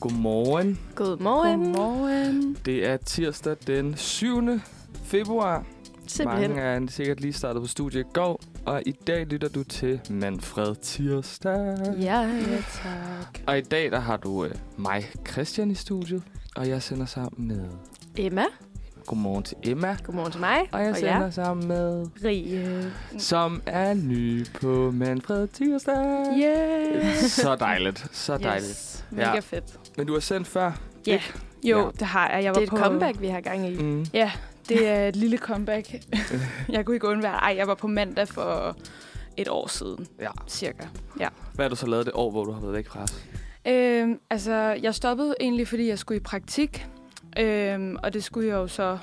Godmorgen. Godmorgen. Godmorgen. Det er tirsdag den 7. februar. Simpelthen. Mange er sikkert lige startet på studie i går, og i dag lytter du til Manfred Tirsdag. Ja, ja, tak. Og i dag der har du øh, mig, Christian, i studiet, og jeg sender sammen med Emma. Godmorgen til Emma. Godmorgen til mig. Og jeg sender jer. sammen med, Rie. som er ny på Manfred Tirsdag. Yeah. Så dejligt, så dejligt. Yes. Yes. Ja. Mega fedt. Men du har sendt før. Jo, Ja. det har jeg. jeg var Det er et på... comeback, vi har gang i. Mm. Ja, det er et lille comeback. jeg kunne ikke undvære. Ej, jeg var på mandag for et år siden, Ja. cirka. Hvad har du så lavet det år, hvor du har været væk fra os? Øhm, altså, jeg stoppede egentlig, fordi jeg skulle i praktik. Øhm, og det skulle jeg jo så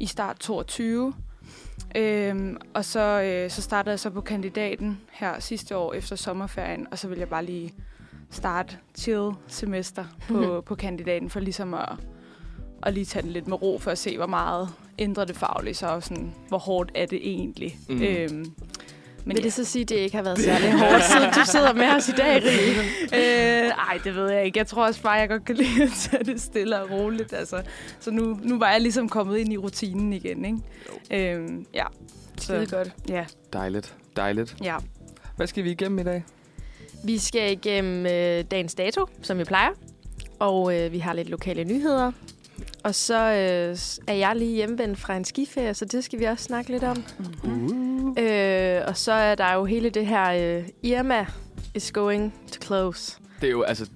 i start 22. Øhm, og så, øh, så startede jeg så på kandidaten her sidste år efter sommerferien. Og så ville jeg bare lige starte chill semester på, Mhm. på kandidaten for ligesom at, at lige tage den lidt med ro for at se, hvor meget ændrer det fagligt så og sådan, hvor hårdt er det egentlig. Mm. Øhm, men Men ja. Mhm. Vil det så sige, at det ikke har været særlig hårdt, siden du sidder med os i dag, Rie? Øh, ej, det ved jeg ikke. Jeg tror også bare, jeg godt kan lide at tage det stille og roligt. Altså. Så nu, nu var jeg ligesom kommet ind i rutinen igen, ikke? Øhm, ja. Det er godt. ja, Dejligt, dejligt. ja. Hvad skal vi igennem i dag? Vi skal igennem øh, dagens dato, som vi plejer. Og øh, vi har lidt lokale nyheder. Og så øh, s- er jeg lige hjemvendt fra en skiferie, så det skal vi også snakke lidt om. Uh. Øh, og så er der jo hele det her øh, Irma is going to close. Det er jo, altså,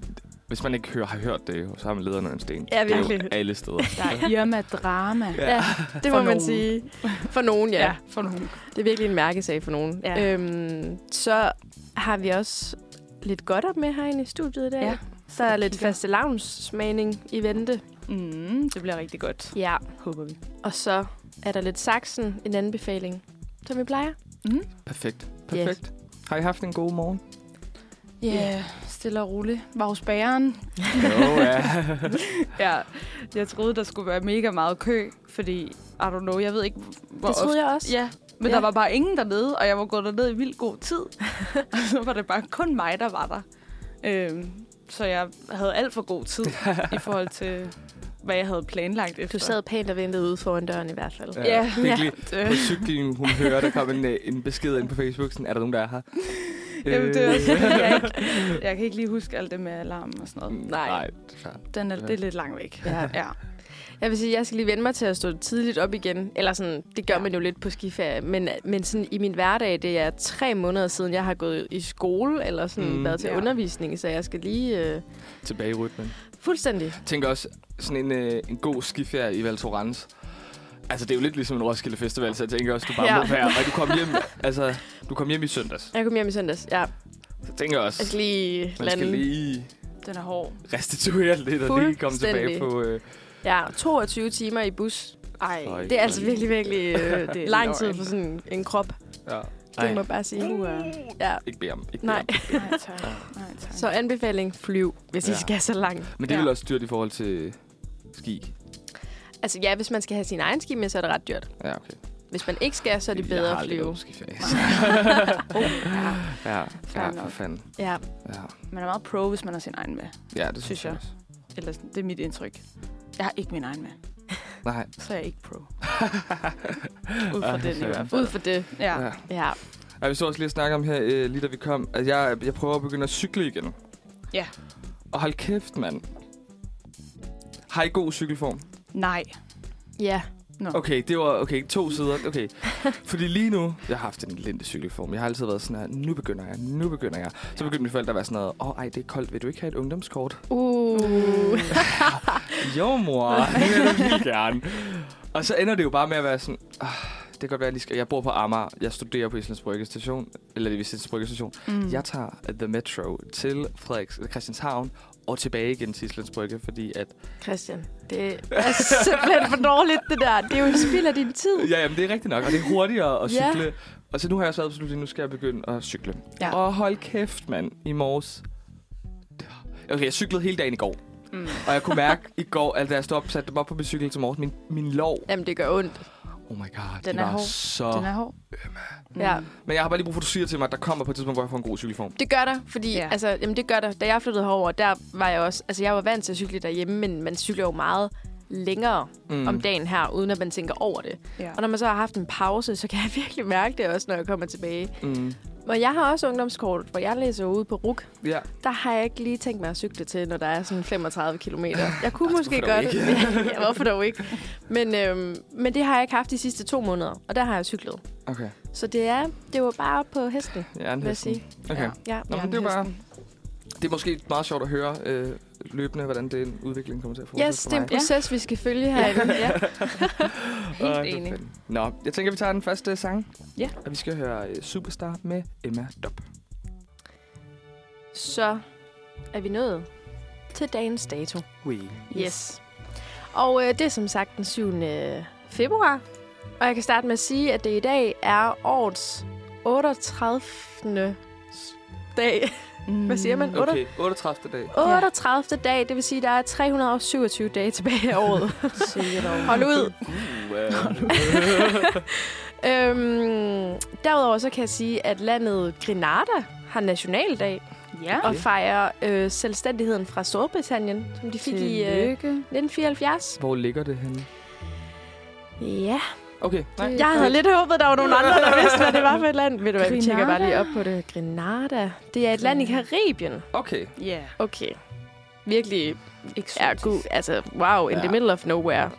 hvis man ikke hører, har hørt det, jo, så har man lederne en sten. Ja, Det er jo virkelig. alle steder. Irma Drama. Ja. Ja, det må For man nogen. sige. For nogen, ja. ja. ja, for nogen. Det er virkelig en mærkesag for nogen. Ja. Øhm, så har vi også lidt godt op med herinde i studiet i dag. Ja. Så er Jeg lidt kigger. faste lavnsmagning i vente. Mm, det bliver rigtig godt, Ja. håber vi. Og så er der lidt saksen, en anbefaling, som vi plejer. Perfekt. Perfekt. Yes. Har I haft en god morgen? Ja, yeah, stille og roligt. Var hos bageren. jo, ja. Ja, jeg troede, der skulle være mega meget kø, fordi, I don't know, jeg ved ikke, hvor det ofte troede jeg også. Ja, men Ja. ja. der var bare ingen dernede, og jeg var gået derned i vildt god tid. og så var det bare kun mig, der var der. Øhm, så jeg havde alt for god tid i forhold til, hvad jeg havde planlagt efter. Du sad pænt og ventede ude foran døren i hvert fald. ja. Ja. Det er lige, Øh, på cyklen, hun hører, der kom en, øh, en besked ind på Facebook, sådan, er der nogen, der er her? Jamen, det er Øh, også, jeg, ikke, jeg kan ikke lige huske alt det med alarm og sådan noget. Nej. Nej, det er klart. Den er, det er lidt langt væk. Ja. Ja. Jeg vil sige, jeg skal lige vende mig til at stå tidligt op igen. Eller sådan, det gør Ja. man jo lidt på skiferie. Men, men sådan, i min hverdag, det er tre måneder siden, jeg har gået i skole eller sådan Mm. mm, været til Ja. ja. undervisning. Så jeg skal lige... Øh, Tilbage i rytmen. fuldstændig. Tænk også sådan en, øh, en god skiferie i Val Thorens. Altså, det er jo lidt ligesom en Roskilde Festival, så jeg tænker også, du bare Ja. må være. Og du kom hjem, altså, du kom hjem i søndags. Jeg kom hjem i søndags. Ja, Så jeg tænker også, jeg skal lige man skal lande. lige Den er hård. restituere lidt og lige komme tilbage Fuldstændig. på... Øh, Ja, 22 timer i bus. Ej. Ej, Det er altså virkelig, virkelig øh, Det er lang tid løgn. for sådan en krop. ja. Det må jeg bare sige. Uh, Ja. Ikke bede om. Ikke Nej. Bede om. nej, tak. Nej, tak. Så anbefaling, flyv, hvis ja. I Ja. skal så langt. Men det er vel Ja. også dyrt i forhold til ski. Altså ja, hvis man skal have sin egen ski med, så er det ret dyrt. Ja, okay. Hvis man ikke skal, så er det jeg bedre har at aldrig været flyve. på skiferie. oh, ja. ja, Fair ja, nok. for fanden. Ja, Ja, Man er meget pro, hvis man har sin egen med. ja det Synes synes jeg også. Eller sådan, det er mit indtryk. Jeg har ikke min egen med. Nej. så er jeg ikke pro. Ud fra den i hvert fald. ud for det. Ja. Ja. Ja. Ja, vi så også lige at snakke om her, øh, lige da vi kom, at jeg, jeg prøver at begynde at cykle igen. Ja. Og hold kæft, mand. Har I god cykelform? Nej. Ja. Okay, det var okay, to sider. Okay. Fordi lige nu, jeg har haft en lente cykelform. Jeg har altid været sådan her, nu begynder jeg, nu begynder jeg. Så begyndte mine forældre at være sådan noget, åh oh, ej, det er koldt, vil du ikke have et ungdomskort? Uh. jo, mor, det vil jeg da vildt gerne. Og så ender det jo bare med at være sådan, ah, det kan godt være, at jeg, lige skal. jeg bor på Amager. Jeg studerer på Islands Brygge station, eller det vil sige Islands Brygge station. Mm. Jeg tager The Metro til Frederiks, eller Christianshavn og tilbage igen til Islands Brygge, fordi at... Christian, det er simpelthen for dårligt, det der. Det er jo en spild af din tid. Ja, jamen, det er rigtigt nok, og det er hurtigere at Ja. cykle. Og så nu har jeg så absolut, nu skal jeg begynde at cykle. Ja. Og hold kæft, mand, i morges. Okay, jeg cyklede hele dagen i går, Mm. og jeg kunne mærke i går, at da jeg stod op, satte dem op på min cykel til morges, min, min lov, Jamen, det gør ondt. Oh my god, Den de er var hård. så... Den er hård. Mm. Ja. Men jeg har bare lige brug for, at du siger til mig, at der kommer på et tidspunkt, hvor jeg får en god cykelform. Det gør der, fordi Ja. ja. altså, jamen, det gør der. Da jeg flyttede herover, der var jeg også... Altså, jeg var vant til at cykle derhjemme, men man cykler jo meget længere mm. om dagen her, uden at man tænker over det. Ja. Og når man så har haft en pause, så kan jeg virkelig mærke det også, når jeg kommer tilbage. Mm. Og jeg har også ungdomskort, hvor jeg læser ude på RUK. Ja. Der har jeg ikke lige tænkt mig at cykle til, når der er sådan 35 km. Jeg kunne Altså, måske hvorfor dog godt... ja, hvorfor dog ikke? Men, øhm, men det har jeg ikke haft de sidste to måneder, og der har jeg cyklet. Okay. Så det er det var bare på hesten, Jeg er en vil jeg hest. sige. Okay. Ja. Ja. Nå, men det er jo bare... Det er måske meget sjovt at høre øh, løbende, hvordan det er en udvikling kommer til at fortsætte Yes, for det er en mig. proces, vi skal følge herinde. Ja. Åh, det Helt er enig. fedt. Nå, jeg tænker, vi tager den første sang. Ja. Og vi skal høre øh, Superstar med Emma Dob. Så er vi nået til dagens dato. Oui. Yes. Og øh, det er som sagt den 7. februar. Og jeg kan starte med at sige, at det i dag er årets 38. dag. Mm. Hvad siger man? Otte- Okay, 38. dag. 38. dag, det vil sige, at der er 327 dage tilbage af året. Sikkert over. Hold ud. Uh, well. Øhm, derudover så kan jeg sige, at landet Grenada har nationaldag Ja. og fejrer øh, selvstændigheden fra Storbritannien, som de fik i øh, Tillykke. 1974. Hvor ligger det henne? Ja, Okay, nej. Det- jeg havde lidt håbet, der var nogen andre, der vidste, hvad det var for et land. Ved du hvad, vi tjekker bare Grenada? lige op på det. Grenada. Det er et land i Karibien. Okay. Ja. Okay. Virkelig er Eksotisk. god. Altså, wow, in Ja. the middle of nowhere. Er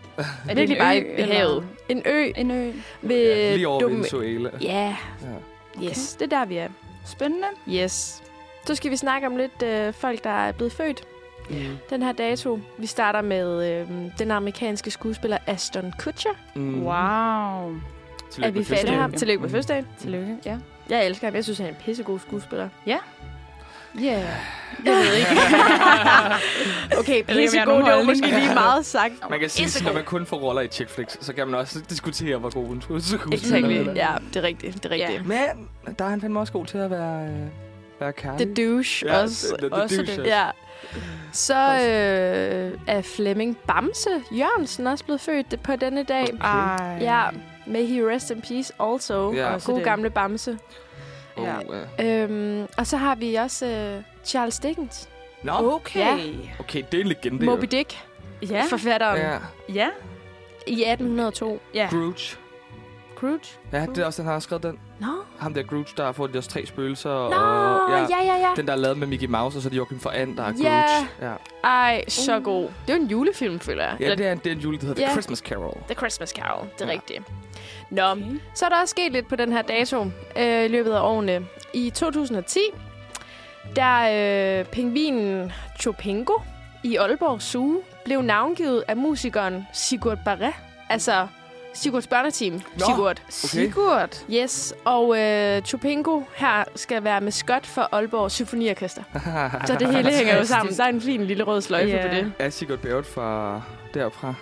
det Virkelig en bare ø, i eller- havet. En ø En ø. ved... Lige over Dom- Venezuela. Ja, Ja. yes, det er der, vi er. Spændende. Yes. Så skal vi snakke om lidt øh, folk, der er blevet født Mm. den her dato. Vi starter med øh, den amerikanske skuespiller Ashton Kutcher. Mm. Wow. Tillykke med er vi fan af fødselsdagen. ham? Tillykke med Mm. fødselsdagen. Tillykke. Ja. Jeg elsker ham. Jeg synes, han er en pissegod skuespiller. Ja. Yeah. Jeg ved ikke. okay, om jeg har pissegod, nogen det var holdning. måske lige meget sagt. Man kan sige, at Pissegod. når man kun får roller i chick flicks, så kan man også diskutere, hvor god hun skulle Exactly. Ja, det er rigtigt. Det er rigtigt. Men der er han fandme også god til at være, øh, være kærlig. The douche Ja, også. the- the også douche også. Ja. Så øh, er Flemming Bamse Jørgensen også blevet født på denne dag. Ej. Ja, may he rest in peace also. Ja. Ja. Også God det. gamle Bamse. Oh, Ja. ja. Øhm, og så har vi også øh, Charles Dickens. Nå, Okay. okay, det er en legende. Moby jo. Dick, Ja. forfatteren, Ja. Ja. i 1802. Ja. Grooge. Scrooge? Ja, det er også den, han har skrevet den. Nå, Ham der Grooge, der har fået de også tre spøgelser. Nå og, ja, ja, ja. Den, der er lavet med Mickey Mouse, og så er det Joachim Forand, der er Ja. Grooge. Ja. Ej, så god. Det er jo en julefilm, føler jeg. ja, det er en, det er en jule, der hedder Ja. The Christmas Carol. The Christmas Carol, det er Ja. ja. rigtigt. Nå, så er der også sket lidt på den her dato øh, i løbet af årene. I 2010, der øh, pingvinen Chopingo i Aalborg Zoo blev navngivet af musikeren Sigurd Barret. Altså Sigurds børneteam, Sigurd. Sigurd. Yes, og øh, Chopingo her skal være maskot for Aalborg Symfoniorkester. Så det hele hænger jo sammen. Der er en fin lille rød sløjfe Ja. yeah. på det. Er Sigurd Barrett fra derfra?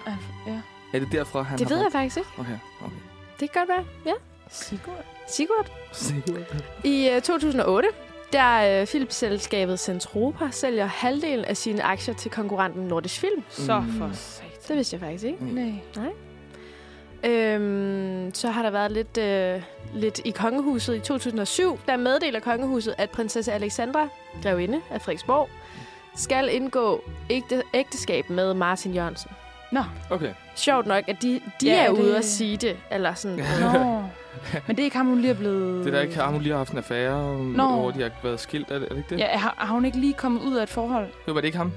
Ja. Er det derfra, han Det har ved jeg faktisk ikke. Okay, okay. Det kan godt være. Ja, Sigurd. Sigurd. Sigurd. I øh, 2008, der øh, filmselskabet Centropa sælger halvdelen af sine aktier til konkurrenten Nordisk Film. Så Mm. for satan. Det vidste jeg faktisk ikke. Nej. Øhm, så har der været lidt, øh, lidt i kongehuset i 2007. Der meddeler kongehuset, at prinsesse Alexandra, grevinde af Frederiksborg, skal indgå ægte, ægteskab med Martin Jørgensen. Okay. Sjovt nok, at de, de Ja, ja, er det- ude at sige det. Eller sådan. Nå. Men det er ikke ham, hun lige er blevet... Det er da ikke, har hun lige har haft en affære, Nå. hvor de har været skilt. Er det, er det ikke det? Ja, har, har hun ikke lige kommet ud af et forhold? Mm. Jo, var det ikke ham?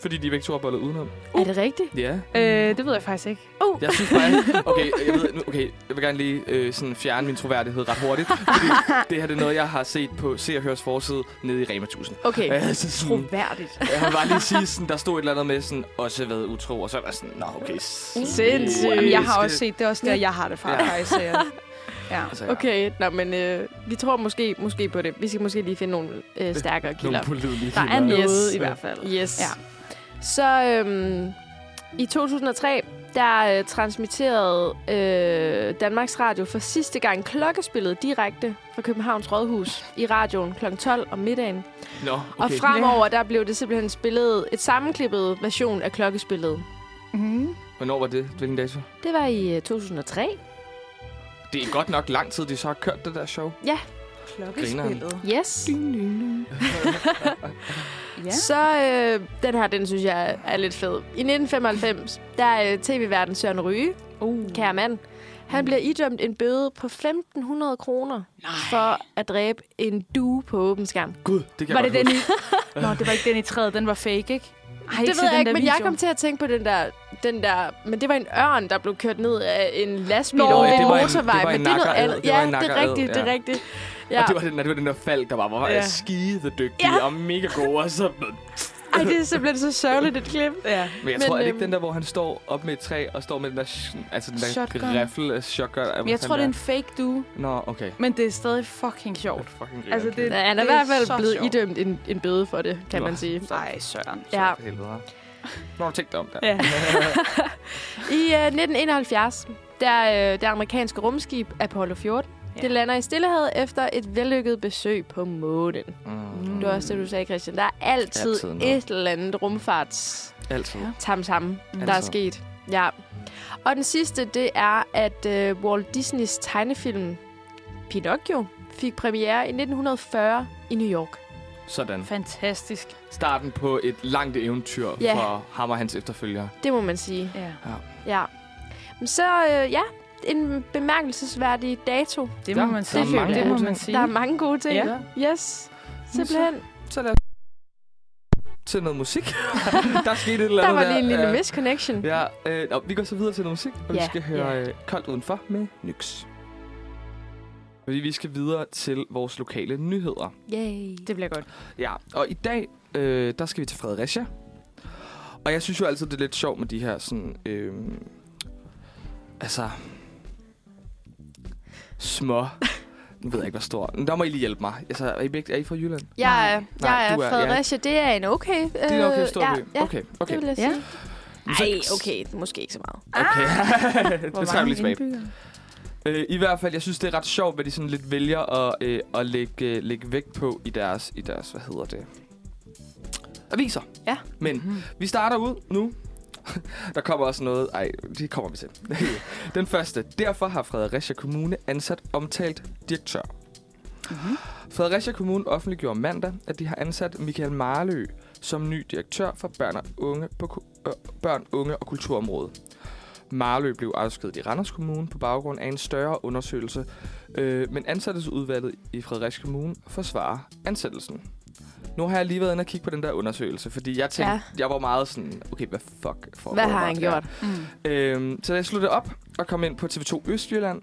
Fordi de begge to har bollet udenom. "Uh, Er det rigtigt? Ja. Øh, det ved jeg faktisk ikke. Uh, Jeg synes bare... Okay, jeg, ved, nu- okay, jeg vil gerne lige øh, sådan fjerne min troværdighed ret hurtigt. Fordi det her det er noget, jeg har set på Se og Hørs forside nede i Rema 1000. okay. Altså, sådan, Troværdigt. jeg vil bare lige sige, sådan, der stod et eller andet med sådan, også været utro, og så var jeg sådan, nå okay. Sindssygt. Mm. Jamen, jeg har skal- også set det er også der, jeg har det fra, Ja. ja. faktisk. så jeg- Ja. Altså, okay. Okay, nå, men øh, vi tror måske, måske på det. Vi skal måske lige finde nogle øh, stærkere Nogle kilder. pålidelige Der er kilder. noget Yes. i hvert fald. Yes. Ja. Så øhm, i 2003, der øh, transmitterede øh, Danmarks Radio for sidste gang klokkespillet direkte fra Københavns Rådhus i radioen kl. 12 om middagen. Okay. Nå, Og okay. fremover, der blev det simpelthen spillet et sammenklippet version af klokkespillet. Mm. Hvornår var det? Hvilken dato? Det var i øh, 2003. Det er godt nok lang tid, de så har kørt det der show. Klokkespillet. Yes. Ja. Så øh, den her, den synes jeg er lidt fed. I 1995, der er øh, tv-verden Søren Ryge, Oh. Uh. kære mand. Han bliver idømt en bøde på 1.500 kroner for at dræbe en due på åben skærm. Gud, det kan Var jeg det godt den i... Nå, det var ikke den i træet. Den var fake, ikke? Ej, det ved jeg ikke, men jeg kom til at tænke på den der, den der... Men det var en ørn, der blev kørt ned af en lastbil Nå, over ja, en det var en- motorvej. det var en men det er noget nakkeræd. andet. Det var Ja, en det er nakkeræd, rigtigt, det er ja. rigtigt. Ja. Ja. Og det var, den, det var den der fald, der bare var Ja. ja. skidedygtig Ja. ja. og mega god. Og så, men Ej, det er simpelthen så sørgeligt et klip. Ja. jeg Men, tror, er det øhm, ikke den der, hvor han står op med et træ og står med den der, sh- altså den der Shotgun. rifle shotgun? Men jeg tror, det er en fake du, Nå, okay. men det er stadig fucking Jeg sjovt. fucking altså, Altså, det- det... Ja, han er i Det er hvert så fald blevet sjovt. idømt en, en bøde for det, kan Nå. man sige. Nej, Søren. Ja. Ja. For helvede. Nu har du tænkt dig om der. Ja. I øh, 1971, der øh, det amerikanske rumskib Apollo 14, Ja. ja. det lander i Stillehavet efter et vellykket besøg på månen. Mm. Mm. Det var også det, du sagde, Christian. Der er altid, Altid noget. et eller andet rumfarts Altid. Ja. tam tam, der er Altså. sket. Ja. Og den sidste, det er, at øh, Walt Disneys tegnefilm Pinocchio fik premiere i 1940 i New York. Sådan. Fantastisk. Starten på et langt eventyr Ja. yeah. for ham og hans efterfølgere. Det må man sige. Ja. Ja. Men så, øh, ja, en bemærkelsesværdig dato. Det Ja, må man der sige. er mange Det må gode man ting. sige. Der er mange gode ting. Ja. Yes. Simpelthen. Så lad os til noget musik. der skete et eller Der andet var lige en lille øh, misconnection. Ja, øh, nå, vi går så videre til noget musik, og Ja. vi skal høre øh, Koldt Udenfor med Nyx. Fordi vi skal videre til vores lokale nyheder. Yay. Det bliver godt. Ja, og i dag, øh, der skal vi til Fredericia. Og jeg synes jo altid, det er lidt sjovt med de her sådan... Øh, altså... Små... Nu ved jeg ikke, hvor stor. Men der må I lige hjælpe mig. Altså, er I, begge, er I fra Jylland? Jeg er, Nej, jeg er du er- ja. Fredericia. Det er en okay... Øh, Det er okay, stor ja, by. Ja, Okay, okay. det vil jeg Ja. sige. Ej, okay. Ah! Måske ikke så meget. Okay. det trækker vi lige tilbage. Øh, I hvert fald, jeg synes, det er ret sjovt, hvad de sådan lidt vælger at, øh, at lægge, øh, lægge vægt på i deres, i deres, hvad hedder det, aviser. Ja. Men Mhm. vi starter ud nu. Der kommer også noget. Ej, det kommer vi til. Den første. Derfor har Fredericia Kommune ansat omtalt direktør. Mhm. Fredericia Kommune offentliggjorde mandag, at de har ansat Michael Marlø som ny direktør for børn og unge, på, ku- øh, børn, unge og kulturområdet. Marlø blev afskediget i Randers Kommune på baggrund af en større undersøgelse, øh, men ansættelsesudvalget i Fredericia Kommune forsvarer ansættelsen. Nu har jeg lige været inde og kigge på den der undersøgelse, fordi jeg tænkte, Ja. ja. jeg var meget sådan, okay, hvad fuck for Hvad har han gjort? Mm. Øhm, så jeg sluttede op og kom ind på TV2 Østjylland.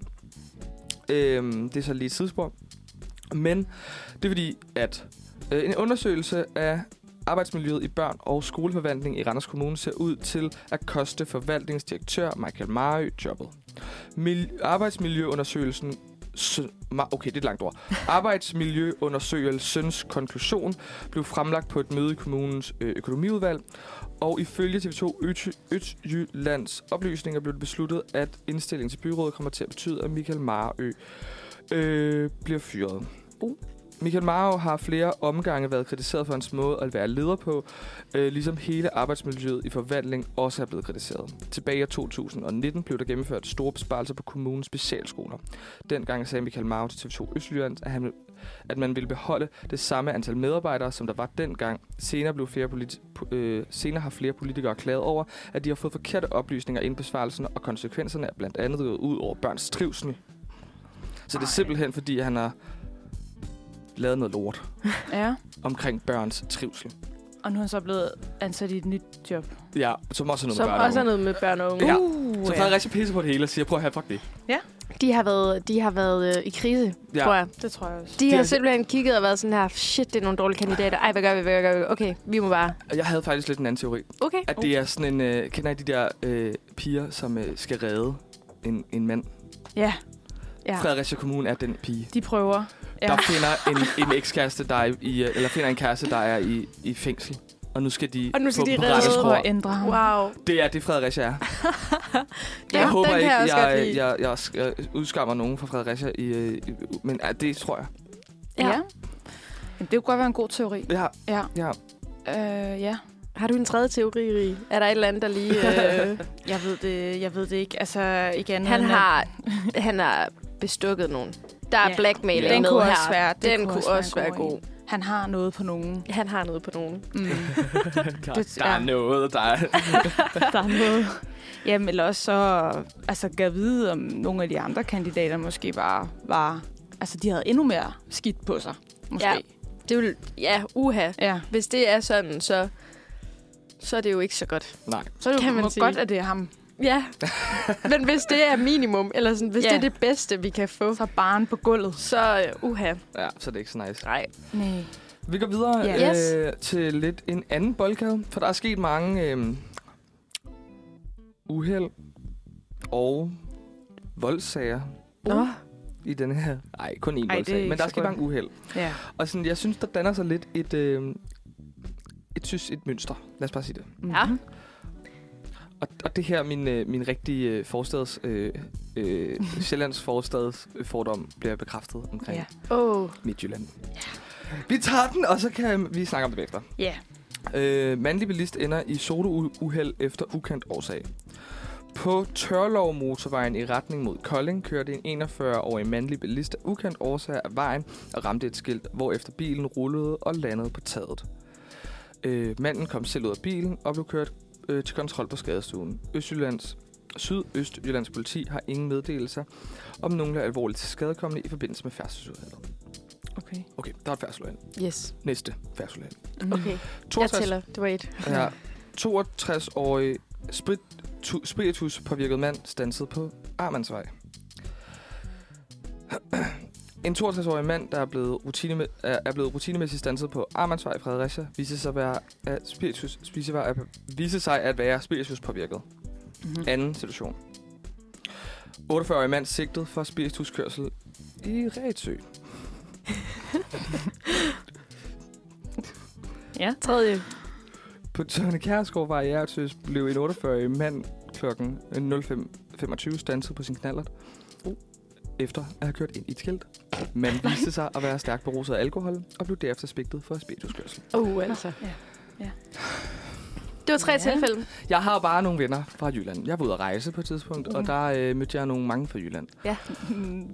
Øhm, det er så lige et sidespor. Men det er fordi, at øh, en undersøgelse af arbejdsmiljøet i børn- og skoleforvaltning i Randers Kommune ser ud til at koste forvaltningsdirektør Michael Marø jobbet. Mil- arbejdsmiljøundersøgelsen sø- ma- Okay, det er et langt ord. Arbejdsmiljøundersøgelsens konklusion blev fremlagt på et møde i kommunens øh, økonomiudvalg, og ifølge TV2 Øt- Østjyllands oplysninger blev det besluttet, at indstillingen til byrådet kommer til at betyde, at Michael Marø øh, bliver fyret. Uh. Michael Marø har flere omgange været kritiseret for hans måde at være leder på, øh, ligesom hele arbejdsmiljøet i forvandling også er blevet kritiseret. Tilbage i 2019 blev der gennemført store besparelser på kommunens specialskoler. Dengang sagde Michael Marø til TV2 Østjylland, at, han, at man ville beholde det samme antal medarbejdere, som der var dengang. Senere, blev flere politi- po- øh, senere har flere politikere klaget over, at de har fået forkerte oplysninger inden besvarelsen, og konsekvenserne er blandt andet gået ud over børns trivsel. Så det er simpelthen, fordi han har lavet noget lort Ja. omkring børns trivsel. Og nu er han så blevet ansat i et nyt job. Ja, som også er noget Som med børn og også er unge. noget med børn og unge. Ja. Uh, Så Frederik rigtig pisse på det hele og siger, prøv at have fuck det. De har været, de har været øh, i krise, ja. tror jeg. Det tror jeg også. De Det har er- simpelthen kigget og været sådan her, shit, det er nogle dårlige kandidater. Ej, hvad gør vi, hvad gør vi? Okay, vi må bare... Og jeg havde faktisk lidt en anden teori. Okay. At det er sådan en... Øh, kender I de der øh, piger, som øh, skal redde en, en mand? Ja. Ja. Ja. Fredericia Kommune er den pige. De prøver. Ja. Ja. Der finder en, en ekskæreste, der er i, øh, eller finder en kæreste, der er i, i fængsel. Og nu skal de Og nu skal få de dem på redde- rette Prøver spor. at ændre ham. Wow. Det er det, Fredericia er. Ja, jeg håber den ikke, kan jeg også jeg, godt jeg, lide. jeg, jeg, sk- jeg udskammer nogen fra Fredericia. I, øh, i, men ja, det tror jeg. Ja. Ja. Men det kunne godt være en god teori. Ja, Ja. ja. Øh, ja. Har du en tredje teori, Rie? Er der et eller andet, der lige... Øh, Jeg ved det, jeg ved det ikke. Altså, ikke andet han, end, at- har, han har bestukket nogen. Der er Ja. blackmail Den med kunne her. også være- den, kunne også, være, en. god. Han har noget på nogen. Han har noget på nogen. Mm. Der, Det- der er ja. noget, der er... der er noget. Jamen, eller også så... Altså, gav vide, om nogle af de andre kandidater måske bare var... Altså, de havde endnu mere skidt på sig, måske. Ja. Det vil, ja, uha. ja. Hvis det er sådan, så, så er det jo ikke så godt. Nej. Så er det Kan jo man må sige. godt, at det er ham. Ja. Men hvis det er minimum, eller sådan, hvis Ja. det er det bedste, vi kan få, Så er barn på gulvet. så øh, uha. Ja, så er det ikke så nice. Nej. Nej. Vi går videre Ja. Yes. øh, til lidt en anden boldgade, for der er sket mange øh, uheld og voldssager Nå. i denne her. Nej, kun én Ej, det er voldsag, ikke men der er så sket godt. mange uheld. Ja. Og sådan, jeg synes, der danner sig lidt et, øh, et, synes, et mønster. Lad os bare sige det. Mm-hmm. Ja. Og, og det her er min, øh, min rigtige øh, forstads, øh, øh, Sjællands forstads øh, fordom bliver bekræftet omkring Ja. ja. Åh. Oh. Midtjylland. Vi tager den, og så kan vi snakke om det bagefter. Ja. Øh, mandlig bilist ender i sodouheld efter ukendt årsag. På Tørlov motorvejen i retning mod Kolding kørte en 41-årig mandlig bilist af ukendt årsag af vejen og ramte et skilt, hvorefter bilen rullede og landede på taget. Øh, manden kom selv ud af bilen og blev kørt øh, til kontrol på skadestuen. Østjyllands Sydøstjyllands politi har ingen meddelelser om nogen er alvorligt tilskadekommende i forbindelse med færdselsuheldet. Okay. Okay, der er et færdselsuheld. Yes. Næste færdselsuheld. Mm-hmm. Okay. Jeg 62 tæller. Det var et. Ja. 62-årig sprit, tu, spiritus påvirket mand stanset på Armandsvej. En 62-årig mand, der er blevet, rutine, er er blevet rutinemæssigt stanset på Armandsvej i Fredericia, viser sig, at være, at spiritus, viser, sig at, viser sig at være spiritus påvirket. Mm-hmm. Anden situation. 48-årig mand sigtet for spirituskørsel i Rætsø. Ja. Tredje. På Tørne Kærsgaard var i Ærtsøs blev en 48-årig mand øh, kl. 05.25 stanset på sin knallert. Efter at have kørt ind i et skilt. Manden viste sig at være stærkt beruset af alkohol, og blev derefter sigtet for spirituskørsel. Åh, oh, altså. Ja. Ja. Det var tre Ja. ja. tilfælde. Jeg har bare nogle venner fra Jylland. Jeg var ude at rejse på et tidspunkt, mm. og Mhm. der øh, mødte jeg nogle mange fra Jylland.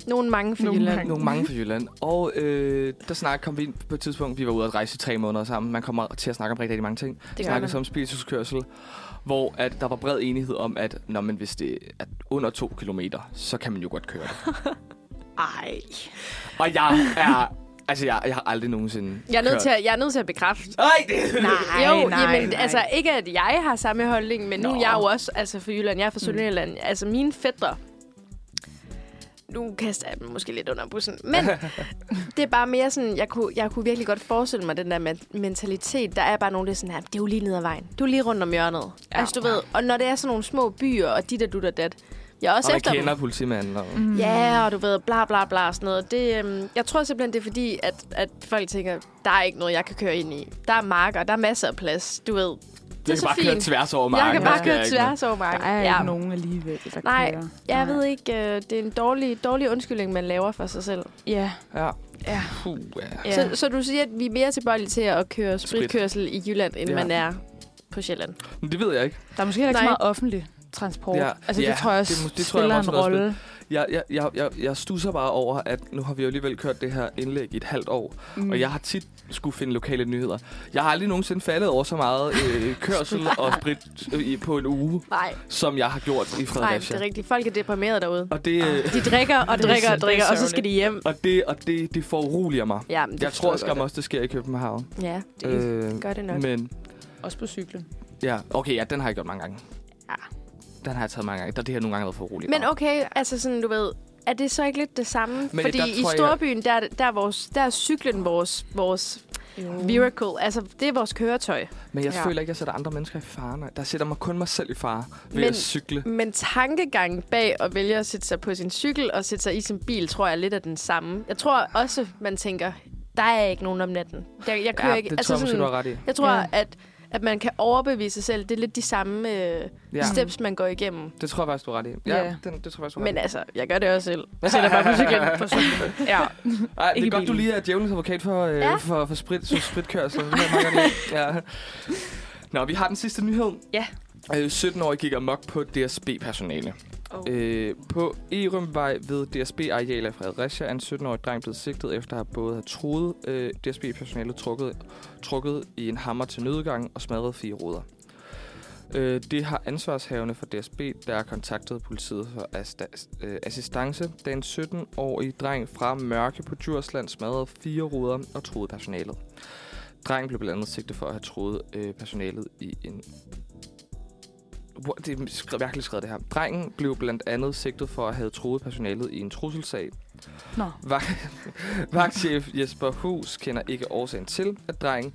Nogle mange fra Nogle Jylland. mange. Nogle mange fra Jylland. Og øh, der snak kom vi ind på et tidspunkt, vi var ude at rejse i tre måneder sammen. Man kommer til at snakke om rigtig, rigtig mange ting. Det gør snakkede man. om spirituskørsel, hvor at der var bred enighed om, at når man, hvis det er under to kilometer, så kan man jo godt køre det. Ej. Og jeg er... Altså, jeg, jeg har aldrig nogensinde Jeg er nødt til at, jeg er nødt til at bekræfte. Ej, det... Nej, jo, nej, jamen, nej. altså ikke at jeg har samme holdning, men nu Nå. er jeg jo også altså, fra Jylland, jeg er fra Sønderjylland. Mm. Altså mine fætter, nu kaster jeg dem måske lidt under bussen, men det er bare mere sådan, jeg kunne, jeg kunne virkelig godt forestille mig den der men- mentalitet. Der er bare nogen, der er sådan her, det er jo lige ned ad vejen, du er lige rundt om hjørnet. Ja. Ja. Altså du ved, og når det er sådan nogle små byer, og dit og dut og dat, jeg er også Og man efter dem. kender politimanden. Og... Mm. Ja, og du ved, bla bla bla og sådan noget. Det, øhm, jeg tror simpelthen, det er fordi, at, at folk tænker, der er ikke noget, jeg kan køre ind i. Der er marker, der er masser af plads, du ved. Det er jeg så kan bare fint. køre tværs over jeg marken. kan der bare skal køre jeg ikke tværs over Der marken. er ja. ikke nogen alligevel, der Nej, kører. Jeg Nej. ved ikke, øh, det er en dårlig, dårlig undskyldning, man laver for sig selv. Ja. med. Ja. Ja. Puh, ja. Ja. Så, så du siger, at vi er mere tilbøjelige til at køre spritkørsel i Jylland, end Ja. ja. man er på Sjælland. Men det ved jeg ikke. Der er måske heller ikke så Nej. meget offentlig transport. Ja. Ja. Altså, det Ja, tror jeg også det må- det det, det tror jeg spiller også en noget rolle. Jeg, jeg, jeg, jeg, jeg stusser bare over, at nu har vi jo alligevel kørt det her indlæg i et halvt år. Mm. Og jeg har tit skulle finde lokale nyheder. Jeg har aldrig nogensinde faldet over så meget øh, kørsel og sprit øh, i- på en uge, Nej, som jeg har gjort i nej, Fredericia. det er rigtigt. Folk er deprimerede derude. Og det, øh, De drikker og drikker og Det er drikker, og så sørgeligt. skal de hjem. og det, og det, det foruroliger mig. Ja, men det Jeg forstår tror skam godt. også, det sker i København. Ja, det Øh, gør det nok. men Også på cyklen. ja, okay, ja, den har jeg gjort mange gange. Ja. Den har jeg taget mange gange. Der det her nogle gange har været for roligt. Men okay, altså sådan, du ved, er det så ikke lidt det samme? Men Men Fordi der i tror jeg- storbyen, der, er- der, er vores, der er cyklen vores, vores miracle. Altså, det er vores køretøj. Men jeg Ja. føler ikke, jeg sætter andre mennesker i fare. nej. Der sætter mig kun mig selv i fare ved Men- at cykle. Men tankegangen bag at vælge at sætte sig på sin cykel og sætte sig i sin bil, tror jeg er lidt af den samme. Jeg tror også, man tænker, der er ikke nogen om natten. Jeg, jeg kører Ja, ikke. altså det tror jeg måske, du har sådan, ret i. jeg tror, Ja. at, at man kan overbevise sig selv. Det er lidt de samme øh, Ja, steps, man går igennem. det tror jeg faktisk, du har ret i. Ja, Ja. den, det tror jeg faktisk, du har ret i. Men altså, jeg gør det også selv. Jeg sætter mig på cyklen. På cyklen. Ja. Ej, det Ikke er i godt, du bilen. lige er djævelens advokat for, øh, ja. Ja. for, for sprit, så spritkørsel. Det kan jeg meget godt lide. Nå, vi har den sidste nyhed. Ja. Øh, 17-årig gik amok på DSB-personale. Oh. Øh, på Erumvej ved DSB-arealet i Fredericia er en 17-årig dreng blevet sigtet efter at have både have truet øh, DSB-personalet trukket, trukket i en hammer til nødgang og smadret fire ruder. Øh, det har ansvarshavende for DSB, der har kontaktet politiet for asta- øh, assistance, da en 17-årig dreng fra Mørke på Djursland smadrede fire ruder og truede personalet. Drengen blev blandt andet sigtet for at have troet øh, personalet i en... Hvor- Det er skre- virkelig skrevet, det her. Drengen blev blandt andet sigtet for at have troet personalet i en trusselsag. Nå. Vag- Vagtchef Jesper Hus kender ikke årsagen til, at drengen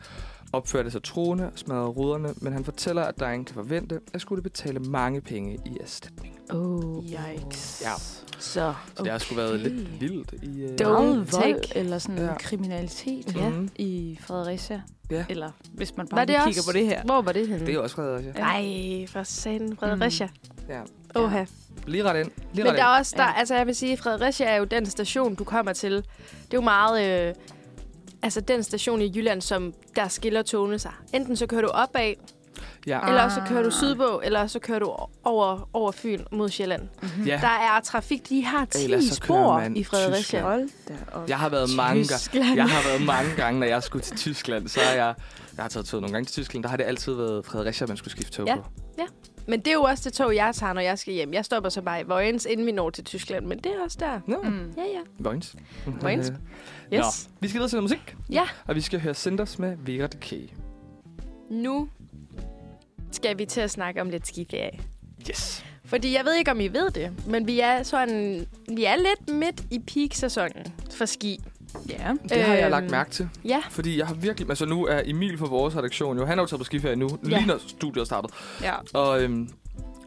opførte sig troende og smadrede ruderne, men han fortæller, at drengen kan forvente at skulle betale mange penge i erstatning. Oh. Yikes. Ja. Så Så okay. det har sgu været lidt vildt i... Øh... Dog. Meget vold Take. eller sådan Ja. ja. kriminalitet Ja. Mhm. i Fredericia. Ja. Eller hvis man Var bare det lige kigger også- på det her. Hvor var det henne? Det er også Fredericia. Ja. Nej, for satan, Fredericia. Mm. Ja. Oha. Lige ret ind. Lige ret Men der ind. er også, der, Ja. altså jeg vil sige, Fredericia er jo den station, du kommer til. Det er jo meget, øh, altså den station i Jylland, som der skiller togene sig. Enten så kører du opad, Ja. ah. eller også så kører du sydpå, eller også så kører du over, over Fyn mod Sjælland. ja. Der er trafik, de har 10 Ellers så kører spor man i Fredericia. Tyskland. Hold da op. Jeg har været mange gange. Tyskland. Jeg har været mange gange, når jeg skulle til Tyskland, så har jeg, jeg har taget toget nogle gange til Tyskland, der har det altid været Fredericia, man skulle skifte tog Ja. på. Men det er jo også det tog, jeg tager, når jeg skal hjem. Jeg stopper så bare i Vojens, inden vi når til Tyskland, men det er også der. Nå, mm. Mm. Ja, ja. Vojens. Vojens. Øh, Yes. Vi skal videre til noget musik, Ja. og vi skal høre Senders med Vera Decay. Nu skal vi til at snakke om lidt skiferie. Yes. Fordi jeg ved ikke, om I ved det, men vi er, sådan, vi er lidt midt i peak-sæsonen for ski. Ja. Det har jeg Øhm, lagt mærke til, Ja, fordi jeg har virkelig... Altså nu er Emil fra vores redaktion jo, han er jo taget på skiferie nu, ja. Ja. lige når studiet er startet. ja. Og, øhm,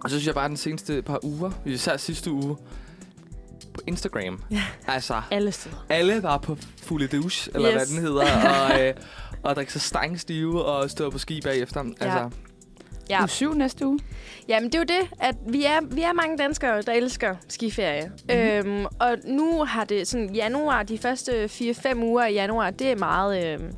og så synes jeg bare, at den seneste par uger, især sidste uge, på Instagram. Ja. Altså, Alle steder. alle var på fulde douche, eller yes. hvad Yes. den hedder, og, øh, og drikke sig stangstive og stå på ski bagefter. Altså, ja. Ja. Uge syv næste uge. Jamen, det er jo det, at vi er, vi er mange danskere, der elsker skiferie. Mm. Mhm. Øhm, og nu har det sådan januar, de første 4-5 uger i januar, det er meget... Øhm,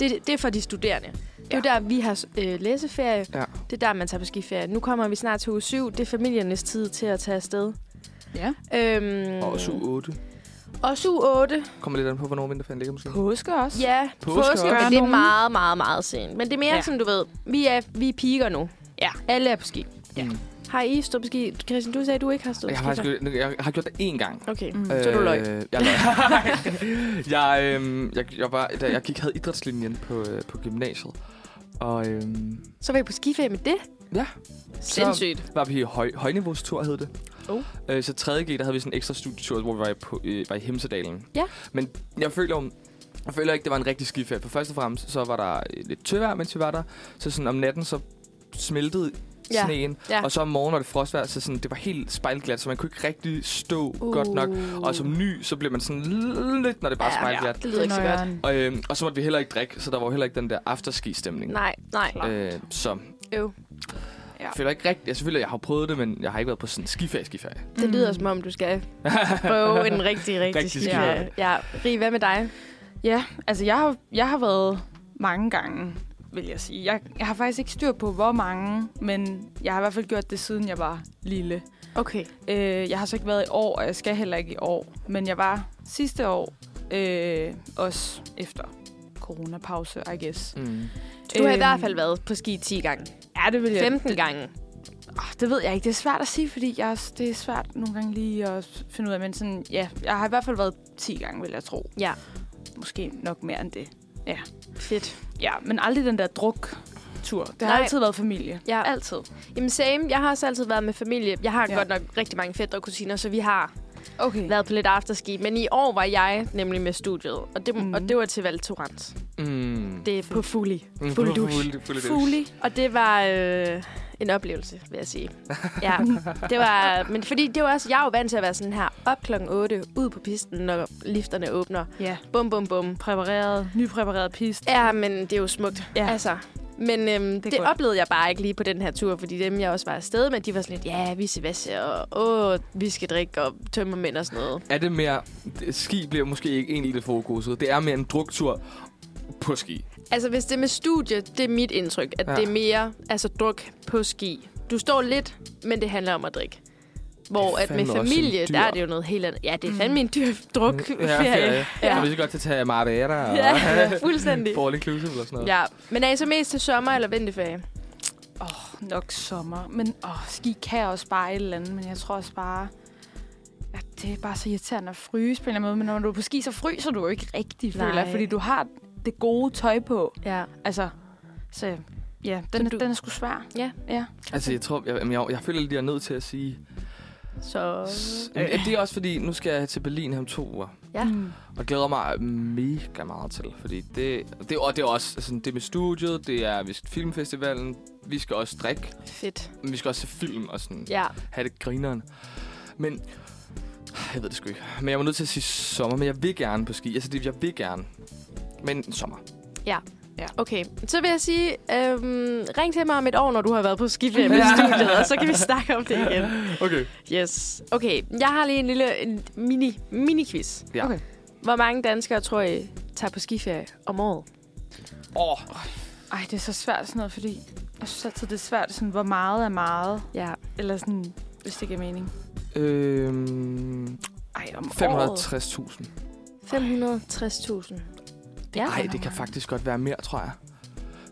det, det er for de studerende. Det er jo der, vi har øh, læseferie. Ja. Det er der, man tager på skiferie. Nu kommer vi snart til uge 7. Det er familiernes tid til at tage afsted. Ja. Øhm, Og 7-8. Også uge 8. Kommer lidt an på, hvornår vinterferien ligger måske. Påske også. Ja, Påske påske, også. påske Gør men det er nogen. meget, meget, meget sent. Men det er mere ja. Ja. sådan, du ved, vi er, vi er piger nu. Ja. Alle er på ski. Ja. Mm. Har I stået på ski? Christian, du sagde, du ikke har stået Jeg, har på ski. faktisk, gjort- jeg har gjort det én gang. før. Okay, Mm. mm. Øh, så er du løg. jeg, løg. jeg, øhm, jeg, jeg, var, da jeg gik, havde idrætslinjen på, øh, på gymnasiet. Og øhm, Så var I på skiferie med det? Ja. Sindssygt. var vi i høj, højniveaustur, hed det. Oh. Øh, så 3.G, der havde vi sådan en ekstra studietur, hvor vi var i, på, øh, var i Hemsedalen. Ja. Men jeg føler, om- jeg føler ikke, det var en rigtig skiferie. For først og fremmest, så var der øh, lidt tøvejr, mens vi var der. Så sådan om natten, så smeltede Ja. sneen. Ja. Og så om morgenen var det frostvejr, så sådan, det var helt spejlglat, så man kunne ikke rigtig stå uh. godt nok. Og som ny, så blev man sådan lidt, når det bare er spejlglat. Det lyder ikke så godt. Og, øhm, og så måtte vi heller ikke drikke, så der var jo heller ikke den der afterski-stemning. Nej, nej. Øh, så Øv. jeg føler ikke rigtigt. Jeg selvfølgelig, jeg har prøvet det, men jeg har ikke været på sådan en skiferie, skiferie. Det lyder som om, du skal prøve en rigtig, rigtig Rigtig skiferie. Ja. Rig, hvad med dig? Ja, altså jeg har, jeg har været mange gange, vil jeg sige. Jeg, jeg har faktisk ikke styr på, hvor mange, men jeg har i hvert fald gjort det, siden jeg var lille. Okay. Øh, jeg har så ikke været i år, og jeg skal heller ikke i år. Men jeg var sidste år, øh, også efter coronapause, I guess. Mm. Du har i Øhm, hvert fald været på ski 10 gange. Ja, det vil 15 gange. Oh, det ved jeg ikke. Det er svært at sige, fordi jeg, også- det er svært nogle gange lige at finde ud af. Men sådan, ja, jeg har i hvert fald været 10 gange, vil jeg tro. Ja. Måske nok mere end det. Fedt. Ja, men aldrig den der druk-tur. Det har Nej. altid været familie. Ja. Altid. Jamen same. Jeg har også altid været med familie. Jeg har ja. Ja. godt nok rigtig mange fætter og kusiner, så vi har Okay. været på lidt afterski. Men i år var jeg nemlig med studiet, og det, mm. Mhm. og det var til Val Thorens. Mm. Det er på Fuli. Mm, fuld douche. Fuld, fuld douche. Fugli. Og det var øh, en oplevelse, vil jeg sige. Ja, det var... Men fordi det var også... Jeg er jo vant til at være sådan her op klokken 8, ud på pisten, når lifterne åbner. Ja. Bum, bum, bum. Præpareret. Nypræpareret pist. Ja, men det er jo smukt. Ja. Ja. Altså, men øhm, det, er det godt. oplevede jeg bare ikke lige på den her tur, fordi dem, jeg også var afsted med, de var sådan lidt, ja, vi skal vasse, og åh, vi skal drikke, og tømmermænd og sådan noget. Er det mere... Ski bliver måske ikke egentlig det fokuset. Det er mere en druktur. på ski. Altså, hvis det er med studie, det er mit indtryk, at Ja. ja. det er mere altså, druk på ski. Du står lidt, men det handler om at drikke. Hvor Det er at med fandme også en familie, dyr- Mm, der er det jo noget helt andet. Ja, det er fandme en dyr druk. Ja, ferie. Ja. Jeg Ja. vil godt til at tage Marbella og ja, fuldstændig. Fall Inclusive eller sådan noget. Ja, men er I så mest til sommer eller vinterferie? Nok sommer. Men åh, ski kan også bare et eller andet, men jeg tror også bare... Ja, det er bare så irriterende at fryse på en eller anden måde. Men når du er på ski, så fryser du jo ikke rigtigt, Nej. føler jeg, fordi du har det gode tøj på. Ja. Altså, så ja, den, du- du... den er sgu svær. Altså, jeg tror, jeg, jeg, jeg, jeg føler lidt, jeg er nødt til at sige... Så... Øh. Det er også fordi, nu skal jeg til Berlin her om to uger. Ja. Mm. Og glæder mig mega meget til, fordi det, det, og det er også altså, det er med studiet, det er vi skal- filmfestivalen, vi skal også drikke, Fedt. men vi skal også se film og sådan Ja. have det grineren. Men jeg ved det sgu ikke. Men jeg var nødt til at sige sommer, men jeg vil gerne på ski. Altså, det, jeg vil gerne. Men sommer. Okay, så vil jeg sige, øhm, ring til mig om et år, når du har været på skiferie med studiet, og så kan vi snakke om det igen. Okay. Yes. Okay, jeg har lige en lille en mini, mini-quiz. Ja. Okay. Hvor mange danskere tror I tager på skiferie om året? Åh, oh, Ej, det er så svært sådan noget, fordi jeg synes altid, det er svært, sådan, hvor meget er meget. Ja. Eller sådan, hvis det giver mening. øhm, Ej, om 560.000. 560.000. Ja. Nej, det kan faktisk godt være mere, tror jeg.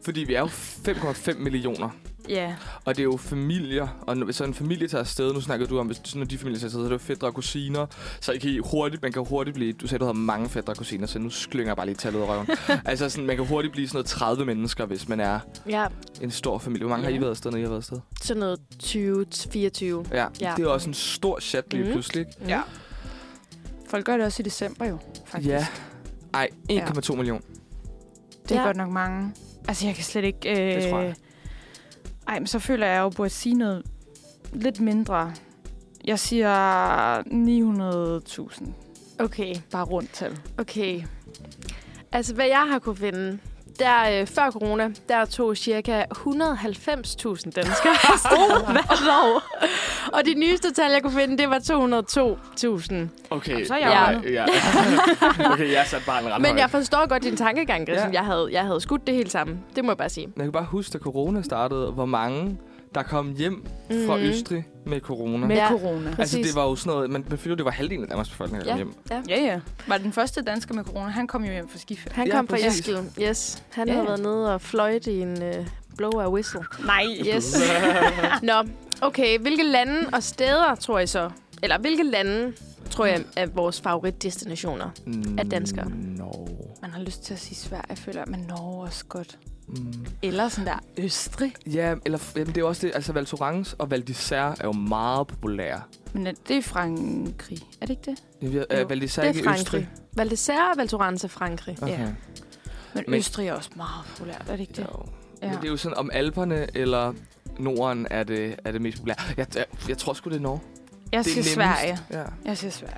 Fordi vi er jo 5,5 millioner, Ja. og det er jo familier, og nu- så en familie tager afsted, nu snakkede du om, hvis sådan, når de familier tager afsted, så er det jo fædre og kusiner, så I kan I hurtigt, man kan hurtigt blive, du sagde, du havde mange fædre og kusiner, så nu slynger jeg bare lige tallet ud af røven. altså sådan, man kan hurtigt blive sådan noget 30 mennesker, hvis man er Ja, en stor familie. Hvor mange har I Ja. været afsted, når I har været afsted? sådan noget 20-24. Ja, Ja. det er også en stor chat lige Mhm. pludselig. ikke? Ja. Folk gør det også i december jo, faktisk. Ja. Ej, 1,2 millioner. Det er Ja. ja. godt nok mange. Altså, jeg kan slet ikke... Øh... Det tror jeg. Ej, men så føler jeg jo, burde sige noget lidt mindre. Jeg siger 900.000. Okay, Bare rundt tal. okay. Altså, hvad jeg har kunne finde, der øh, før corona, der tog cirka 190.000 danskere afsted hvert år. Og det nyeste tal, jeg kunne finde, det var 202.000. Okay, så er jeg ja, ja. okay, jeg satte bare en ret Men jeg forstår godt din tankegang, Christian. Ja. Ja. Jeg, havde, jeg havde skudt det hele sammen. Det må jeg bare sige. Jeg kan bare huske, da corona startede, hvor mange, der kom hjem mm. fra Mhm. Østrig med corona. Med Ja. ja. corona. altså, det præcis. var jo sådan noget, man befølte, det var halvdelen af Danmarks befolkning, der kom Ja. hjem. Ja, ja. Var den første dansker med corona, han kom jo hjem fra skiferie. Han Ja, kom fra præcis. Eskil. Yes. Han Ja, ja. havde ja. været nede og fløjte i en øh, blow a whistle. Nej. Yes. Nå, okay. Hvilke lande og steder, tror I så? Eller hvilke lande, tror jeg, er vores favoritdestinationer? Mm, Af danskere. No. Man har lyst til at sige Sverige, jeg føler, men Norge også godt. Mm. Eller sådan der Østrig. Ja, eller jamen, det er også det, altså Val Thorens og Val d'Isère er jo meget populære. Men er det er Frankrig, er det ikke det? Jeg ved, Jo, øh, Val d'Isère det ikke er i Østrig. Frankrig. Val d'Isère og Val Thorens er Frankrig. Okay. Ja. Men, Men- men Østrig er også meget populært, er det ikke det? Jo. Ja. Men det er jo sådan, om Alperne eller Norden er det, er det mest populære. Jeg, jeg, jeg tror sgu, det er Norge. Jeg det er siger nemmest. Sverige. Ja. Jeg siger Sverige.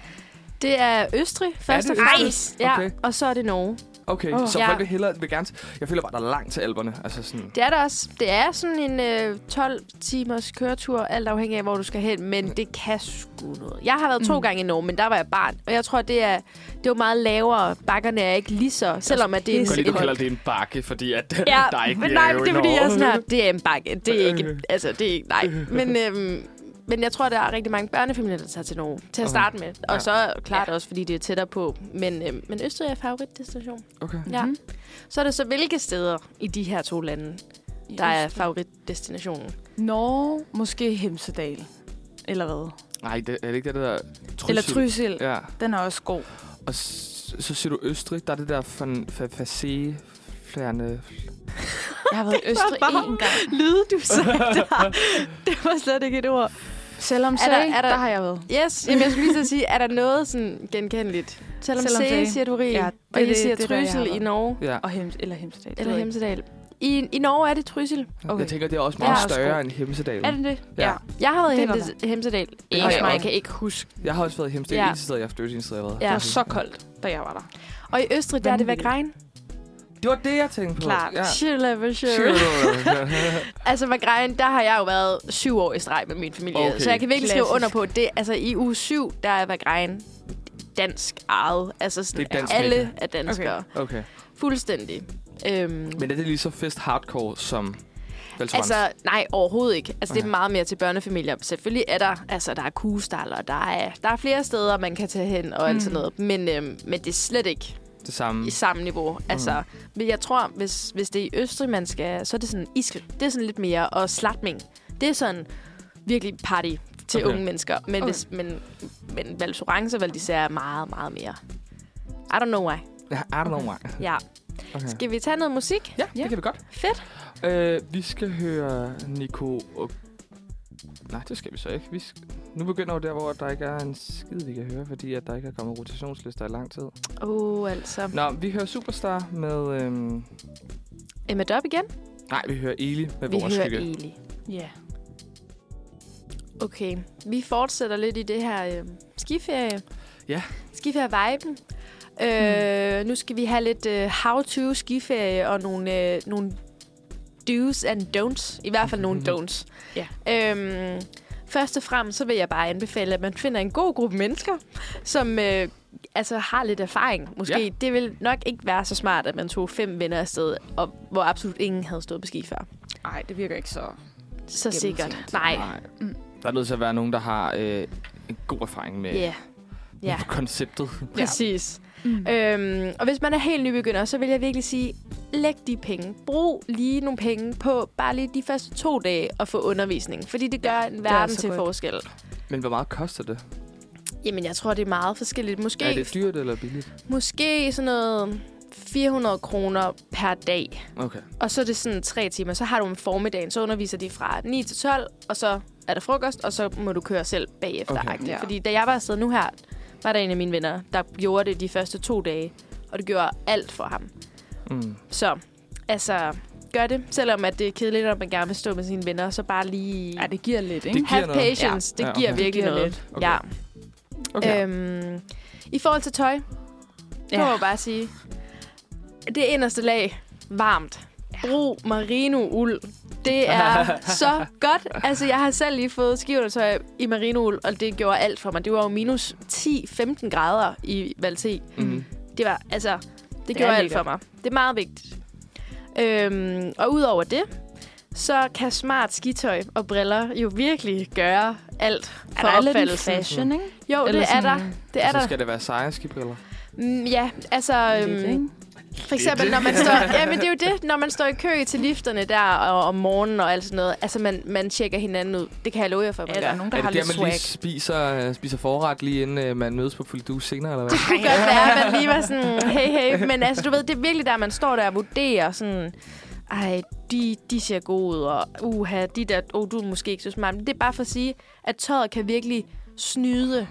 Det er Østrig, først det og Østrig? fremmest. Ja, Okay. og så er det Norge. Okay, Åh. oh. så Ja. folk vil hellere, vil gerne... Jeg føler bare, der er langt til Alperne. Altså sådan... Det er der også. Det er sådan en øh, 12-timers køretur, alt afhængig af, hvor du skal hen. Men det kan sgu noget. Jeg har været to Mm. gange i Norge, men der var jeg barn. Og jeg tror, det er, det er jo meget lavere. Bakkerne er ikke lige så, selvom at det er Jeg kan en... lide, du kalder det en bakke, fordi at Ja, der er ikke men nej, bjerge men i det er fordi, jeg er Norge. Øh. sådan her, det er en bakke. Det er ikke, altså, det er ikke, nej. Men, øhm, men jeg tror, der er rigtig mange børnefamilier, der tager til Norge til at Okay. starte med. Og Ja. så klart også, fordi det er tættere på. Men, øhm, men Østrig er favoritdestination. Okay. Ja. Mhm. Så er det så, hvilke steder i de her to lande, der er Østrig. favoritdestinationen? Norge, måske Hemsedal. Eller hvad? Nej, det, er det ikke det, der... Trysil? Eller Trysil. Ja. Ja. Den er også god. Og s- så siger du Østrig. Der er det der fan, fa, facé... Flærende... Jeg har været i Østrig bare- én gang. lyde, du sagde der. Det var slet ikke et ord. Selvom Er der- sag, er der, der- der har jeg været. Yes, jamen jeg skulle lige så sige, er der noget sådan genkendeligt? Selvom, Selvom Selvom det- siger du rig, Ja, ja, og det- I siger det er der, jeg har Trysil i været. Norge, Ja. Og Hems, eller Hemsedal. det eller ved jeg Hemsedal. I, I Norge er det Trysil. Okay. Okay. Jeg tænker, det er også Ja, meget og større sko. end Hemsedal. ikke. Er det det? Ja. Jeg har været i Det kan Hemse- Hemsedal. Det Ikke, har jeg og jeg også. kan ikke huske. Jeg har også været i Hemsedal. Ja. Ja. Eneste sted, jeg har haft det eneste sted, jeg har været. Ja. Det var så koldt, da jeg var der. Og i Østrig, der er det Vagrein. Det var det, jeg tænkte på. Klart. Ja. Sure. Sure, sure. Altså, Vagrein, der har jeg jo været syv år i streg med min familie. Okay. Okay. Så jeg kan virkelig skrive Klassisk. under på det. Altså, i uge syv, der er Vagrein dansk ejet. Altså, sådan, Det er dansk alle mega. er danskere. Okay. okay. Fuldstændig. Øhm, Men er det lige så fest hardcore som Valtorans? Altså, nej, overhovedet ikke. Altså, okay. det Okay. er meget mere til børnefamilier. Selvfølgelig er der, altså, der er kugestaller, der er, der er flere steder, man kan tage hen og Mm. alt sådan noget. Men, øhm, men det er slet ikke det samme? i samme niveau. Altså, Mm. men jeg tror, hvis, hvis det er i Østrig, man skal, så er det sådan iske. Det er sådan lidt mere, og slatning. Det er sådan virkelig party til Okay. okay. unge mennesker. Men, Okay. okay. hvis, men, men Valsorance og Valdisær er meget, meget mere. I don't know why. Ja, I don't know why. Ja. Okay. Skal vi tage noget musik? Ja, det kan vi godt. Fedt. Øh, vi skal høre Nico... Og... Nej, det skal vi så ikke. Vi skal... Nu begynder jo der, hvor der ikke er en skid, vi kan høre, fordi at der ikke er kommet rotationslister i lang tid. Åh, oh, altså. Nå, vi hører Superstar med... Øhm... Emma Dop igen. Nej, vi hører Eli med Vi vores hører skygge. Eli. Ja. Okay, vi fortsætter lidt i det her øh, skiferie. Ja. Skiferie-viben. Øh, nu skal vi have lidt øh, how-to skiferie og nogle, øh, nogle do's and don'ts. I hvert fald nogle Mhm. don'ts. Ja. Øhm, først og fremmest så vil jeg bare anbefale, at man finder en god gruppe mennesker, som øh, altså har lidt erfaring. Måske Ja. ja. det vil nok ikke være så smart, at man tog fem venner afsted, og, hvor absolut ingen havde stået på ski før. Nej, det virker ikke så. Så sikkert. Gennemtænkt. Nej. Mm. Der er nødt til at være nogen, der har øh, en god erfaring med Ja. Yeah. Ja. med konceptet. Ja. Præcis. Mm. Øhm, og hvis man er helt nybegynder, så vil jeg virkelig sige, læg de penge. Brug lige nogle penge på bare lige de første to dage at få undervisning. Fordi det gør en er verden altså til godt. forskel. Men hvor meget koster det? Jamen, jeg tror, det er meget forskelligt. Måske, Er det dyrt eller billigt? måske sådan noget 400 kroner per dag. Okay. Og så er det sådan tre timer. Så har du om formiddagen, så underviser de fra 9 til 12, og så er der frokost, og så må du køre selv bagefter. Okay. Okay. Ja. Fordi da jeg var afsted nu her, var der en af mine venner, der gjorde det de første to dage. Og det gjorde alt for ham. Mm. Så altså, gør det. Selvom at det er kedeligt, at man gerne vil stå med sine venner, så bare lige... Ja, det giver lidt, ikke? Det giver Have noget. patience. Ja. Ja. Ja, Det okay. giver Det virkelig giver noget. lidt. Okay. Ja. Okay. Øhm, I forhold til tøj, ja. må jeg bare sige, det inderste lag, varmt. Brug merino uld. Det er så godt. Altså, jeg har selv lige fået skiundertøj i merino uld, og det gjorde alt for mig. Det var jo minus 10-15 grader i Valté. Mm. Det var, altså, det, det Det gjorde er alt for mig. Det er meget vigtigt. Øhm, og udover det, så kan smart skitøj og briller jo virkelig gøre alt for er der lidt en opfattelsen. fashion, ikke? Jo, Eller det er der. sådan- Altså, Det er så der. skal det være seje skibriller. Mm, ja, altså... Lidt, Øhm, ikke? for eksempel, når man står... Ja, men det er jo det. Når man står i kø til lifterne der og, om morgenen og alt sådan noget. Altså, man, man tjekker hinanden ud. Det kan jeg love jer for, at man Ja, der er gør. nogen, der Er har det der, lidt man swag. lige spiser, øh, spiser forret, lige inden øh, man mødes på Fuldu senere, eller hvad? Det kunne godt være, at man lige var sådan, hey, hey. Men altså, du ved, det er virkelig der, man står der og vurderer sådan, ej, de, de ser gode ud, og uha, de der, oh, du er måske ikke så smart. Men det er bare for at sige, at tøjet kan virkelig snyde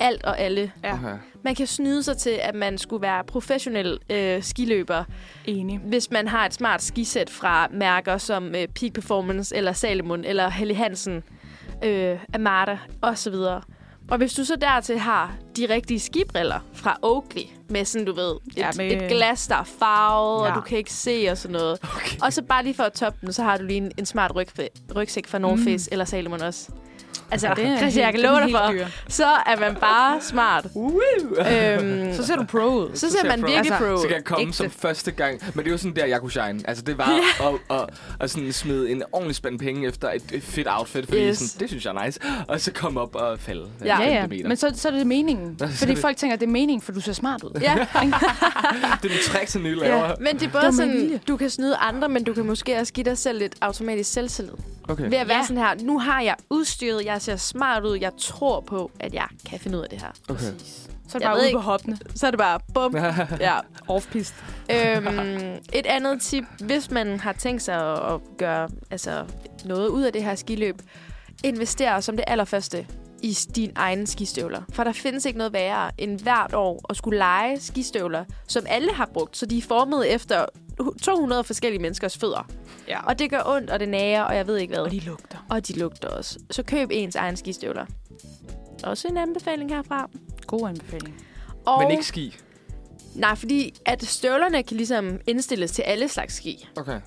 alt og alle. Ja. Okay. Man kan snyde sig til, at man skulle være professionel øh, skiløber, Enig. hvis man har et smart skisæt fra mærker som øh, Peak Performance, eller Salomon, eller Helly Hansen, øh, Amata osv. Og hvis du så dertil har de rigtige skibriller fra Oakley, med sådan, du ved, et, Ja, ja, med- med... et glas, der er farvet, ja. Ja. og du kan ikke se og sådan noget. okay. Og så bare lige for at toppe den, så har du lige en, en smart ryg, rygsæk fra North Face, mm. eller Salomon også. Altså, Det er Christian, jeg helt- kan love den er dig helt for, dyr. så er man bare smart. øhm, Så ser du pro ud. så ser man pro. virkelig Altså, pro. Så kan jeg komme Ægte. som første gang. Men det er jo sådan der, jeg kunne shine. Altså, det var ja. at, at, at, sådan smide en ordentlig spand penge efter et, et fedt outfit, fordi yes. Yes. sådan, det synes jeg er nice. Og så komme op og falde. øh, Ja. Ja, ja. 15 meter. Men så, så er det meningen. Ja, så er Fordi det- folk tænker, at det er meningen, for du ser smart ud. Ja, Det er nogle tricks, han lige laver. ja, men det er Det var både med sådan, vilje. du kan snyde andre, men du kan måske også give dig selv lidt automatisk selvtillid. Okay. Ved at være Ja. sådan her, nu har jeg udstyret, jeg ser smart ud, jeg tror på, at jeg kan finde ud af det her. okay. Så er det Jeg bare ved ude ikke. på hoppene. Så er det bare bum. ja. Off-pist. øhm, et andet tip, hvis man har tænkt sig at- at gøre altså, noget ud af det her skiløb, invester som det allerførste i dine egne skistøvler. For der findes ikke noget værre end hvert år at skulle lege skistøvler, som alle har brugt, så de er formet efter 200 forskellige menneskers fødder. Ja. Og det gør ondt, og det nager, og jeg ved ikke hvad. Og de lugter. Og de lugter også. Så køb ens egen skistøvler. Også en anbefaling herfra. God anbefaling. Og, Men ikke ski. Nej, fordi at støvlerne kan ligesom indstilles til alle slags ski. Okay.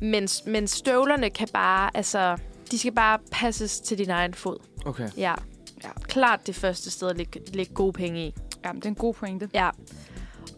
Men, men støvlerne kan bare, altså... De skal bare passes til din egen fod. Okay. Ja. Ja. Klart det første sted at lægge, lægge gode penge i. Jamen, det er en god pointe. Ja.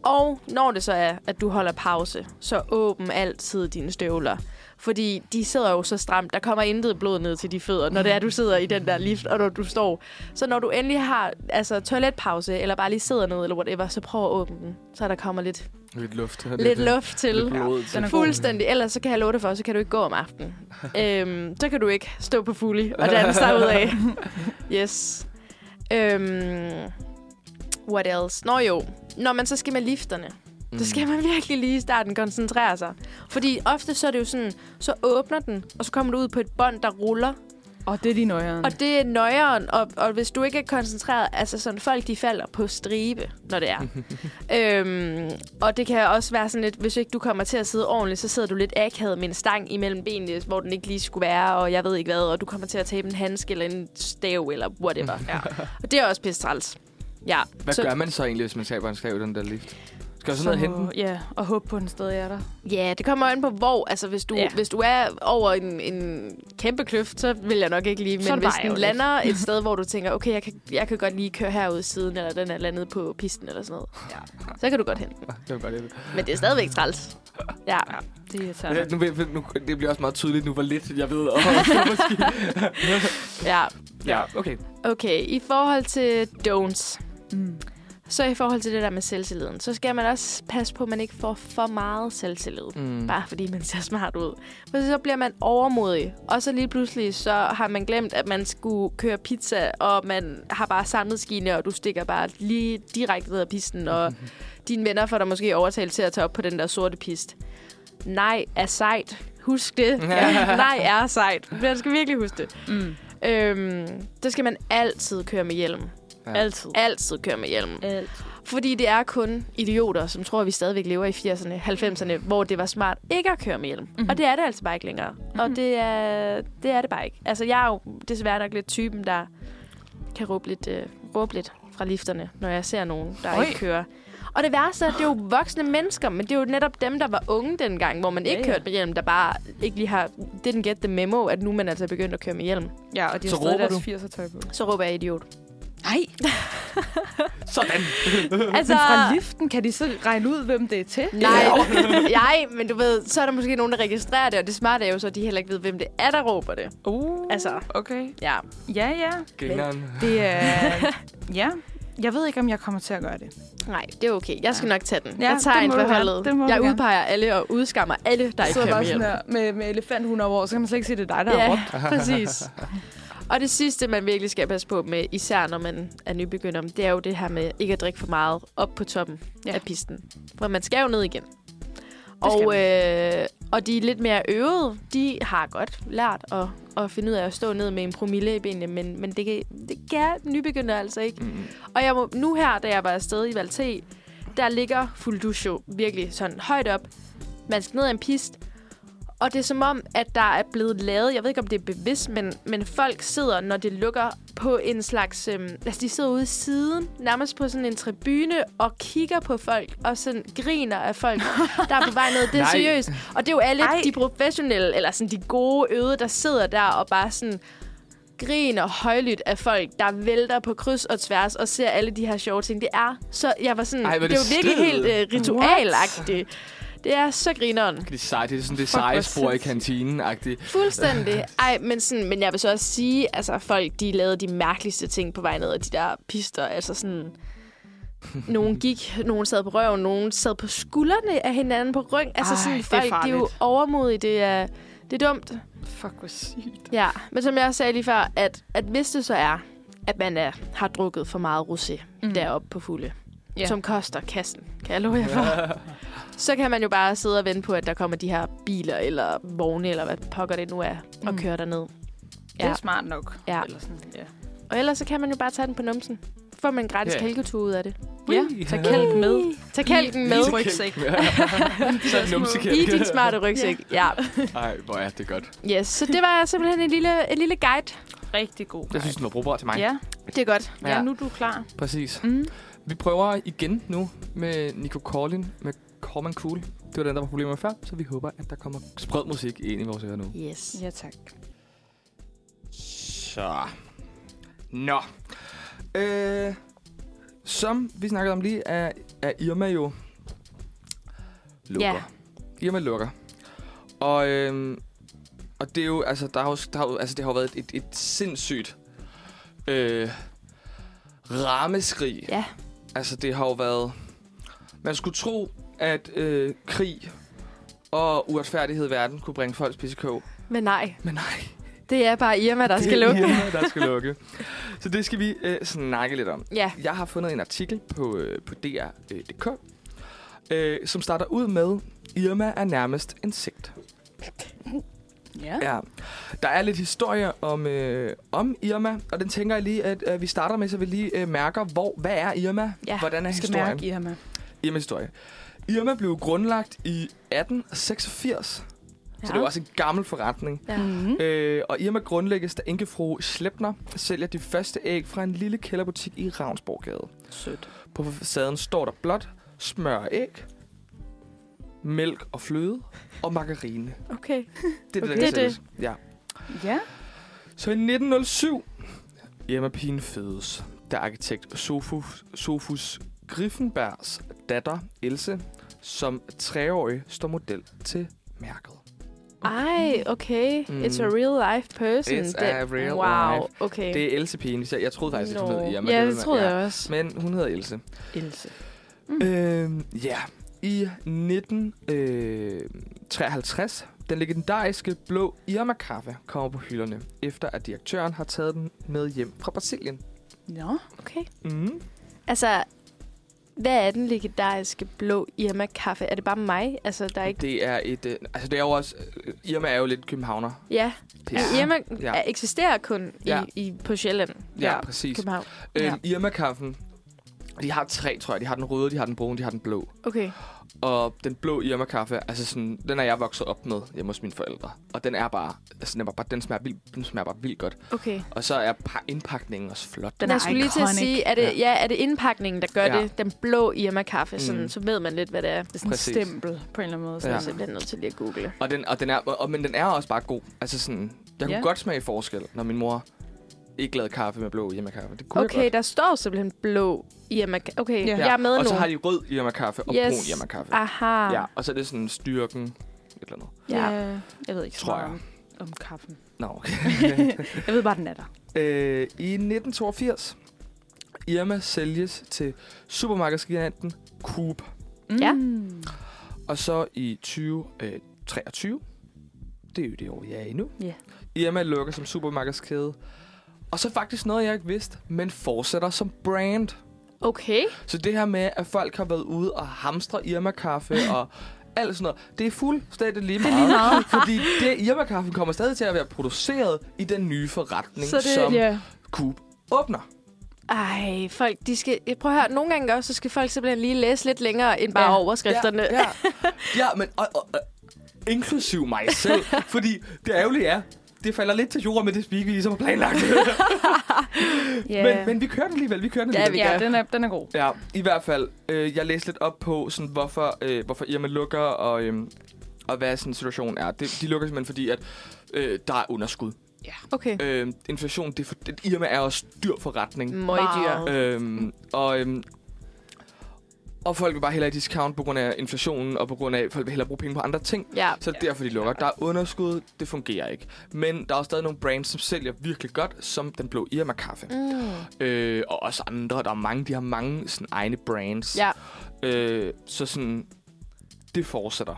Og når det så er, at du holder pause, så åbn altid dine støvler. Fordi de sidder jo så stramt. Der kommer intet blod ned til de fødder, når det er, du sidder i den der lift, og når du står. Så når du endelig har altså, toiletpause, eller bare lige sidder ned, eller whatever, så prøv at åbne den, så der kommer lidt, Lidt luft. lidt luft til. Lidt blod til. Den er god. Fuldstændig. Ellers så kan jeg love dig for, så kan du ikke gå om aftenen. øhm, så kan du ikke stå på fuli og danse dig ud af. Yes. Øhm, what else? Nå jo. Når man så skal med lifterne, mm. så skal man virkelig lige i starten koncentrere sig. Fordi ofte så er det jo sådan, så åbner den, og så kommer du ud på et bånd, der ruller. Og det er de nøjeren. Og det er nøjeren, og, og hvis du ikke er koncentreret, altså sådan, folk de falder på stribe, når det er. øhm, og det kan også være sådan lidt, hvis ikke du kommer til at sidde ordentligt, så sidder du lidt akavet med en stang imellem benene, hvor den ikke lige skulle være, og jeg ved ikke hvad, og du kommer til at tabe en handske eller en stav eller whatever. ja. Og det er også pisse træls. Ja. Hvad gør man så egentlig, hvis man taber en skrev i den der lift? Skal jeg Så- sådan noget hente den? Ja, og håbe på, at den stadig er der. Ja, det kommer an på hvor. Altså, hvis du, ja. Ja. hvis du er over en, en kæmpe kløft, så vil jeg nok ikke lige. Så er Men det hvis bare den ærgerligt. lander et sted, hvor du tænker, okay, jeg kan, jeg kan godt lige køre herud i siden, eller den er landet på pisten eller sådan noget. Ja. Så kan du godt hente den. Det var bare lidt- Men det er stadigvæk træls. Ja. Det er Ja, irriterende. nu, ved- nu, det bliver også meget tydeligt nu, hvor lidt jeg ved om måske. ja. ja, okay. Okay, i forhold til don'ts. Mm. Så i forhold til det der med selvtilliden, så skal man også passe på, at man ikke får for meget selvtillid. Mm. bare fordi man ser smart ud. For så bliver man overmodig, og så lige pludselig så har man glemt, at man skulle køre pizza, og man har bare samlet skine, og du stikker bare lige direkte ned ad pisten, og dine venner får dig måske overtalt til at tage op på den der sorte pist. Nej er sejt. Husk det. Ja, nej er sejt. Man skal virkelig huske det. Mm. Øhm, der skal man altid køre med hjelm. Ja. Altid. Altid køre med hjelm. Altid. Fordi det er kun idioter, som tror, at vi stadigvæk lever i 80'erne, 90'erne, hvor det var smart ikke at køre med hjelm. Mhm. Mm-hmm. Og det er det altså bare ikke længere. Mm-hmm. Og det er, det er det bare ikke. Altså, jeg er jo desværre nok lidt typen, der kan råbe lidt, øh, råbe lidt fra lifterne, når jeg ser nogen, der Oj. ikke kører. Og det værste er, at det er jo voksne mennesker, men det er jo netop dem, der var unge dengang, hvor man ikke ja, Ja, ja. kørte med hjelm, der bare ikke lige har didn't get the memo, at nu er man altså begyndt at køre med hjelm. Ja, og de Så har stadig råber deres du? 80'er tøj på. Så råber jeg idiot. Nej, Sådan. altså... men fra liften kan de så regne ud, hvem det er til. Nej, nej, men du ved, så er der måske nogen, der registrerer det, og det smarte er jo så, at de heller ikke ved, hvem det er, der råber det. Uh, Altså. Okay. Ja. Ja, ja. Grineren. Det er... ja. Jeg ved ikke, om jeg kommer til at gøre det. Nej, det er okay. Jeg skal nok tage den. Ja, jeg tager det en må du for gerne. holdet. Det må Jeg du gerne. udpeger alle og udskammer alle, der ikke sidder kan bare hjælp. sådan her med, med elefanthund over, år, så kan man slet ikke se, det er dig, der har Ja, råbt. præcis. Og det sidste, man virkelig skal passe på med, især når man er nybegynder, det er jo det her med ikke at drikke for meget op på toppen ja. Ja. af pisten. For man skal jo ned igen. skal Og, øh, og de lidt mere øvede, de har godt lært at, at finde ud af at stå ned med en promille i benene, men, men det, kan, det kan nybegynder altså ikke. Mm. Og jeg må, nu her, da jeg var afsted i Valté, der ligger Fuldush jo virkelig sådan højt op. Man skal ned ad en pist. Og det er som om, at der er blevet lavet, jeg ved ikke om det er bevidst, men, men folk sidder, når det lukker, på en slags, øhm, altså de sidder ude i siden, nærmest på sådan en tribune, og kigger på folk, og sådan griner af folk, der er på vej ned. Det er Nej. seriøst. Og det er jo alle Ej. de professionelle, eller sådan de gode øde, der sidder der og bare sådan griner højlydt af folk, der vælter på kryds og tværs og ser alle de her sjove ting. Det er så... Jeg var sådan... Ej, Ej, hvor det, er det er det jo virkelig helt stedet. øh, ritualagtigt. Det er så grineren. Det er sej, det er sådan det Fuck, hvor seje spor i sindssygt. kantinen-agtigt. Fuldstændig. Ej, men, sådan, men jeg vil så også sige, altså folk, de lavede de mærkeligste ting på vej ned, og de der pister, altså sådan... Nogen gik, nogen sad på røven, nogen sad på skuldrene af hinanden på ryg. Altså Ej, sådan, det er folk, de er jo farligt. overmodige. Det er, det er dumt. Fuck, hvor sygt. Ja, men som jeg også sagde lige før, at, at hvis det så er, at man er, har drukket for meget rosé mm. deroppe på fulde, Ja. yeah. som koster kassen, kan jeg love jer for, så kan man jo bare sidde og vente på, at der kommer de her biler eller vogne, eller hvad pokker det nu er, og Mm. køre derned. Det Ja. er smart nok. Ja. Eller sådan, ja. Og ellers så kan man jo bare tage den på numsen. Så får man en gratis Ja. yeah. kælketur ud af det. ja. Tag kælk med. Tag kælken med I rygsæk. Så er det numsekælk. i din smarte rygsæk. Ja. Ej, hvor er det godt. Yes, så det var simpelthen en lille, en lille guide. Rigtig god. Jeg synes, den var brugbar til mig. Ja. Det er godt. ja, nu er du klar. Præcis. Mm. Vi prøver igen nu med Nico Corlin med Corman Cool. Det var den, der var problemer med før, så vi håber, at der kommer sprød musik ind i vores ører nu. Yes. Ja, tak. Så. Nå. Øh, som vi snakkede om lige, er, er Irma jo lukker. Ja. Irma lukker. Og, øhm, og det er jo, altså, der har jo, der har jo, altså, det har jo været et, et sindssygt øh, rammeskrig. Ja. Altså, det har jo været... Man skulle tro, at øh, krig og uretfærdighed i verden kunne bringe folks pissekog. Men nej, Men nej, det er bare Irma, der det skal er lukke. Irma, der skal lukke. Så det skal vi øh, snakke lidt om. Ja. Jeg har fundet en artikel på, øh, på dr.dk, øh, som starter ud med, Irma er nærmest en sigt. Ah. Ja. Ja. Der er lidt historie om, øh, om Irma, og den tænker jeg lige, at øh, vi starter med, så vi lige øh, mærker, hvor, hvad er Irma? Ja, Hvordan er Jeg skal historien? mærke Irma. Irmas historie. Irma blev grundlagt i 1886, ja. så det er jo også en gammel forretning. Ja. Mm-hmm. Øh, og Irma grundlægges, da enkefru Schleppner sælger de første æg fra en lille kælderbutik i Ravnsborggade. Sødt. På facaden står der blot smør og æg, mælk og fløde og margarine. Okay. Det er Okay. det, der Det er sælges. Ja. Ja. Så i 1907, Irma-pigen fødes, da arkitekt Sofus, Sofus Griffenbergs datter Else som treårig står model til mærket. Ej, okay. Mm. Mm. It's a real life person. It's a real wow, life. okay. Det er Else-pigen. Jeg jeg troede faktisk, at hun Nå. hed Irma. Ja, ved det man- troede jeg også. Men hun hedder Else. Else. Øhm, ja. I 1953, den legendariske blå Irma-kaffe kommer på hylderne, efter at direktøren har taget den med hjem fra Brasilien. Nå. Okay. Mm. Altså, hvad er den legendariske blå Irma-kaffe? Er det bare mig? Altså, der er ikke... Det er et... Øh, altså, det er jo også... Øh, Irma er jo lidt københavner. Ja, Pis. ja. Irma Ja. ja. eksisterer kun Ja. ja. i, i, på Sjælland. Ja, præcis. København. Øh, Ja. Irma-kaffen, de har tre, tror jeg. De har den røde, de har den brune, de har den blå. Okay. Og den blå Irma-kaffe, altså sådan, den er jeg vokset op med hjemme hos mine forældre. Og den er bare, altså den, er bare, den, smager, vildt, den smager bare vildt godt. Okay. Og så er pa- indpakningen også flot. Den Den er jeg skulle lige til at iconic. sige, er det, ja. er det indpakningen, der gør Ja. ja. det? Den blå Irma-kaffe, sådan, Mm. så ved man lidt, hvad det er. Det Det er sådan Præcis. et stempel på en eller anden måde. er Ja. jeg Så simpelthen nødt til lige at google. Og den, og den er, og, men den er også bare god. Altså sådan, jeg kunne Ja. godt smage forskel, når min mor ikke lavede kaffe med blå Irma-kaffe. Det kunne Okay, jeg der står simpelthen blå Irma-kaffe. Okay, Ja. ja. godt. jeg er med og nu. så har de rød Irma-kaffe og Yes. Ah. brun Irma-kaffe. Aha. Ja, og så er det sådan styrken, et eller andet. Ja. Ja. Jeg ved ikke så Tror meget om, om kaffen. Nå, okay. Jeg ved bare, den er der. øh, I 1982, Irma sælges til supermarkedsgiganten Coop. Ja. Mm. Og så i 2023, det er jo det år, jeg er i nu, Ja. Irma lukker som supermarkedskæde. Og så faktisk noget, jeg ikke vidste, men fortsætter som brand. Okay. Så det her med, at folk har været ude og hamstre Irma-kaffe og alt sådan noget, det er fuldstændig lige meget. Det meget. fordi det Irma-kaffen kommer stadig til at være produceret i den nye forretning, Så det, som ja. Coop åbner. Ej, folk, de skal... Prøv at høre, nogle gange også, så skal folk simpelthen lige læse lidt længere end bare Ja. ja. overskrifterne. Ja, ja. ja men og, og, og, inklusiv mig selv, fordi det ærgerlige er, det falder lidt til jorden med det speak, vi ligesom har planlagt. men, men vi kører den alligevel, vi kører den Ja, alligevel. vi ja, gør. den er, den er god. Ja, i hvert fald. Øh, jeg læste lidt op på, sådan, hvorfor, øh, hvorfor Irma lukker, og, øh, og hvad sådan situationen er. De, de lukker simpelthen fordi, at øh, der er underskud. Okay. Øh, inflation, det er for, det, Irma er også dyr forretning. Møgdyr. Wow. Øh, og, øh, og folk vil bare hellere i discount på grund af inflationen, og på grund af, at folk vil hellere bruge penge på andre ting. Ja. Så ja. derfor de lukker. Der er underskud, det fungerer ikke. Men der er også stadig nogle brands, som sælger virkelig godt, som den blå Irma-kaffe. Mm. Øh, og også andre. Der er mange, de har mange sådan, egne brands. Ja. Øh, så sådan, det fortsætter.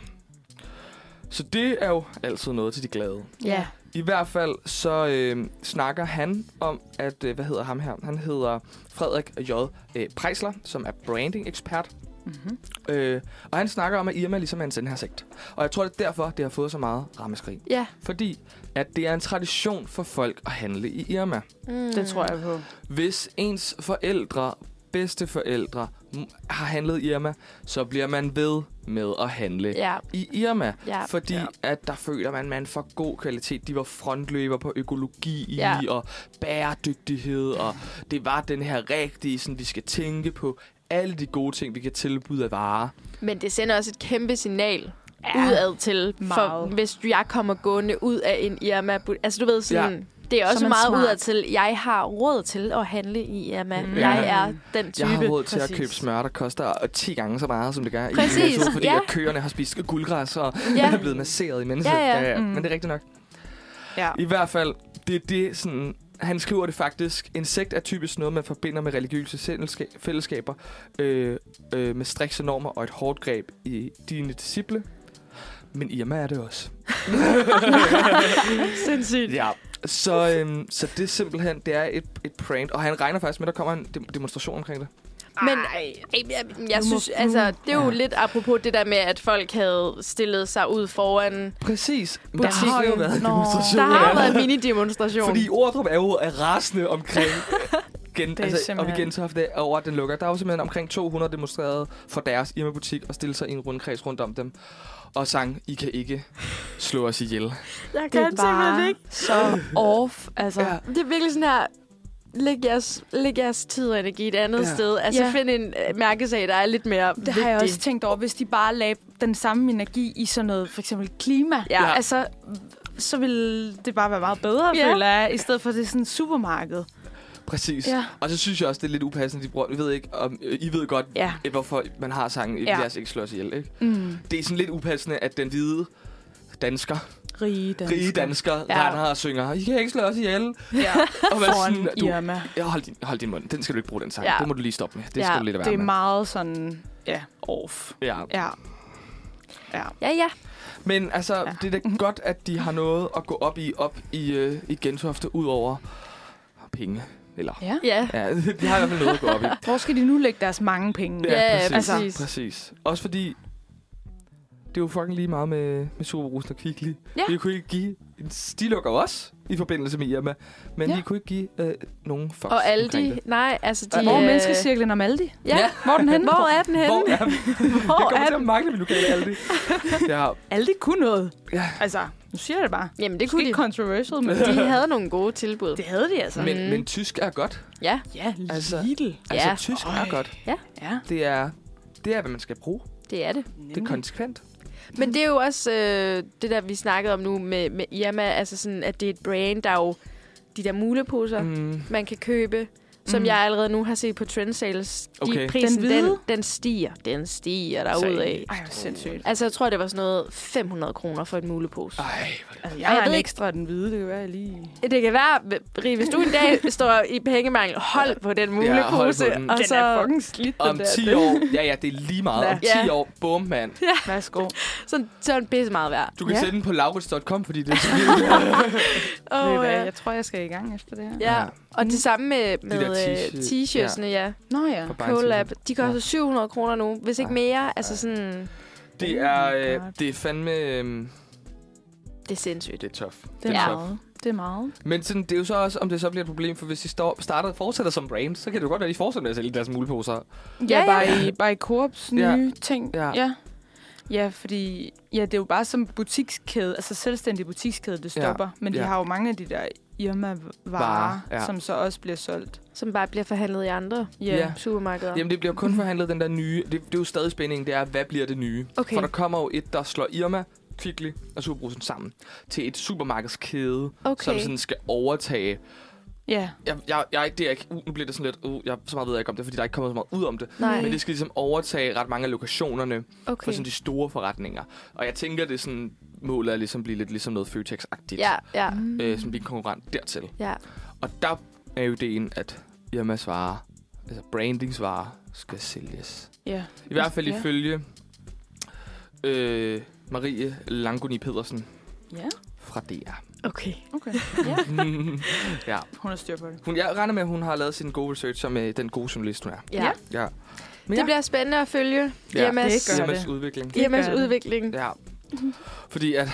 Så det er jo altid noget til de glade. Ja. I hvert fald så øh, snakker han om, at, øh, hvad hedder ham her? Han hedder Frederik J. Øh, Preisler, som er branding-ekspert. Mm-hmm. Øh, og han snakker om, at Irma ligesom er en sendhersigt. Og jeg tror, det er derfor, det har fået så meget rammeskrig. Ja. Fordi at det er en tradition for folk at handle i Irma. Mm. Det tror jeg på. Hvis ens forældre, bedsteforældre, m- har handlet i Irma, så bliver man ved med at handle Ja. i Irma. Ja. Fordi Ja. at der føler man, man får god kvalitet. De var frontløber på økologi Ja. og bæredygtighed, og det var den her rigtige, sådan, vi skal tænke på alle de gode ting, vi kan tilbyde af varer. Men det sender også et kæmpe signal Ja. udad til, for Meget. hvis jeg kommer gående ud af en Irma... Altså, du ved sådan... Ja. Det er Så også er man meget smart. udad til, jeg har råd til at handle i Irma. Mm. Jeg Ja. er den Jeg type. har råd til at Præcis. købe smør, der koster 10 gange så meget, som det gør Præcis, i Netto, fordi ja. at køerne har spist guldgræs, og ja. er ja. blevet masseret i mennesket. Ja, ja. Mm. Men det er rigtigt nok. Ja. I hvert fald, det er det sådan... Han skriver det faktisk. Insekt er typisk noget, man forbinder med religiøse sindelsca- fællesskaber, øh, øh, med strikse normer og et hårdt greb i dine disciple. Men Irma er det også. Sindssygt. Ja. Så, øhm, så det er simpelthen, det er et, et prank. Og han regner faktisk med, at der kommer en dem- demonstration omkring det. Men øh, ej, jeg, jeg Nu må- synes, altså, det er jo Ja. lidt apropos det der med, at folk havde stillet sig ud foran. Præcis. Men der har jo Butikken. været en Nå. demonstration. Der har Ja. været en mini-demonstration. Fordi Ordrup er jo er rasende omkring gen, er altså, simpelthen- op igen så ofte over, at den lukker. Der er jo simpelthen omkring 200 demonstrerede for deres Irma-butik og stille sig i en rundkreds rundt om dem. Og sang, I kan ikke slå os ihjel. jeg Det er bare så off. Altså, Ja. ja. Det er virkelig sådan her, læg jeres, læg jeres tid og energi et andet Ja. ja. sted. Altså, Ja. ja. find en øh, mærkesag, der er lidt mere Det har jeg også tænkt over, hvis de bare lagde den samme energi i sådan noget, for eksempel klima. Ja. Altså, så ville det bare være meget bedre, Ja. ja. føler jeg, i stedet for det sådan supermarked. Præcis. Ja. Og så synes jeg også, det er lidt upassende, de bruger. Jeg ved ikke, om, øh, I ved godt, Ja. øh, hvorfor man har sangen, ja. Ja. lad os ikke slå os ihjel. Ikke? Mm. Det er sådan lidt upassende, at den hvide dansker, Rige danskere. rige dansker, ja. Ja. render og synger, I kan ikke slå os ihjel. Ja. Og man Foran sådan, du, Irma. ja, hold, din, hold din mund, den skal du ikke bruge, den sang. Ja. Ja. Det må du lige stoppe med. Det Ja, skal du lidt være Det er med. meget sådan, ja, off. Ja. Ja. Ja. Ja, ja. Men altså, ja. Ja. det er da godt, at de har noget at gå op i, op i, øh, i Gentofte, ud over penge. Eller, ja. Ja, ja, de har i hvert fald noget at gå op i. Ja, Hvor skal de nu lægge deres mange penge? Ja, ja, præcis, præcis. præcis. Også fordi, det er jo fucking lige meget med, med Superbrusen og Kvickly. Ja. Vi kunne ikke give... en- De lukker jo også i forbindelse med Irma, men ja. Ja. vi kunne ikke give øh, nogen fucks og alle omkring de... det. Nej, altså de... Ja. Hvor er øh, menneskecirklen om Aldi? Ja. Ja. Hvor er den henne? Hvor er den henne? Hvor er vi? Jeg kommer til at mangle min lokale Aldi. Ja, Aldi kunne noget. Ja. Altså, nu siger jeg det bare. Jamen, det Det kunne kunne ikke de. controversial, men De havde nogle gode tilbud. det havde de altså. men, Mm. men tysk er godt. Ja, ja, Altså- Lidl. Altså, Ja. tysk er Øj. godt. Ja. Det er, det er, hvad man skal bruge. det er det. Det er konsekvent. Men det er jo også øh, det der, vi snakkede om nu med, med Irma, altså sådan, at det er et brand, der er jo de der muleposer, mm. Mm. man kan købe, som Mm. mm. jeg allerede nu har set på Trendsales. De, Okay. Prisen, Den den, hvide? den, den stiger. Den stiger derudad. Seriøst? Ej, hvor sindssygt. Altså, jeg tror, det var sådan noget 500 kroner for en mulepose. Ej, Altså, Ej, jeg jeg har en ved ikke- ekstra af den hvide, det kan være, jeg lige... Det kan være, Rie, hvis du en dag står i pengemangel, hold på den hold på mulepose. den. Og Den så, er fucking slidt, den om der. 10 Den- år. Ja, ja, det er lige meget. Om 10 Ja. år, bum, mand. Værsgo. sådan, så er den pisse meget værd. Du kan Ja. sende den på laurits.com, fordi det er så Oh, Åh, ja. Jeg tror, jeg skal i gang efter det her. ja. Ja. Og det samme med, med Mm. der øh, t-shirt- t-shirtsene, ja. Nå ja. For- Bare en Collab. De koster Ja. 700 kroner nu, hvis ikke Ej. mere. Altså sådan, Det Oh er, my øh, God. det er fandme... øhm, det er sindssygt. Det er tough. Det er Ja. meget. Det er meget. Men sådan, det er jo så også, om det så bliver et problem, for hvis de står, starter fortsætter som brands, så kan det jo godt være, at de fortsætter med at sælge deres muleposer. Ja, Ja, ja. Bare, i, bare i Coops nye Ja. ja. ting. Ja. ja. Ja, fordi ja, det er jo bare som butikskæde, altså selvstændig butikskæde, det Ja. stopper. Ja. Men de Ja. har jo mange af de der Irma-varer, Varer, ja. som så også bliver solgt. Som bare bliver forhandlet i andre øh, Ja. Ja. ja. supermarkeder. Jamen, det bliver kun forhandlet den der nye... Det, det er jo stadig spændingen, det er, hvad bliver det nye? Okay. For der kommer jo et, der slår Irma, Kvickly og Superbrusen sammen til et supermarkedskæde, okay. okay. som sådan skal overtage Ja. jeg, jeg, jeg, det er ikke, uh, nu bliver det sådan lidt, uh, jeg, så meget ved jeg ikke om det, fordi der er ikke kommet så meget ud om det. Nej, Men det skal ligesom overtage ret mange af lokationerne okay. for okay. sådan de store forretninger. Og jeg tænker, det er sådan, målet er ligesom at blive lidt ligesom noget Føtex-agtigt. Ja, ja, Øh, som blive en konkurrent dertil. ja. Og der er jo ideen, at Irmas varer, altså brandingsvarer, skal sælges. ja. I hvert fald Ja. ifølge øh, Marie Langoni Pedersen Ja, fra DR. Okay. okay. ja. Hun har styr på det. Hun, jeg regner med, at hun har lavet sin gode research som øh, den gode journalist, hun er. Ja. Ja. ja. Ja. Det bliver spændende at følge Ja, Irmas, det gør Irmas det. udvikling. det Irmas gør det. udvikling. Ja. Fordi at...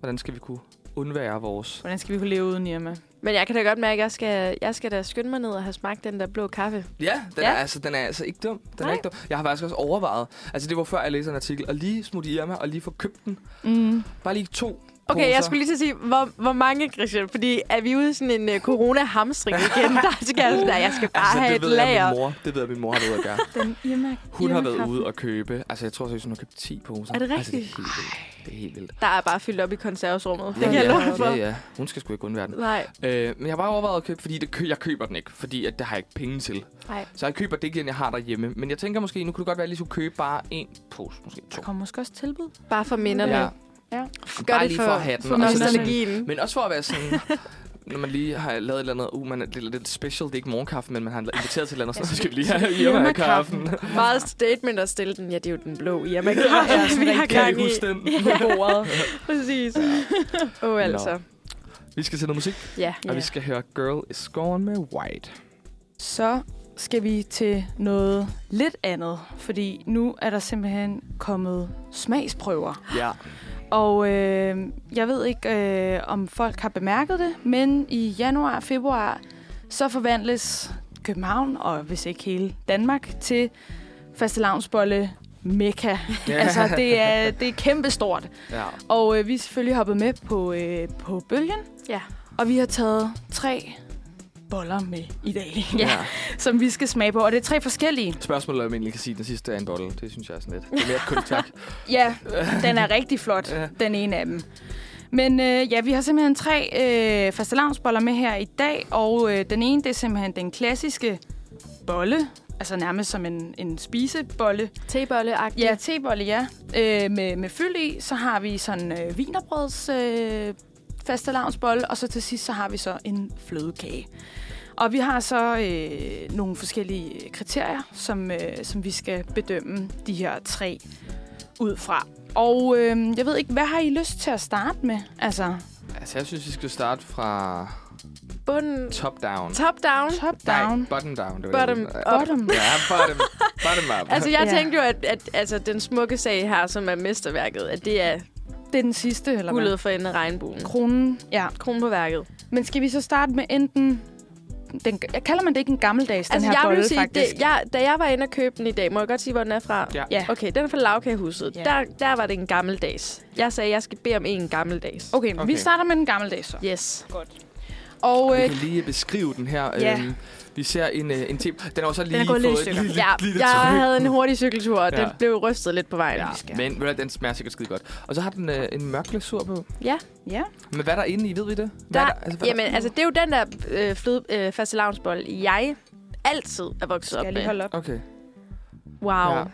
Hvordan skal vi kunne undvære vores... Hvordan skal vi kunne leve uden Irma? Men jeg kan da godt mærke, at jeg skal, jeg skal da skynde mig ned og have smagt den der blå kaffe. Ja, den, Ja. Er, altså, den er altså ikke dum. Den er Nej. ikke dum. Jeg har faktisk også overvejet... Altså, det var før, jeg læste en artikel. Og lige smutte Irma og lige få købt den. Mm. Bare lige to Okay, jeg skulle lige til at sige, hvor, hvor mange, Christian? Fordi er vi ude i sådan en uh, corona-hamstring igen? Der skal jeg, der, jeg skal bare Altså, have det et ved jeg, lager. min mor, det ved jeg, min mor har været ude at gøre. Den Irma, Hun har været Irma-kaffe. ude og købe, altså jeg tror seriøst, hun har købt 10 poser. Er det Altså, det er rigtigt? helt vildt. Det er helt vildt. Der er bare fyldt op i konservesrummet. Det Ja, kan jeg ja, love for. Ja, ja. Hun skal sgu ikke undvære den. Nej. Øh, men jeg har bare overvejet at købe, fordi det kø- jeg køber den ikke, fordi at det har jeg ikke penge til. Nej. Så jeg køber det ikke, den jeg har derhjemme. Men jeg tænker måske, nu kunne det godt være, at jeg lige skulle købe bare en pose, måske to. Der kommer måske også tilbud. Bare for minderne. Ja. Ja. Gør Bare det lige for, for at have den, for og så nostalgien. Men også for at være sådan, når man lige har lavet et eller andet, uh, man er lidt, lidt special, det er ikke morgenkaffe, men man har inviteret til et eller andet, så skal vi lige have Irma-kaffen. Irma-kaffen. Meget statement at stille den. Ja, det er jo den blå Irma. Ja, vi har Kan I gang i. huske den? Ja. Præcis. Åh, oh, altså. Vi skal til noget musik, Ja. og vi skal høre Girl is Gone med White. Så skal vi til noget lidt andet, fordi nu er der simpelthen kommet smagsprøver. Ja. Og øh, jeg ved ikke, øh, om folk har bemærket det, men i januar og februar, så forvandles København, og hvis ikke hele Danmark, til fastelavnsbolle mekka. Ja. altså, det er, det er kæmpestort. ja. Og øh, vi er selvfølgelig hoppet med på, øh, på bølgen, Ja. og vi har taget tre boller med i dag, Ja. ja. som vi skal smage på. Og det er tre forskellige. Spørgsmålet er, om jeg egentlig kan sige, at den sidste er en bolle. Det synes jeg er sådan lidt. Det er mere et kunstværk. Ja, den er rigtig flot, Ja. den ene af dem. Men øh, ja, vi har simpelthen tre øh, fastelavnsboller med her i dag, og øh, den ene, det er simpelthen den klassiske bolle, altså nærmest som en, en spisebolle. Tebolle-agtig. Ja, tebolle, ja. Øh, med, med fyld i, så har vi sådan øh, vinerbrøds øh, fastelavnsbolle, og så til sidst, så har vi så en flødekage. Og vi har så øh, nogle forskellige kriterier, som, øh, som vi skal bedømme de her tre ud fra. Og øh, jeg ved ikke, hvad har I lyst til at starte med? Altså, Altså, jeg synes, vi skal starte fra Bunden. top down. Top down. top down. Nej, bottom down. Det var Bottom det, jeg ville- up. Bottom. Ja, bottom, bottom up. Altså, jeg Ja. tænkte jo, at, at altså, den smukke sag her, som er mesterværket, at det er Det er den sidste, eller hvad? guldet for enden af regnbuen. Kronen, ja. Kronen på værket. Men skal vi så starte med enten... Den, kalder man det ikke en gammeldags, Altså, den her jeg bolle, vil sige, faktisk? det, jeg, da jeg var inde og købe den i dag, må jeg godt sige, hvor den er fra? Ja. Ja. Okay, den er fra lavkagehuset. Ja. Yeah. Der, der var det en gammeldags. Jeg sagde, jeg skal bede om en gammeldags. Okay, okay, Okay. vi starter med den gammeldags så. Yes. Og Vi øh, kan lige beskrive den her. Ja. Øhm, vi ser en, øh, en tip. Den har også lige er gået lidt i fået et stykker. lille, Ja, lille jeg tryk. havde en hurtig cykeltur, og den Ja. blev rystet lidt på vejen. Ja, skal. men ved du hvad, den smager sikkert skide godt. Og så har den øh, en mørk glasur på. ja. ja, Men hvad er der inde i, ved vi det? Hvad Der, er der, altså, hvad er jamen, altså, det er jo den der øh, fløde, øh, faste jeg altid er vokset skal op jeg lige med. holde op. der? Okay. Wow. Ja.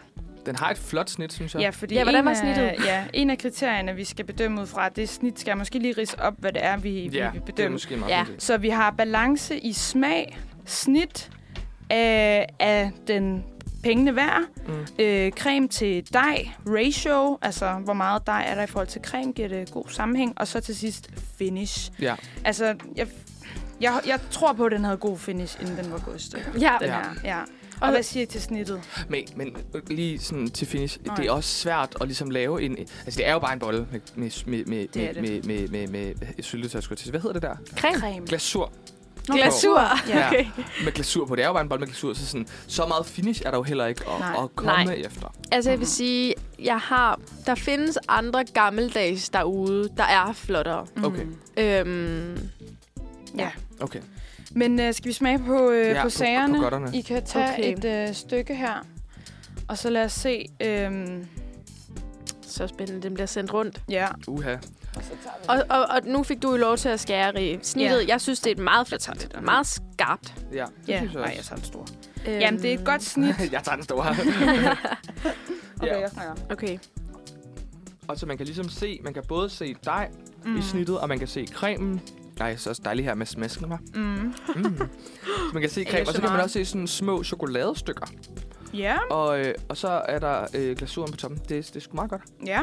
Den har et flot snit, synes jeg. Ja, fordi Ja, hvordan en var af- snittet? Ja, en af kriterierne, vi skal bedømme ud fra, det snit skal jeg måske lige rise op, hvad det er, vi, ja vi vil det er bedømme. måske meget Ja. ja. Så vi har balance i smag, snit øh, af den pengene værd, Mm. øh, creme til dej, ratio, altså hvor meget dej er der i forhold til creme, giver det god sammenhæng, og så til sidst finish. Ja. Altså, jeg, jeg, jeg tror på, at den havde god finish, inden den var gået i stykker. Ja. Den Ja. her, ja. Og hvad siger I til snittet? Men, men lige sådan til finish, Nej. det er også svært at ligesom lave en... Altså, det er jo bare en bolle med, med, med, med, Det er med, med, med, med, med syltetøj, skulle jeg til at sige. Hvad hedder det der? Creme. Creme. Glasur. Nå, Glasur. Ja. Okay. Med glasur på. Det er jo bare en bolle med glasur, så sådan, så meget finish er der jo heller ikke at, Nej. at komme Nej. efter. Altså, jeg vil sige, jeg har... Der findes andre gammeldags derude, der er flottere. Mm. Okay. Øhm, Ja. Okay. Men øh, skal vi smage på, øh, ja, på På, sagerne? på godterne. I kan tage Okay. okay. et øh, stykke her, og så lad os se. Øhm, så spændende, den bliver sendt rundt. ja. Uha. Og, og, og nu fik du jo lov til at skære i snittet. Jeg synes, det er et meget flot snit. Meget skarpt. Ja, det ja. synes jeg Ej, jeg også. tager en stor. Øhm, Jamen, det er et godt snit. jeg tager den store. Okay, ja. jeg snakker. Okay. Og så man kan ligesom se, man kan både se dig mm. i Mm. snittet, og man kan se cremen. Nej, så er det dejligt her med smasken, hva'? Mm. Mm. så man kan se creme, Ikke og så så kan man meget. også se sådan små chokoladestykker. Ja, Og, øh, og så er der øh, glasuren på toppen. Det, det er sgu meget godt. ja.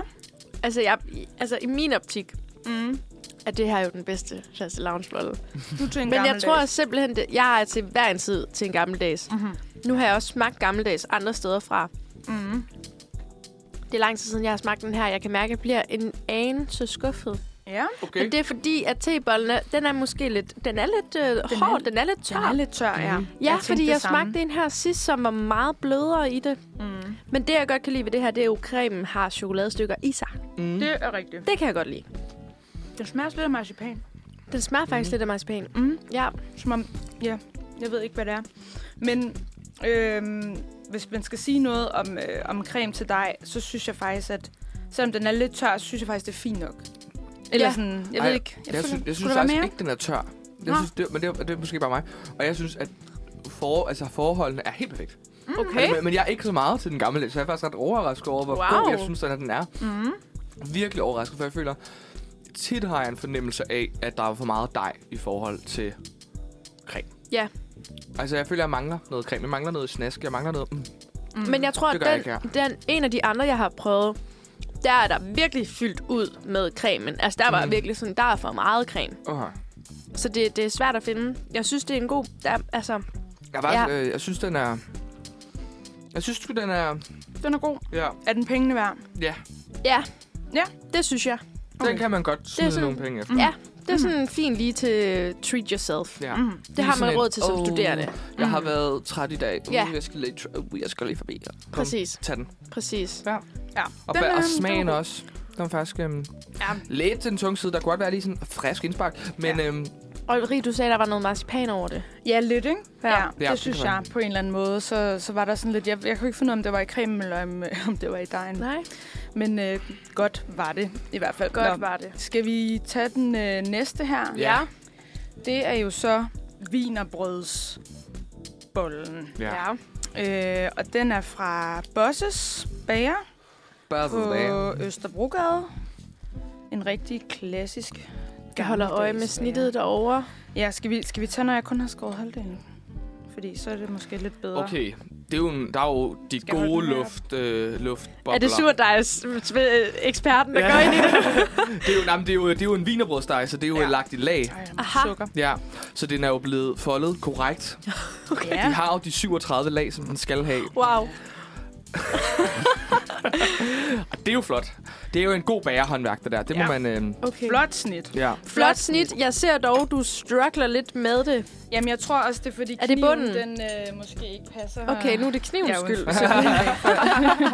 Altså, jeg, altså, i min optik Mm. er det her jo den bedste faste loungebolle. Du til en Men jeg tror simpelthen, det, jeg er til hver en tid til en gammeldags. Mhm. Nu har jeg også smagt gammeldags andre steder fra. Mm. Det er lang tid siden, jeg har smagt den her. Jeg kan mærke, at jeg bliver en anelse skuffet. Ja, Okay. Okay. Men det er fordi, at tebollen er, den er måske lidt, den er lidt øh, er hård, lidt- den er lidt tør. den er lidt tør, ja. Mhm. ja, jeg tænkte fordi det jeg samme. smagte en her sidst, som var meget blødere i det. Mm. Men det, jeg godt kan lide ved det her, det er jo, at cremen har chokoladestykker i sig. Mm. Det er rigtigt. Det kan jeg godt lide. Den smager lidt af marcipan. Den smager faktisk Mhm. mm. lidt af marcipan. Mm. Ja, Som om, ja, jeg ved ikke, hvad det er. Men øhm, hvis man skal sige noget om, øh, om creme til dig, så synes jeg faktisk, at selvom den er lidt tør, så synes jeg faktisk, det er fint nok. Eller Ja. ja. sådan, jeg Ej, ved ikke. Jeg, Jeg, føler- synes, jeg synes skulle der være faktisk mere? ikke, den er tør. Jeg Nå. synes, det, men det, er- det er måske bare mig. Og jeg synes, at for, altså forholdene er helt perfekt. Mm, okay. Men, men jeg er ikke så meget til den gamle læs, så jeg er faktisk ret overrasket over, hvor Wow. god jeg synes, den, er, den er. Mm. Virkelig overrasket, for jeg føler, tit har jeg en fornemmelse af, at der er for meget dej i forhold til creme. Ja. Altså, jeg føler, jeg mangler noget creme. Jeg mangler noget snask. Jeg mangler noget... Mm. Mm. Men jeg tror, Det at gør jeg den, ikke den, en af de andre, jeg har prøvet, der er der virkelig fyldt ud med cremen. Altså, der var Mm. virkelig sådan, der er for meget creme. Uh-huh. Så det, det er svært at finde. Jeg synes, det er en god... Der, altså, Jeg, var, ja. Ja. øh, jeg synes, den er... Jeg synes sgu, den er... Den er god. Ja, Er den pengene værd? ja. ja. Ja. Det synes jeg. den Okay. kan man godt smide sådan- nogle penge efter. Ja, det er sådan fint lige til treat yourself. Ja. Mm. Det har sådan man et, oh, råd til som "Åh, studerende. Jeg har Mm. været træt i dag. Uh, Ja. jeg, skal lige, tr- uh, jeg skal lige forbi. her. Kom, Præcis, Tag den. præcis. Ja. Og, den, er- og smagen den er god. også. Den var faktisk øhm, Ja. lidt til den tunge side. Der kunne godt være lige sådan en frisk indspark. Men ja. øhm, Og Rie, du sagde, der var noget marcipan over det. Ja, lidt, ikke? Ja. Ja, ja det, det det synes kan være. jeg på en eller anden måde. Så, så var der sådan lidt... Jeg, jeg kunne ikke finde ud af, om det var i cremen, eller om, øh, om det var i dejen. Nej, Men øh, godt var det i hvert fald. godt Nå, var det. Skal vi tage den øh, næste her? Ja. Det er jo så vinerbrødsbollen. ja. ja. Øh, og den er fra Bosses Bager Bare på sådan Østerbrogade. En rigtig klassisk Jeg holder øje med gammeldags snittet bager. derovre. Ja, skal vi, skal vi tage, når jeg kun har skåret halvdelen? Fordi så er det måske lidt bedre. Okay, det er jo en, der er jo de jeg holde gode den her? luft, øh, luftbobler. Er det surdejs-eksperten, der Ja. ja. går ind i det? Det er jo, nej, men det er jo, det er jo en vinerbrødsdej, så det er jo Ja. ja. lagt i lag. Ej, jeg må Aha. sukker. Ja, så den er jo blevet foldet korrekt. Okay. Ja. De har jo de 37 lag, som den skal have. Wow. Og det er jo flot. Det er jo en god bagerhåndværk, det der. Det ja. må Ja. man... Øh, Okay. Flot snit. ja. Flot snit. Jeg ser dog, du struggler lidt med det. Jamen, jeg tror også, det er fordi Er det kniven, bunden? den øh, måske ikke passer. Okay, her. nu er det knivens Ja, skyld. undskyld.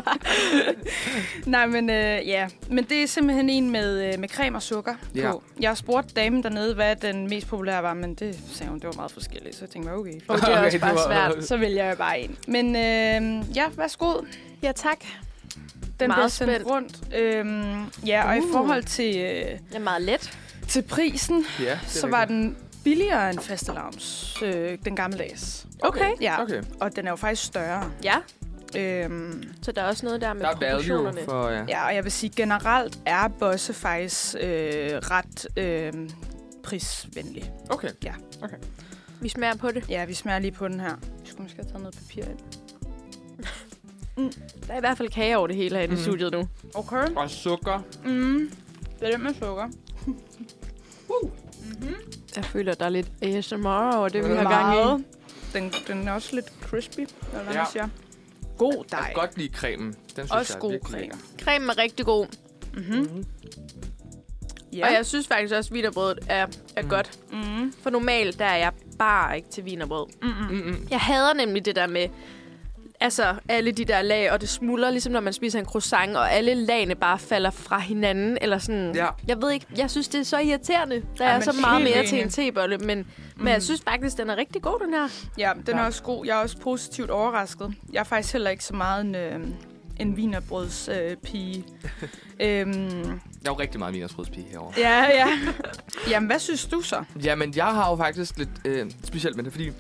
Nej, men øh, ja. Men det er simpelthen en med, øh, med creme og sukker Ja. ja. på. Jeg spurgte damen dernede, hvad den mest populære var, men det sagde hun, det var meget forskelligt. Så jeg tænkte, okay, Og det er Okay, også det bare var- svært. så vælger jeg bare en. Men øh, ja, værsgo. Ja, tak. Den Meget bliver sendt spændt. rundt. Øhm, ja, og uh. Uh. i forhold til, øh, Det er meget let. til prisen, ja det er så var rigtigt. den billigere end fastelavns, øh, den gammeldags. Øh, Okay. Ja, okay. Okay, og den er jo faktisk større. Ja, Øhm, så der er også noget der med der er proportionerne. value for... Ja. Ja, og jeg vil sige, generelt er Bosse faktisk øh, ret øh, prisvenlig. Okay. Vi smager på det. Ja, vi smager lige på den her. Vi skulle måske have taget noget papir ind. Der er i hvert fald kage over det hele herinde mm. i Mhm. studiet nu. Okay. Og sukker. Mm. Det er den med sukker. Jeg føler, der er lidt ASMR over det, vi Ja. har gang i. Den, den er også lidt crispy, eller Ja. hvad ja. man siger. God Jeg dej. kan godt lide cremen. Den synes Også jeg er god virkelig krækker. Cremen er rigtig god. Mm-hmm. Mhm. Ja. Og Ja. jeg synes faktisk også, at vinerbrødet er, er Mm. mm. godt. Mm-hmm. For normalt, der er jeg bare ikke til vinerbrød. Mm-hmm. Mm-mm. Jeg hader nemlig det der med, altså alle de der lag, og det smuldrer, ligesom når man spiser en croissant, og alle lagene bare falder fra hinanden, eller sådan. Ja. Jeg ved ikke, jeg synes, det er så irriterende. Der Ej, er men så meget helt mere enig. til en tebolle, men, mm. men jeg synes faktisk, den er rigtig god, den her. Ja, den er Ja. også god. Jeg er også positivt overrasket. Jeg er faktisk heller ikke så meget en, øh, en vinerbrødspige. Øh, pige. øhm, Jeg er jo rigtig meget vinersbrødspige herovre. Ja, ja. Jamen, hvad synes du så? Jamen, jeg har jo faktisk lidt øh, specielt med det, fordi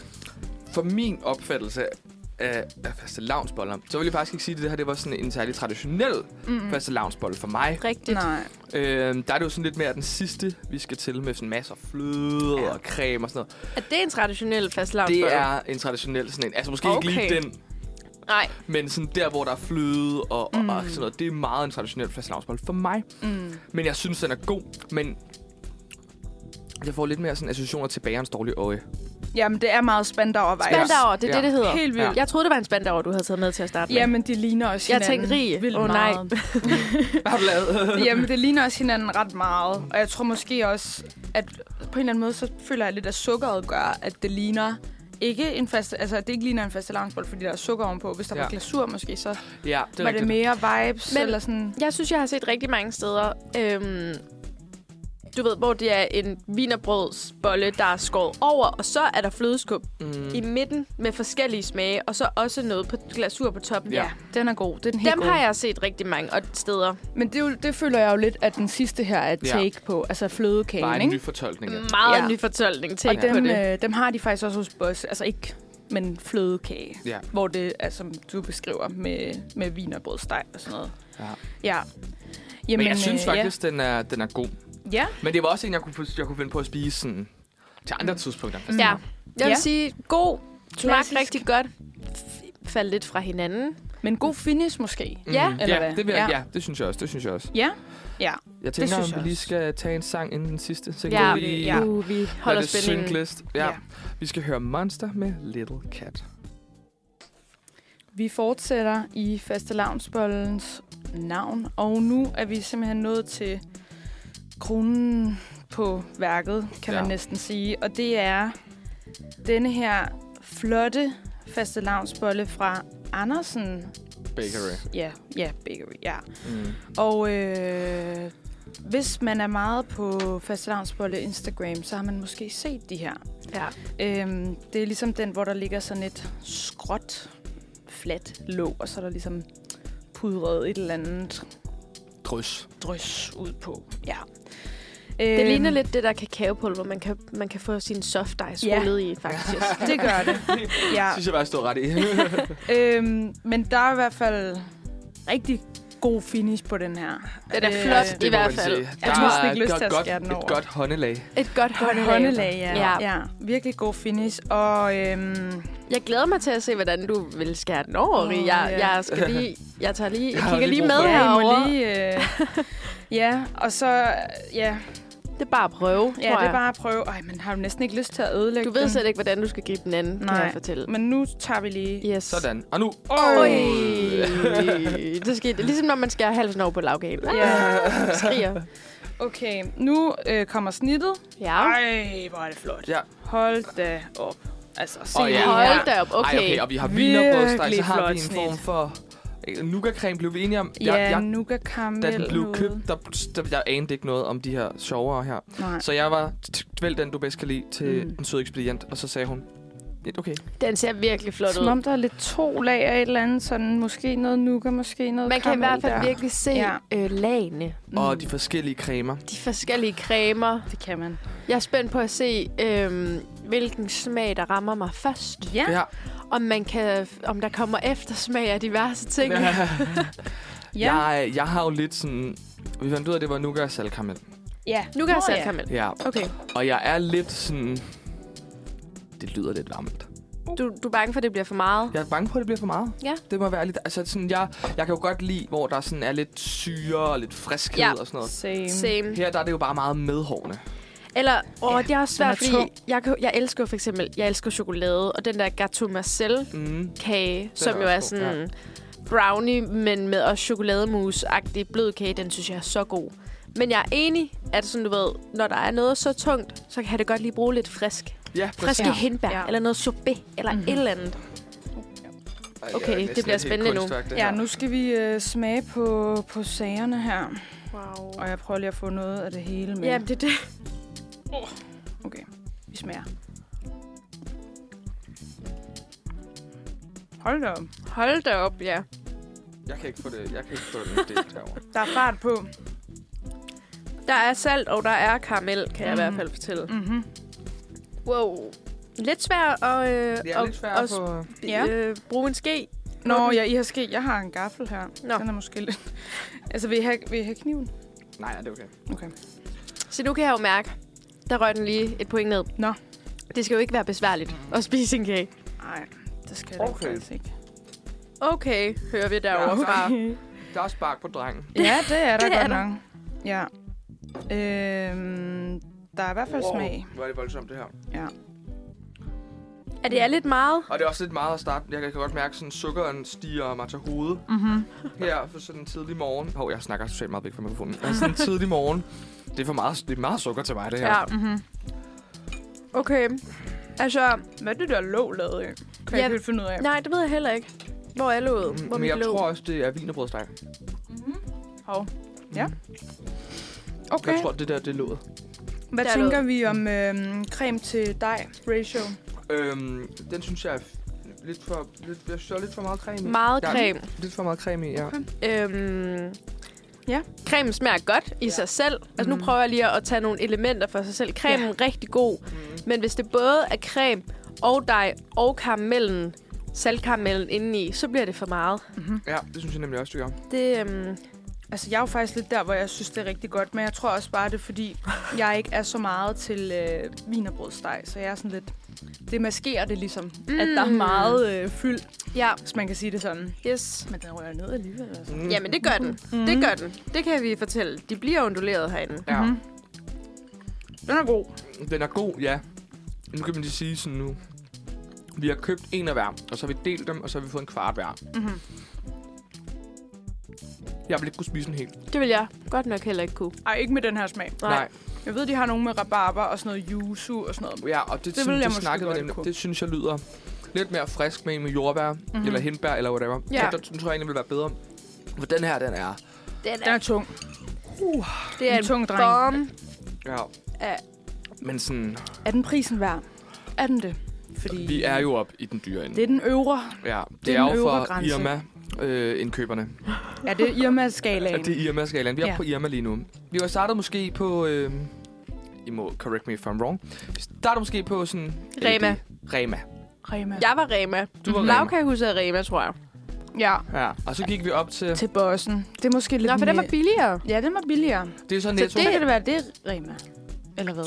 for min opfattelse af, af faste lavnsboller, så vil jeg faktisk ikke sige, at det her det var sådan en særlig traditionel mm. faste lavnsbolle for mig. Rigtigt. Nej. Øh, der er det jo sådan lidt mere den sidste, vi skal til med sådan masser af fløde ja. Ja. og creme og sådan noget. Er det en traditionel fastlavnsbolle? Det er en traditionel sådan en. Altså måske okay. Okay. ikke lige den, Nej, men sådan der, hvor der er fløde og, mm. og, og sådan noget. Det er meget en traditionel faste lavnsbolle for mig. Mm. Men jeg synes, den er god, men jeg får lidt mere sådan associationer til bagerens dårlige øje. Jamen, det er meget spandauer spandauer, det Ja. er det, det hedder. Helt vildt. Ja. Jeg troede, det var en spandauer, du havde taget med til at starte med. Jamen, det ligner også Jeg hinanden. tænkte rig. vildt Åh, nej. meget. Hvad har du lavet? Jamen, det ligner også hinanden ret meget. Og jeg tror måske også, at på en eller anden måde, så føler jeg lidt, at sukkeret gør, at det ligner ikke en fast, altså at det ikke ligner en fast fordi der er sukker ovenpå. Hvis der Ja. ja. var glasur måske, så det Ja, det er var rigtigt. det mere vibes Men- Men... eller sådan. Jeg synes, jeg har set rigtig mange steder, øhm, du ved, hvor det er en vinerbrødsbolle, der er skåret over, og så er der flødeskum mm. i Mm, midten med forskellige smage, og så også noget på glasur på toppen. Ja. Ja, den er god. Den er helt Dem god. har jeg set rigtig mange og steder. Men det, er jo- det føler jeg jo lidt, at den sidste her er et Ja. take på. Altså bare flødekagen, en ikke? ny fortolkning. af det. Meget Ja. ny fortolkning til Og på dem, det. øh, dem har de faktisk også hos Boss. Altså ikke, men flødekage. Ja. Hvor det er, som du beskriver, med, med vin og brødsteg og sådan noget. Ja. ja. Men, Jamen, jeg synes øh, faktisk, den er, den er god. Ja. ja. Men det var også en, jeg kunne, jeg kunne finde på at spise sådan, til andre tidspunkter. Mm. Mm. Ja. Jeg vil Ja. sige, god smag Klassisk. rigtig godt. F- Faldt lidt fra hinanden. Men god finish måske. Ja. Eller Eller ja, hvad? det vil jeg, ja. Ja. ja, det synes jeg også, det synes jeg også. Ja. Ja. Jeg tænker, synes om jeg vi lige også. skal tage en sang inden den sidste, så kan Ja, vi lige Ja. Uh, vi lade holder det spændingen. synke lidt. Ja. ja. Ja. Vi skal høre Monster med Little Cat. Vi fortsætter i fastelavnsbollens navn, og nu er vi simpelthen nået til kronen på værket, kan ja. Ja. man næsten sige. Og det er denne her flotte fastelavnsbolle fra Andersen. Bakery. Ja, ja, bakery, ja. Mm. Og øh, hvis man er meget på fastelavnsbolle Instagram, så har man måske set de her. Ja. Øhm, det er ligesom den, hvor der ligger sådan et skråt, fladt låg, og så er der ligesom pudret et eller andet Drys. drys ud på. Ja. Det Øhm, ligner lidt det der kakaopulver, man kan, man kan få sin soft ice Ja. rullet i, faktisk. Det gør det. ja. Synes jeg bare, jeg stod ret i. Øhm, men der er i hvert fald rigtig god finish på den her. Den er Øh, flot det i må hvert man fald. sige. Ja. Jeg Der har næsten er ikke lyst et til at godt- skære den Et over. godt håndelag. Et godt Godt håndelag. håndelag, ja. ja. ja. Virkelig god finish. Og øhm, Jeg glæder mig til at se, hvordan du vil skære den over, Åh, oh, jeg, ja. jeg, skal lige, jeg, tager lige, jeg har kigger lige lige brug for med det. ja, I må herovre. lige... Øh, ja, og så... Ja, Det er bare at prøve, ja tror det er jeg. bare at prøve. Ej, man har jo næsten ikke lyst til at ødelægge Du ved den. slet ikke, hvordan du skal gribe den anden, kan Nej. Mm. jeg fortælle. Men nu tager vi lige... Yes. Sådan. Og nu... Oj. Ja. det skete. Ligesom når man skærer halsen over på lavkagen. Ja, Ah, Skriger. okay. Nu øh, kommer snittet. Ja. Ej, hvor er det flot. Ja. Hold da op. Altså, se Åh, ja. det Hold her. da op. Okay. Ej, okay, og vi har Virkelig vinerbrødsteg, så har vi en flot form snit. for... Nougat-creme blev vi enige om. Ja, jeg, jeg, nougat karamel da den blev noget. købt, der, der, jeg anede ikke noget om de her sjovere her. Nej. Så jeg var, t- vælg den, du bedst kan lide til mm. Mm. den søde ekspedient. Og så sagde hun, "Ja, okay. Den ser virkelig flot Som ud. om der er lidt to lag af et eller andet, sådan måske noget nougat, måske noget Man kan i karamel hvert fald der. virkelig se ja. Ja. øh, lagene. Mm. Og de forskellige cremer. De forskellige cremer. Det kan man. Jeg er spændt på at se, øh, hvilken smag, der rammer mig først. Ja. Ja. Om, man kan, om der kommer eftersmag af diverse ting. Ja. ja. Ja. Jeg, jeg har jo lidt sådan... Vi fandt ud af, at det var nougat og saltkaramel. ja. Nu kan jeg Nå, selv ja. komme Ja. Okay. Og jeg er lidt sådan... Det lyder lidt varmt. du, du er bange for, at det bliver for meget. Jeg er bange på, at det bliver for meget. Ja. Det må være lidt... Altså sådan, jeg, jeg kan jo godt lide, hvor der sådan er lidt syre og lidt friskhed Ja. ja. og sådan noget. Same. Same. Her der er det jo bare meget medhårende. Eller, åh, Ja, det er også den er svært, fordi tung. jeg, kan- jeg elsker for eksempel, jeg elsker chokolade, og den der Gâteau Marcel Mm. kage, som jo også er god, sådan ja. brownie, men med også chokolademus-agtig blød kage, den synes jeg er så god. Men jeg er enig, at sådan, du ved, når der er noget så tungt, så kan det godt lige bruge lidt frisk. Ja, Friske præcis. ja. hindbær, ja. Ja. eller noget sorbet, eller mm-hmm. et eller andet. Ej, jeg er Okay, det næsten bliver et helt spændende nu. kunstværk, det Ja, her. nu skal vi øh, smage på, på sagerne her. Wow. Og jeg prøver lige at få noget af det hele med. Ja, det er det. Okay, vi smager. Hold da op. Hold da op, ja. Jeg kan ikke få det, jeg kan ikke få det delt herovre. Der er fart på. Der er salt, og der er karamel, kan mm. jeg i Mhm. hvert fald fortælle. Mm-hmm. Wow. Lidt svært at, øh, Det er at, lidt svært at på... Ja. øh, bruge en ske. Nå, ja, I har ske. Jeg har en gaffel her. Nå. Nå. Den er måske lidt... Altså, vil I have, vil I have kniven? Nej, nej, det er okay. Okay. Så nu kan jeg jo mærke, der røg den lige et point ned. Nå. Det skal jo ikke være besværligt at spise en kage. Nej, det skal Okay. okay. det faktisk ikke. Okay, hører vi derovre Ja, fra. Der er spark på drengen. Ja, det er der Det er godt der. nok. Ja. Øhm, der er i hvert fald smag. Hvor er det voldsomt, det her. Er det er lidt meget? Og det er også lidt meget at starte. Jeg kan godt mærke, at sukkeren stiger mig til hovedet Mm-hmm. her for sådan en tidlig morgen. Hov, jeg snakker socialt meget væk fra mikrofonen. Altså sådan en tidlig morgen. Det er for meget, det er meget sukker til mig, det her. Ja. Mm-hmm. Okay. Altså, Hvad er det der låg lavet af? Kan Ja. jeg ikke helt finde ud af. nej, det ved jeg heller ikke. Hvor er låget? Hvor Mm, Men mit jeg låg? Mm-hmm. tror også, det er vinerbrødsteg. Hov. Ja. Jeg Okay. tror, det der, det er låget. Hvad Derud. tænker vi om øh, creme til dej ratio? Øhm, den synes jeg er f- lidt for, lidt, jeg synes, der er lidt for meget creme i. Meget Ja. creme. Lidt for meget creme i, ja. Okay. Øhm, Ja. Cremen smager godt i Ja. ja. sig selv. Altså, mm. Mhm. Nu prøver jeg lige at tage nogle elementer for sig selv. Cremen er rigtig god, Mm. men hvis det både er creme og dej og karamellen, saltkaramellen indeni, så bliver det for meget. Mm-hmm. Ja, det synes jeg nemlig også, du gør. Det, øhm, Altså, jeg er jo faktisk lidt der, hvor jeg synes, det er rigtig godt, men jeg tror også bare, det er, fordi jeg ikke er så meget til øh, vinerbrødsteg, så jeg er sådan lidt... Det maskerer det ligesom, mm. at der er Mm. meget øh, fyld, ja, hvis man kan sige det sådan. yes. Men den rører ned alligevel, altså. Mm. Jamen, det gør den. Mm. Det gør den. Det kan vi fortælle. De bliver onduleret herinde. Ja, Mm-hmm. Den er god. Mhm. den er god, ja. Nu kan man lige sige sådan nu. Vi har købt en af hver, og så har vi delt dem, og så har vi fået en kvart hver. Mm-hmm. Jeg vil ikke kunne spise den helt. Det vil jeg godt nok heller ikke kunne. Ej, ikke med den her smag. Jeg ved, de har nogen med rabarber og sådan noget yuzu og sådan noget. Ja, og det, det, ville synes, jeg det måske snakkede vi godt nemlig. kunne. Det synes jeg lyder lidt mere frisk med en med jordbær, Mhm. mm-hmm. eller hindbær, eller whatever. Ja. Så der tror jeg egentlig vil være bedre. For den her, den er. Den Den er, er tung. det er en en tung dreng. bombe. Ja. Ja. Men sådan, Er den prisen værd? Er den det? Fordi vi er jo op i den dyre ende. Det er den øvre. ja, det, det er er den jo øvre for grænse. Irma. Øh, indkøberne. Ja, det er Irma-skalaen. Ja, det er Irma-skalaen. Vi er ja. Ja. på Irma lige nu. Vi var startet måske på... Øh, I må correct me if I'm wrong. Vi startede måske på sådan... Rema. LD. Rema. Rema. Jeg var Rema. Du var Lav Rema. kan jeg huske af Rema, tror jeg. ja. Ja, og så gik vi op til... Til bossen. Det er måske lidt Nå, for den var mere- billigere. Ja, den var billigere. Det er så Så netto. det kan det være, det er Rema. Eller hvad?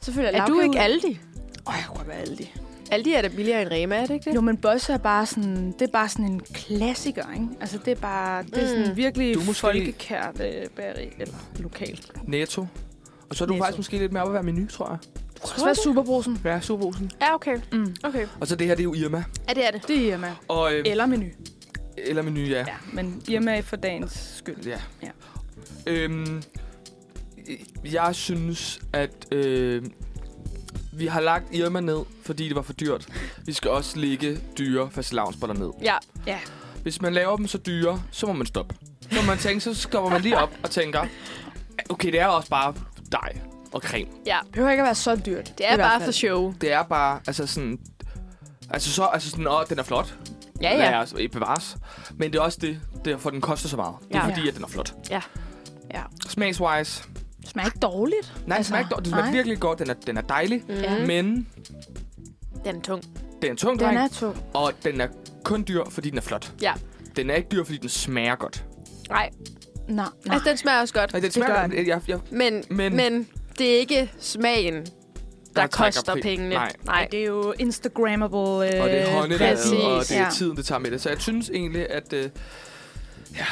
Selvfølgelig er er du lavkage ikke ud. Aldi? Åh, jeg kunne være Aldi. Aldi er da billigere end Rema, er det ikke det? Jo, men Bosse er bare sådan, det er bare sådan en klassiker, ikke? Altså, det er bare, det er sådan Mm. virkelig Du er måske- folkekært øh, bageri, eller lokalt. Netto. Og så er du Netto. faktisk måske lidt mere op at være menu, tror jeg. Det kunne også være Superbrusen. Ja, Superbrugsen. Ja, okay. Mm. okay. Og så det her, det er jo Irma. Ja, det er det. Det er Irma. Og, øh, Eller menu. eller menu, ja. Ja, men Irma for dagens skyld. Ja. Ja. Øhm, jeg synes, at øh, vi har lagt Irma ned, fordi det var for dyrt. Vi skal også lægge dyre fastelavnsboller ned. Ja. Hvis man laver dem så dyre, så må man stoppe. Så må man tænker, så stopper man lige op og tænker, okay, det er også bare dej og creme. Det behøver ikke at være så dyrt. Det er i hvert bare fald. for show. Det er bare, altså sådan, altså så, altså sådan, åh, den er flot. Ja, Lad ja. os øh, bevares. Men det er også det, derfor den koster så meget. Det er Ja. ja. fordi, at den er flot. Ja. Ja. Smagswise, Det smager ikke dårligt. Nej, altså, Altså, den smager, ikke dår- den smager nej. virkelig godt. Den er, den er dejlig. Mm. Mm. Men Den er tung. den er en tung dreng, Den er tung. og den er kun dyr, fordi den er flot. Ja. Den er ikke dyr, fordi den smager godt. Nej. Nej. Altså, den smager også godt. Nej, den gør smager godt. den. Jeg, jeg, jeg, Men, Men- men, men det er ikke smagen, der, trækker koster pri- pengene. Nej. Nej. det er jo Instagrammable. Øh, og det er håndelavet, og præcis. det er Ja. tiden, det tager med det. Så jeg synes egentlig, at... Øh, ja,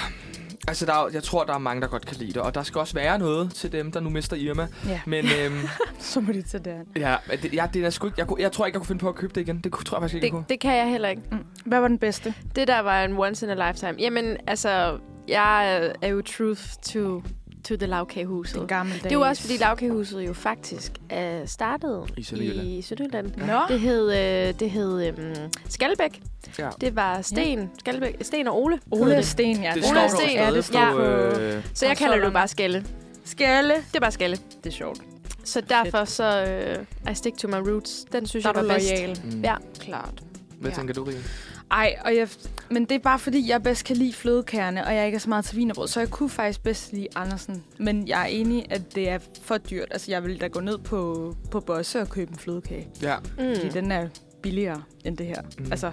altså, der er, jeg tror, der er mange, der godt kan lide det. Og der skal også være noget til dem, der nu mister Irma. Ja. Men øhm, Så må de tage det an. ja, men det, ja, det er sgu ikke, jeg, kunne- jeg tror ikke, jeg kunne finde på at købe det igen. Det kunne, tror jeg faktisk ikke, jeg kunne. Det, det kan jeg heller ikke. Hvad var den bedste? Det der var en once in a lifetime. Jamen, altså, jeg øh, er jo truth to, to the lavkagehuset. Den gamle dag. Det er jo også, fordi lavkagehuset jo faktisk er startede I Sønderjylland. I Sønderjylland. Nå. Det hed, øh, det hed øh, Skalbæk. Ja. Det var Sten, ja. Skalbæk, Sten og Ole. Ole hed og Sten, ja. Det Ole står er dog sten. stadig Ja, det står på... på Øh, Så jeg kalder det jo konsollerne. bare Skalle. Skalle. Det er bare Skalle. Det er sjovt. Så derfor så øh, I stick to my roots. Den synes Der jeg var var bedst. lojal. mm. Ja. Klart. Hvad Ja. tænker du, Rikke? Ej, og jeg, men det er bare fordi, jeg bedst kan lide flødekærne, og jeg ikke er så meget til vinerbrød, så jeg kunne faktisk bedst lide Andersen. Men jeg er enig, at det er for dyrt. Altså, jeg ville da gå ned på, på Bosse og købe en flødekage, mm. Ja. fordi Mm. den er billigere end det her. Mm. Mm. Altså,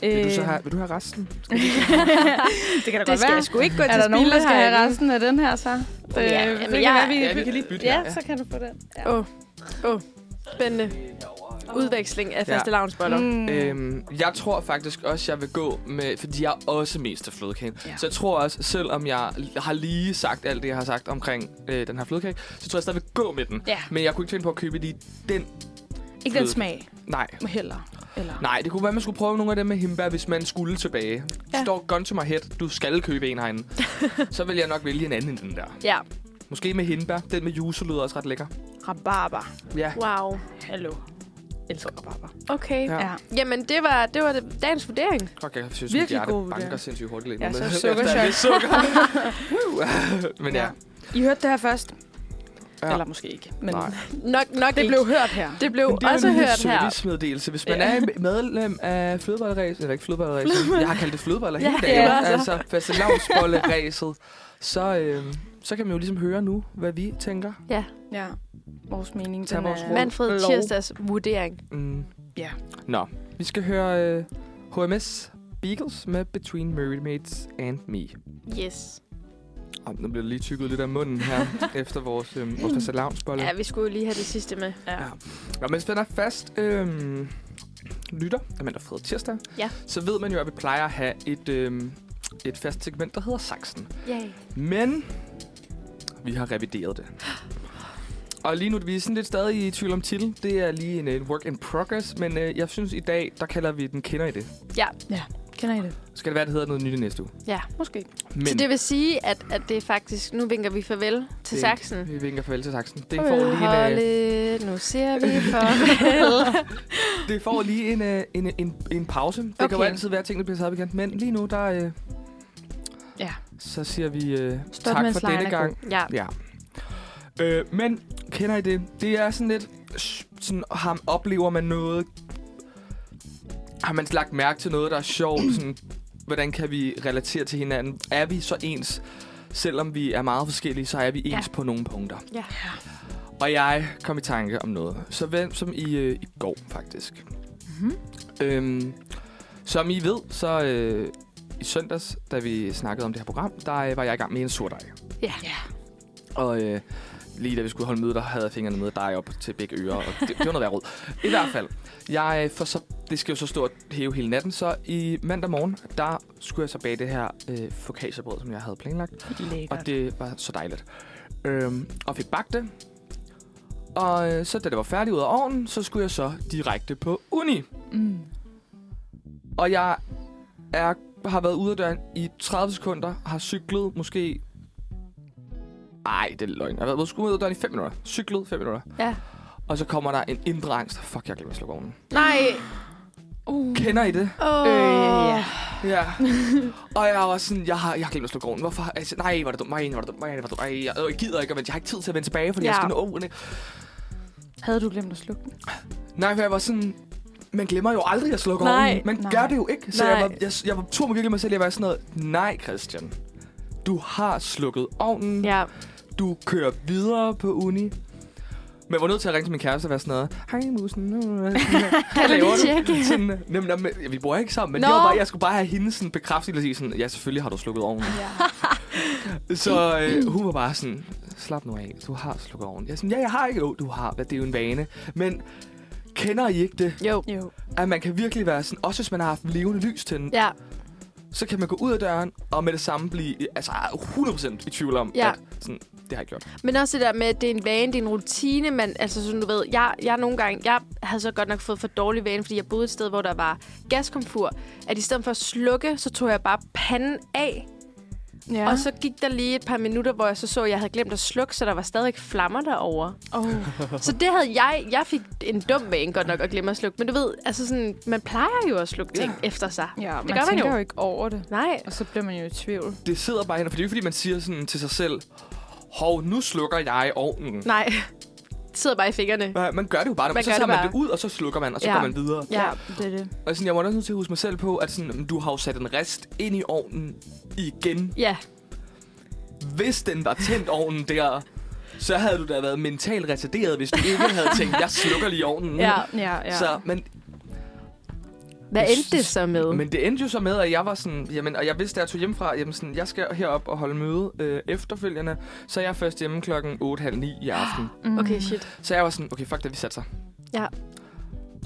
Vil du, så øh, have, vil du have resten? det kan da Det godt skal være. jeg sgu ikke gå Er til der nogen, der spilde skal have herinde. resten af den her, så? Det, Ja, men Øh, det jeg- være, Ja, vi kan lige bytte ja, her, ja. så kan du få den. Ja. Åh, oh. oh. spændende. Udveksling af Ja. faste lavnsboller. Mm. Øhm, jeg tror faktisk også, jeg vil gå med, fordi jeg er også mest til flødekagen. Ja. Ja. Så jeg tror også, selvom jeg l- har lige sagt alt det, jeg har sagt omkring øh, den her flødekage, så tror jeg stadig, jeg vil gå med den. Ja. Men jeg kunne ikke tænke på at købe lige den. Ikke den fløde. smag Nej. heller. Eller. Nej, det kunne være, man skulle prøve nogle af dem med himbær, hvis man skulle tilbage. Ja. Ja. Står gun to my head, du skal købe en herinde. så vil jeg nok vælge en anden end den der. Ja, Måske med hindbær. Den med juice lyder også ret lækker. Rabarber. Ja. wow. Hallo. Elsker rabarber. Okay. Ja. Ja. Ja. Jamen, det var, det var det- dagens vurdering. Fuck, jeg synes, mit Virkelig hjerte god vurdering. banker sindssygt hurtigt lige nu. Ja, så Men- sukkerchok. efter lidt sukker. Woo. Men ja. I hørte det her først. Ja. Ja. Eller måske ikke. Men Nej. Nok, nok det ikke. blev hørt her. det blev Men det er også jo en lille hørt her. servicemeddelelse. Hvis man Ja. er medlem af flødeballeræs, eller ikke flødeballeræs, jeg har kaldt det flødeballer Ja, hele det dagen, er det altså. altså fastelavnsbolleræset, så, øh, så kan man jo ligesom høre nu, hvad vi tænker. Ja. Vores mening, Tag den vores er... råd. Manfred Lov. Tirsdags vurdering. Mm. Ja. Nå, vi skal høre øh, HMS Beagles med Between Mermaids and Me. Yes. Om, nu bliver det lige tykket lidt af munden her, efter vores, øh, vores fastelavnsbolle. Ja, vi skulle jo lige have det sidste med. Ja. Ja. Nå, mens man er fast øhm, lytter, Amanda Fred Tirsdag, Ja. så ved man jo, at vi plejer at have et, øhm, et fast segment, der hedder Saxen. Yay. Men vi har revideret det. Og lige nu, vi er sådan lidt stadig i tvivl om titel. Det er lige en, en work in progress, men øh, jeg synes i dag, der kalder vi den Kender I det. Kender I det? Så skal det være, det hedder noget nyt i næste uge. Ja. Måske. Men Så det vil sige, at, at det er faktisk... Nu vinker vi farvel til Det- saksen. vi vinker farvel til Saxen. Det får lige en, øh, Holdet, nu ser vi farvel. det får lige en, øh, en, en, en pause. Det okay. kan jo Okay. altid være, at tingene bliver sat op igen. Men lige nu, der, øh, Ja. så siger vi øh, Stop, tak mens for lejen denne er gang. ja. Ja. Øh, men kender I det? Det er sådan lidt... sh- Sådan, ham oplever man noget... Har man lagt mærke til noget, der er sjovt? Sådan, hvordan kan vi relatere til hinanden? Er vi så ens? Selvom vi er meget forskellige, så er vi Ja. ens på nogle punkter. Ja. Og jeg kom i tanke om noget. Så hvem som i, øh, i går, faktisk. Mm-hmm. Øhm, som I ved, så øh, i søndags, da vi snakkede om det her program, der øh, var jeg i gang med en surdej. Ja. Ja. Og øh, lige da vi skulle holde møde, der havde jeg fingrene nede dig op til begge ører, og det, det var noget værd råd. I hvert fald, jeg, øh, for så, det skal jo så stå og hæve hele natten, så i mandag morgen, der skulle jeg så bage det her øh, focaccia-brød, som jeg havde planlagt. Lækkert. Og det var så dejligt. Øhm, og fik bagt det. Og øh, så da det var færdigt ud af ovnen, så skulle jeg så direkte på uni. Mm. Og jeg er, har været ude af døren i 30 sekunder, har cyklet måske... Ej, det er løgn. Jeg har været måske ude af døren i 5 minutter. Cyklet 5 minutter. Ja. Og så kommer der en indre angst. Fuck, jeg glemmer at slukke ovnen. Nej. Uh. Kender I det? Åh. Øh, ja. Ja. og jeg var sådan, jeg har, jeg har glemt at slukke ovnen. Hvorfor? Altså, nej, var det dumt. Nej, var det dumt. Nej, var det dumt. Ej, jeg, jeg gider ikke at vente. Jeg har ikke tid til at vende tilbage, fordi ja. jeg Ja. skal nå ovnen. Havde du glemt at slukke den? Nej, for jeg var sådan... Man glemmer jo aldrig at slukke Nej, ovnen. Man nej. gør det jo ikke. Så jeg Nej. var, jeg, jeg var tur mig virkelig mig selv. Jeg var sådan noget, nej Christian, du har slukket ovnen. Ja. Du kører videre på uni. Men jeg var nødt til at ringe til min kæreste og være sådan noget, hej musen, Kan hvad laver du lige du? tjekke? Sådan, nem, nem, ja, vi bor ikke sammen, men Nå. det var bare, jeg skulle bare have hende sådan bekræftet og sige sådan, ja, selvfølgelig har du slukket ovnen. Ja. Så øh, hun var bare sådan, slap nu af, du har slukket ovnen. Jeg er sådan, ja, jeg har ikke, jo, du har, det er jo en vane. Men kender I ikke det? Jo. Jo. at man kan virkelig være sådan, også hvis man har haft levende lys til den, ja. Ja. så kan man gå ud af døren og med det samme blive altså 100% i tvivl om, Ja. ja. at sådan, det har jeg gjort. Men også det der med, at det er en vane, det er en rutine, men altså sådan du ved, jeg, jeg nogle gange, jeg havde så godt nok fået for dårlig vane, fordi jeg boede et sted, hvor der var gaskomfur, at i stedet for at slukke, så tog jeg bare panden af, Ja. ja. og så gik der lige et par minutter, hvor jeg så så, at jeg havde glemt at slukke, så der var stadig flammer derovre. oh. Så det havde jeg, jeg fik en dum vane godt nok at glemme at slukke, men du ved, altså sådan, man plejer jo at slukke ting ja. efter sig. ja, man gør man tænker jo. jo ikke over det. Nej, Og så bliver man jo i tvivl. Det sidder bare hen, for det er jo ikke, fordi man siger sådan til sig selv, hov, nu slukker jeg ovnen. nej, det sidder bare i fingrene. Nej, man gør det jo bare, Man man så gør tager det man det bare. ud, og så slukker man, og så Ja. ja. går man videre. Ja. det er det. Og sådan, jeg var også nødt til at huske mig selv på, at sådan, du har jo sat en rest ind i ovnen igen. Ja, Hvis den var tændt ovnen der, så havde du da været mentalt retarderet, hvis du ikke havde tænkt, jeg slukker lige ovnen. nu." ja. Ja, ja. Så, men Hvad endte det så med? Men det endte jo så med, at jeg var sådan, jamen, og jeg vidste, da jeg tog hjemmefra, jamen sådan, jeg skal herop og holde møde øh, efterfølgende, så jeg er først hjemme klokken 8.30 i aften. Mm. Okay, shit. Så jeg var sådan, okay, fuck det, vi satte sig. Ja.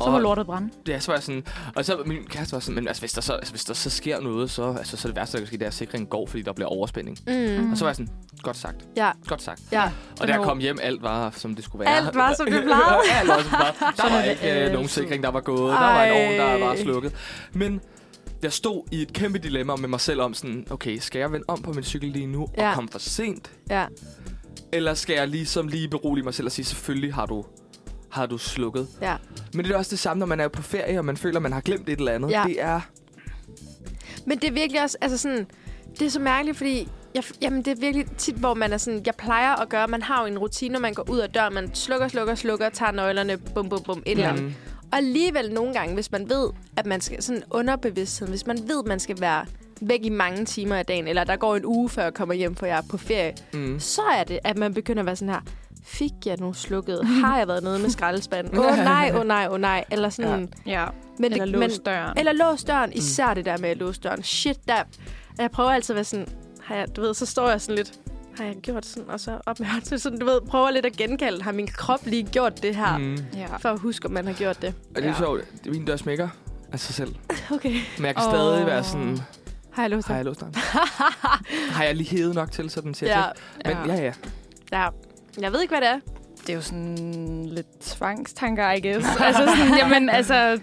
Så må lortet brænde. Ja, så var jeg sådan, og så min kæreste var sådan, men altså, hvis der så, altså, hvis der så sker noget, så, altså, så er det værste, der kan ske, det er, at sikringen går, fordi der bliver overspænding. Mm. Og så var jeg sådan, godt sagt, Ja, godt sagt. ja. Og da jeg kom hjem, alt var, som det skulle være. Alt var, som det plejede. alt var, som det plejede. Der Sådan var er det ikke øh, altid. nogen sikring, der var gået. Der var en ovn, der var Ej. slukket. Men jeg stod i et kæmpe dilemma med mig selv om sådan, okay, skal jeg vende om på min cykel lige nu ja. Ja. og komme for sent? Ja. Eller skal jeg ligesom lige berolige mig selv og sige, selvfølgelig har du har du slukket. Ja. Men det er også det samme, når man er på ferie, og man føler, man har glemt et eller andet. Ja. Det er... Men det er virkelig også, altså sådan, det er så mærkeligt, fordi jeg, jamen, det er virkelig tit, hvor man er sådan... Jeg plejer at gøre... Man har jo en rutine, når man går ud af døren. Man slukker, slukker, slukker, tager nøglerne, bum, bum, bum, et eller andet. Mm. Og alligevel nogle gange, hvis man ved, at man skal... Sådan underbevidstheden, hvis man ved, at man skal være væk i mange timer af dagen, eller der går en uge, før jeg kommer hjem, for jeg er på ferie, Mm. så er det, at man begynder at være sådan her, fik jeg nu slukket? Har jeg været nede med skraldespanden? Åh oh, nej, åh oh, nej, åh oh, nej. Eller sådan... Ja. Ja, Men eller men, låse døren. eller Mm. lås døren. Især det der med at låse døren. Shit, der... Og Jeg prøver altid at være sådan... Har jeg, du ved, så står jeg sådan lidt... Har jeg gjort sådan? Og så op med hånden. Så Sådan, du ved, prøver lidt at genkalde. Har min krop lige gjort det her? Mm. Mm. ja. For at huske, om man har gjort det. Og det er Ja. sjovt. det- Min dør smækker af sig selv. Okay. Men jeg kan Åh. oh. stadig være sådan, Har jeg låst har døren? jeg låst døren? har jeg lige hævet nok til, så den siger ja. Ja, til? Men ja, ja. ja. Jeg ved ikke, hvad det er. Det er jo sådan lidt tvangstanker, I guess. altså sådan, jamen, altså,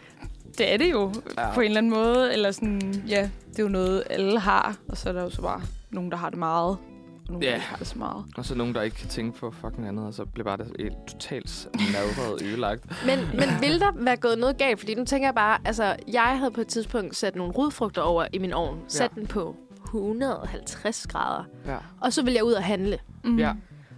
det er det jo Ja. ja. på en eller anden måde. Eller sådan, ja, det er jo noget, alle har. Og så er der jo så bare nogen, der har det meget. Og nogen, Ja. der ikke har det så meget. Og så nogen, der ikke kan tænke på fucking andet, og så bliver bare det helt totalt madret og ødelagt. Men, men ville der være gået noget galt? Fordi nu tænker jeg bare, altså, jeg havde på et tidspunkt sat nogle rodfrugter over i min ovn. Sat Ja. den på 150 grader. Ja. Og så ville jeg ud og handle. Mm. Ja.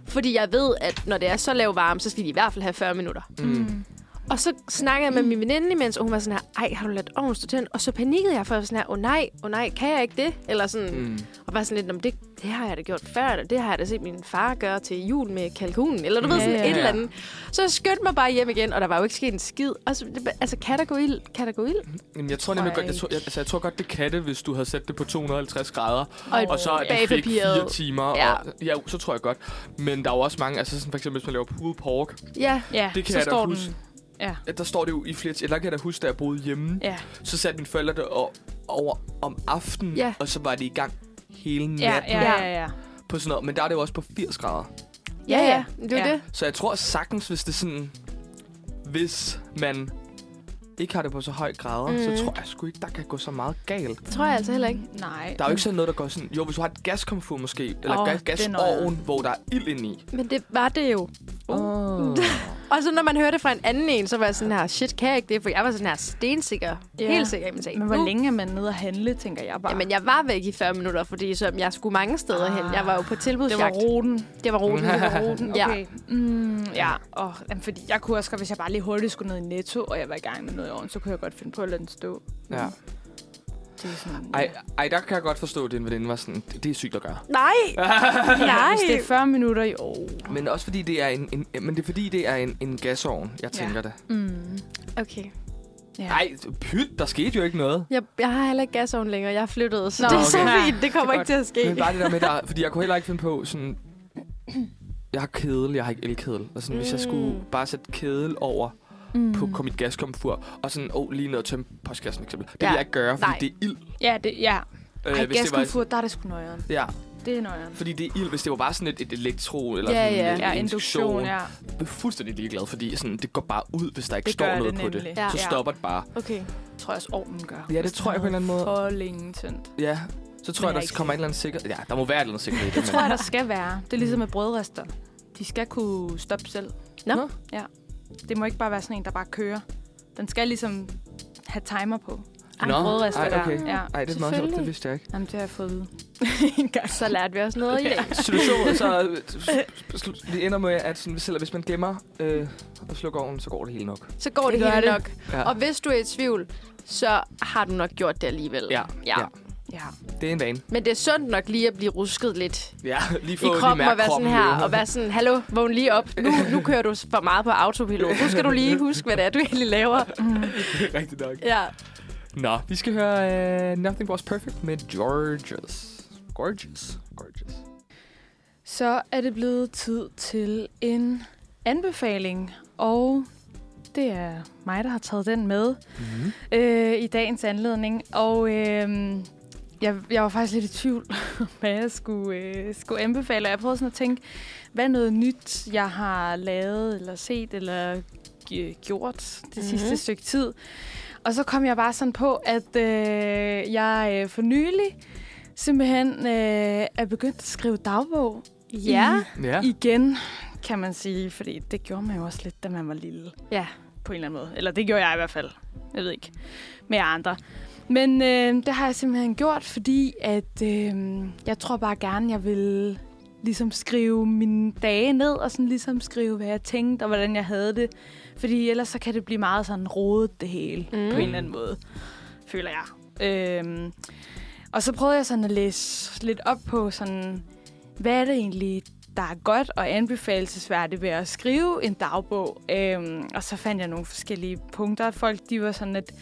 Fordi jeg ved, at når det er så lav varme, så skal de i hvert fald have 40 minutter. Mm. Og så snakkede jeg med min veninde imens, og hun var sådan her, ej, har du ladt ovnen stå tændt? Og så panikkede jeg, for jeg var sådan her, åh oh, nej, åh oh, nej, kan jeg ikke det? Eller sådan, mm. Mm. og var sådan lidt, "Nå, men det, det har jeg da gjort før, eller det har jeg da set min far gøre til jul med kalkunen, eller du ved, Ja, sådan ja, et ja. eller andet. Så jeg skyndte mig bare hjem igen, og der var jo ikke sket en skid. Og så, det, altså, kan der gå ild? Kan der gå ild? Jamen, jeg tror Tror nemlig jeg godt, jeg, ikke. tror, jeg, altså, jeg tror godt, det kan det, hvis du havde sat det på 250 grader, Og, og så at du fik bagepapiret. fire timer, Ja. ja. og ja, jo, så tror jeg godt. Men der er jo også mange, altså sådan for eksempel, hvis man laver pulled pork, Ja, ja, Det kan så jeg da står den. huske. Ja. at der står det jo i flere, eller kan jeg da huske, da jeg boede hjemme, Ja. så satte mine forældre det o- over om aftenen, Ja. og så var det i gang hele natten Ja, ja, ja, ja, ja. på sådan noget. Men der er det jo også på 80 grader. ja, ja, det er jo Ja. det. Så jeg tror sagtens, hvis det er sådan, hvis man ikke har det på så høj grader, mm. Mm. så tror jeg sgu ikke, der kan gå så meget galt. Tror jeg altså heller ikke. Nej. Der er jo ikke sådan noget, der går sådan... Jo, hvis du har et gaskomfur måske, eller Åh, oh, det er noget gasovn, hvor der er ild inde i. Men det var det jo. Uh. Oh. Og så når man hørte det fra en anden en, så var jeg sådan her, shit, kan jeg ikke det? For jeg var sådan her stensikker. Ja. Yeah. Helt sikker i min sag. Men hvor Nu- længe er man nede og handle, tænker jeg bare. Jamen, jeg var væk i 40 minutter, fordi som jeg skulle mange steder ah, hen. Ah. Jeg var jo på det var tilbudsjagt. roden. det var roligt. Det var roden, Ja. okay. Mm, ja, og, jamen, fordi jeg kunne også godt, hvis jeg bare lige hurtigt skulle ned i Netto, og jeg var i gang med noget i ovnen, så kunne jeg godt finde på at lade den stå. Ja. Det er sådan, Ej, ej, der kan jeg godt forstå, at din veninde var sådan, det, det er sygt at gøre. Nej! Nej! Hvis det er 40 minutter i år. Men også fordi det er en, en men det er fordi det er en, en gasovn, jeg Ja. tænker det. Mm. Okay. Ja. Nej, pyt, der skete jo ikke noget. Jeg, jeg har heller ikke gasovn længere. Jeg er flyttet, så Nå, Nå, det er så okay. fint. Det kommer Det er ikke til at ske. Men bare det der med, der, fordi jeg kunne heller ikke finde på sådan... Jeg har kedel, jeg har ikke elkedel. Og sådan, mm. hvis jeg skulle bare sætte kedel over Mm. på kom mit gaskomfur, og sådan, åh, oh, lige ned og tømme postkassen eksempel. Det Ja. vil jeg ikke gøre, fordi Nej. Nej. det er ild. Ja, det, ja. Øh, Ej, hvis det var, gaskomfur, der er det sgu nøjeren. ja, Det er nøjeren. fordi det er ild, hvis det var bare sådan et, et elektro eller Ja, sådan ja. en Ja, induktion, ja. Jeg er fuldstændig ligeglad, fordi sådan, det går bare ud, hvis der ikke Det står gør noget det på det. nemlig. Ja. Så stopper det bare. Okay. Jeg tror jeg også, ovnen gør. Ja, det Hvis tror jeg den på en eller anden havde måde. For længe tændt. Ja, så tror jeg, Men jeg er der ikke kommer en sikker. eller anden sikkerhed. Ja, der må være en eller anden sikkerhed. i Det men- tror jeg, der skal være. Det er ligesom med brødrester. De skal kunne stoppe selv. Nå. Mm. Nå. Ja. Det må ikke bare være sådan en, der bare kører. Den skal ligesom have timer på. Nå, brødrester ej, der. okay. Ja. Ej, det er meget sjovt, Selvfølgelig. det vidste jeg ikke. Jamen, det har jeg fået at vide. en gang. Så lærte vi også noget i dag. Situationen, så øh, s- s- s- det ender med, at sådan, selv hvis man gemmer øh, og slukker ovnen, så går det hele nok. Så går det, Det gør helt det. nok. Ja. Og hvis du er i tvivl, så har du nok gjort det alligevel. Ja, ja. ja. Ja. Det er en vane. Men det er sundt nok lige at blive rusket lidt Ja, lige få i lige kroppen mærke og være sådan kroppen her, med. og være sådan, hallo, vågn lige op. Nu, nu kører du for meget på autopilot. Nu skal du lige huske, hvad det er, du egentlig laver. Mm. Rigtig nok. Ja. Nå, vi skal høre øh, Nothing Was Perfect med Gorgeous. Gorgeous. Gorgeous. Så er det blevet tid til en anbefaling, og det er mig, der har taget den med Mm-hmm. øh, i dagens anledning. Og øh, jeg, jeg var faktisk lidt i tvivl, om, hvad jeg skulle, øh, skulle anbefale. Og Jeg prøvede sådan at tænke, hvad er noget nyt, jeg har lavet, eller set, eller øh, gjort det mm-hmm. sidste stykke tid. Og så kom jeg bare sådan på, at øh, jeg øh, for nylig simpelthen øh, er begyndt at skrive dagbog Ja. Ja. igen, kan man sige. Fordi det gjorde man jo også lidt, da man var lille. Ja. På en eller anden måde. Eller det gjorde jeg i hvert fald. Jeg ved ikke. Med jer andre. Men øh, det har jeg simpelthen gjort, fordi at øh, jeg tror bare gerne, jeg vil ligesom skrive mine dage ned, og sådan ligesom skrive, hvad jeg tænkte, og hvordan jeg havde det. Fordi ellers så kan det blive meget sådan rodet det hele, mm. på en eller anden måde, føler jeg. Øhm, og så prøvede jeg sådan at læse lidt op på sådan, hvad er det egentlig, der er godt og anbefalesværdigt ved at skrive en dagbog. Øhm, og så fandt jeg nogle forskellige punkter. Folk, de var sådan, at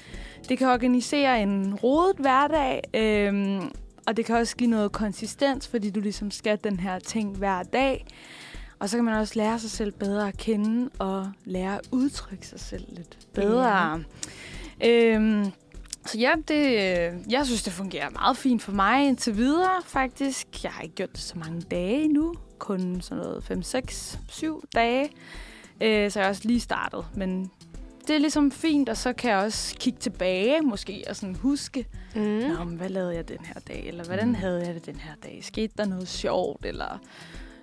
det kan organisere en rodet hverdag, øhm, og det kan også give noget konsistens, fordi du ligesom skal den her ting hver dag. Og så kan man også lære sig selv bedre at kende, og lære at udtrykke sig selv lidt bedre. Øhm, så ja, det, øh, jeg synes, det fungerer meget fint for mig indtil videre, faktisk. Jeg har ikke gjort det så mange dage endnu. Kun sådan noget 5, 6, 7 dage. Øh, så jeg er også lige startet. Men det er ligesom fint, og så kan jeg også kigge tilbage måske og sådan huske, Mm. Nå, men hvad lavede jeg den her dag? Eller hvordan havde jeg det den her dag? Skete der noget sjovt? Eller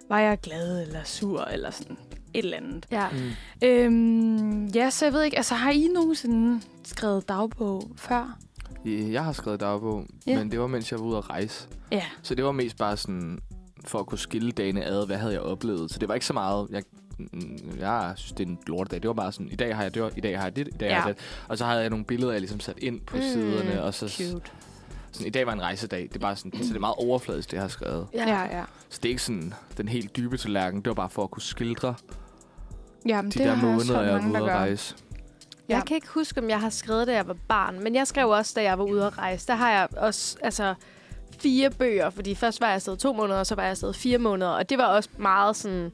var jeg glad eller sur? Eller sådan et eller andet. Ja. Mm. Øhm, ja, så jeg ved ikke, altså har I nogensinde skrevet dagbog før? Jeg har skrevet dagbog, Ja. yeah. men det var, mens jeg var ude at rejse. Ja. Så det var mest bare sådan, for at kunne skille dagene ad, hvad havde jeg oplevet. Så det var ikke så meget, jeg, mm, jeg synes, det er en lortedag. Det var bare sådan, i dag har jeg dør, i dag har jeg det, i dag ja. har Ja. jeg det. Og så havde jeg nogle billeder, jeg ligesom sat ind på Mm, mm, siderne. Og så, Cute. sådan, i dag var en rejsedag. Det er bare sådan, så det er meget overfladisk, det jeg har skrevet. Ja. ja. Så det er ikke sådan den helt dybe tallerken. Det var bare for at kunne skildre ja men de det der har jeg også måneder, jeg hørt var mange, ude der at gør. rejse. Jeg Ja. kan ikke huske, om jeg har skrevet, da jeg var barn, men jeg skrev også, da jeg var ude at rejse. Der har jeg også altså, fire bøger, fordi først var jeg afsted to måneder, og så var jeg afsted fire måneder, og det var også meget sådan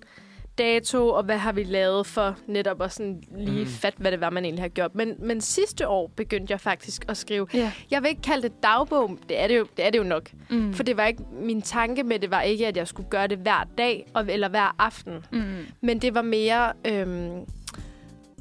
dato, og hvad har vi lavet for netop at sådan lige Mm. mm. fat, hvad det var, man egentlig har gjort. Men, men sidste år begyndte jeg faktisk at skrive. Ja. Jeg vil ikke kalde det dagbog, det er det jo, det er det jo nok. Mm. For det var ikke, min tanke med det var ikke, at jeg skulle gøre det hver dag og, eller hver aften. Mm. Men det var mere, øhm,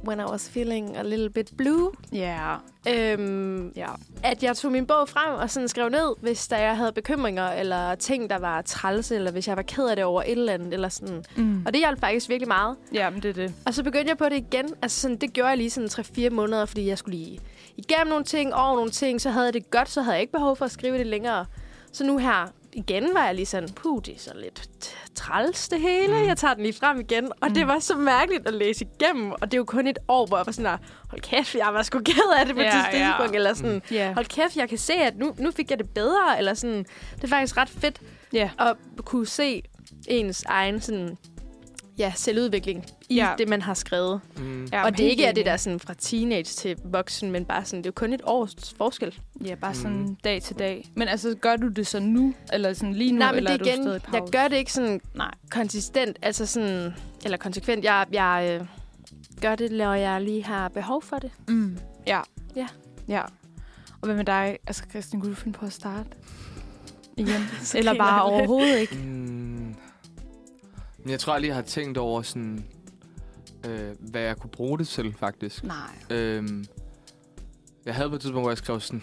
when I was feeling a little bit blue, Ja. øhm, Ja. at jeg tog min bog frem og sådan skrev ned, hvis der jeg havde bekymringer eller ting, der var træls, eller hvis jeg var ked af det over et eller andet. Eller sådan. Mm. Og det hjalp faktisk virkelig meget. Ja, men det er det. Og så begyndte jeg på det igen. Altså sådan, det gjorde jeg lige sådan 3-4 måneder, fordi jeg skulle lige igennem nogle ting, over nogle ting. Så havde jeg det godt, så havde jeg ikke behov for at skrive det længere. Så nu her igen var jeg lige sådan, puh, det er så lidt t- træls det hele. Jeg tager den lige frem igen. Og det var så mærkeligt at læse igennem. Og det er jo kun et år, hvor jeg var sådan der, hold kæft, jeg var sgu ked af det på Ja, ja, Mm. det ja. tidspunkt. Ja. Eller sådan, Ja. hold kæft, jeg kan se, at nu, nu fik jeg det bedre. Eller sådan, det er faktisk ret fedt Ja. at kunne se ens egen sådan, ja, selvudvikling i Ja. ja. det, man har skrevet. Mm. ja og det ikke er det der sådan fra teenage til voksen, men bare sådan, det er jo kun et års forskel. Ja, bare sådan sådan mm. dag til dag. Men altså, gør du det så nu? Eller sådan lige nu? Nej, men eller det er er igen, du stadig jeg gør det ikke sådan Nej. konsistent, altså sådan, eller konsekvent. Jeg, jeg øh, gør det, når jeg lige har behov for det. Mm. Ja. Ja. Ja. Og hvad med dig? Altså, Christian, kunne du finde på at starte? Igen. Så Eller griner bare jeg lidt. overhovedet ikke? Mm. Men jeg tror, jeg lige har tænkt over sådan, øh, hvad jeg kunne bruge det til, faktisk. Nej. Øhm, jeg havde på et tidspunkt, hvor jeg skrev sådan...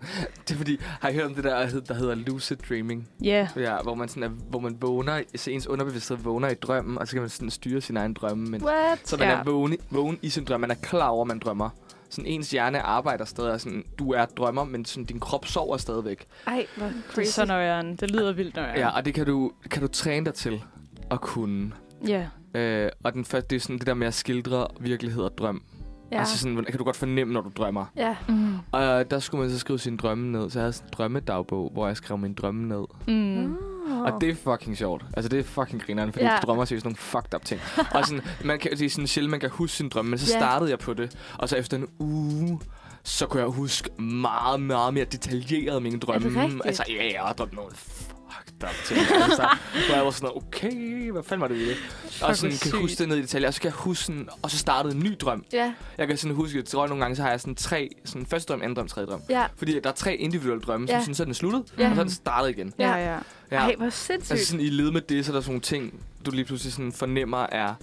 det er fordi, har I hørt om det der, der hed- der hedder lucid dreaming? Ja. Ja, hvor man, sådan er, hvor man vågner, så ens underbevidsthed vågner i drømmen, og så kan man sådan styre sin egen drømme. Men, What? så man Ja. er vågen, vågen i sin drøm, man er klar over, at man drømmer. Sådan ens hjerne arbejder stadig, og sådan, du er drømmer, men sådan, din krop sover stadigvæk. Ej, hvor Det er crazy. så nøjeren. Det lyder vildt nøjeren. Ja, og det kan du, kan du træne dig til at kunne. Ja. Øh, og den første, det er sådan det der med at skildre virkelighed og drøm. Ja. Ja. Altså sådan, hvordan- kan du godt fornemme, når du drømmer. ja. Mm. Og der skulle man så skrive sine drømme ned. Så jeg havde sådan en drømmedagbog, hvor jeg skrev mine drømme ned. Mm. Oh. Og det er fucking sjovt. Altså, det er fucking grineren, fordi Ja. yeah. du drømmer seriøst nogle fucked up ting. og sådan, man kan, det er sådan sjældent, man kan huske sine drømme, men så Ja. yeah. startede jeg på det. Og så efter en uge, så kunne jeg huske meget, meget mere detaljeret mine drømme. rigtigt? altså, ja, jeg har drømt nogle fucked up ting. altså, hvor jeg var sådan, okay, hvad fanden var det i det? Og sådan, kan jeg huske det ned i detaljer, og så kan jeg huske sådan, og så startede en ny drøm. Ja, Jeg kan sådan huske, at jeg tror, nogle gange, så har jeg sådan tre, sådan første drøm, anden drøm, tredje drøm. ja. Fordi der er tre individuelle drømme, ja. som Ja. sådan, så er den sluttet, Ja. ja. og så er den startet igen. Ja, ja. Ja. Ej, hvor sindssygt. Altså sådan i led med det, så er der sådan nogle ting, du lige pludselig sådan fornemmer er,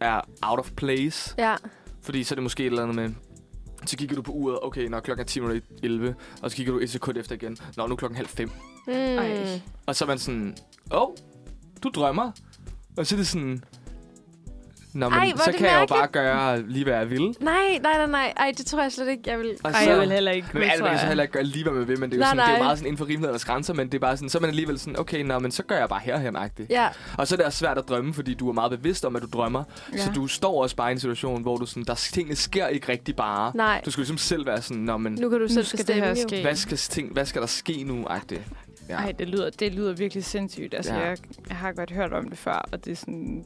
er out of place. ja. Fordi så er det måske et eller andet med, så kigger du på uret, okay, når klokken er 10.11, og så kigger du et sekund efter igen, nå, nu er klokken halv fem. Mm. Ej. Og så er man sådan, åh, oh, du drømmer. Og så er det sådan, Nå, men Ej, hvor er så det kan jeg jo bare mærkeligt. gøre lige, hvad jeg vil. Nej, nej, nej, nej. Ej, det tror jeg slet ikke, jeg vil. Og Ej, så- jeg vil heller ikke. Altså, Men det alt tror man kan så jeg. heller ikke gøre lige, hvad man vil, men det er jo, Nej, sådan, det er jo nej. meget sådan inden for rimelighedernes grænser, men det er bare sådan, så er man alligevel sådan, okay, nå, men så gør jeg bare herhen -agtigt. Ja, Og så er det også svært at drømme, fordi du er meget bevidst om, at du drømmer, ja. så Ja. du står også bare i en situation, hvor du sådan, der tingene sker ikke rigtig bare. nej. Du skal ligesom selv være sådan, nå, men Nu øh. kan du Nu selv skal det bestemme, her jo. ske. hvad skal, ting, hvad skal der ske nu, agtigt? Ja. Ej, det lyder, det lyder virkelig sindssygt. Altså, Ja. ja. jeg, jeg har godt hørt om det før, og det er sådan...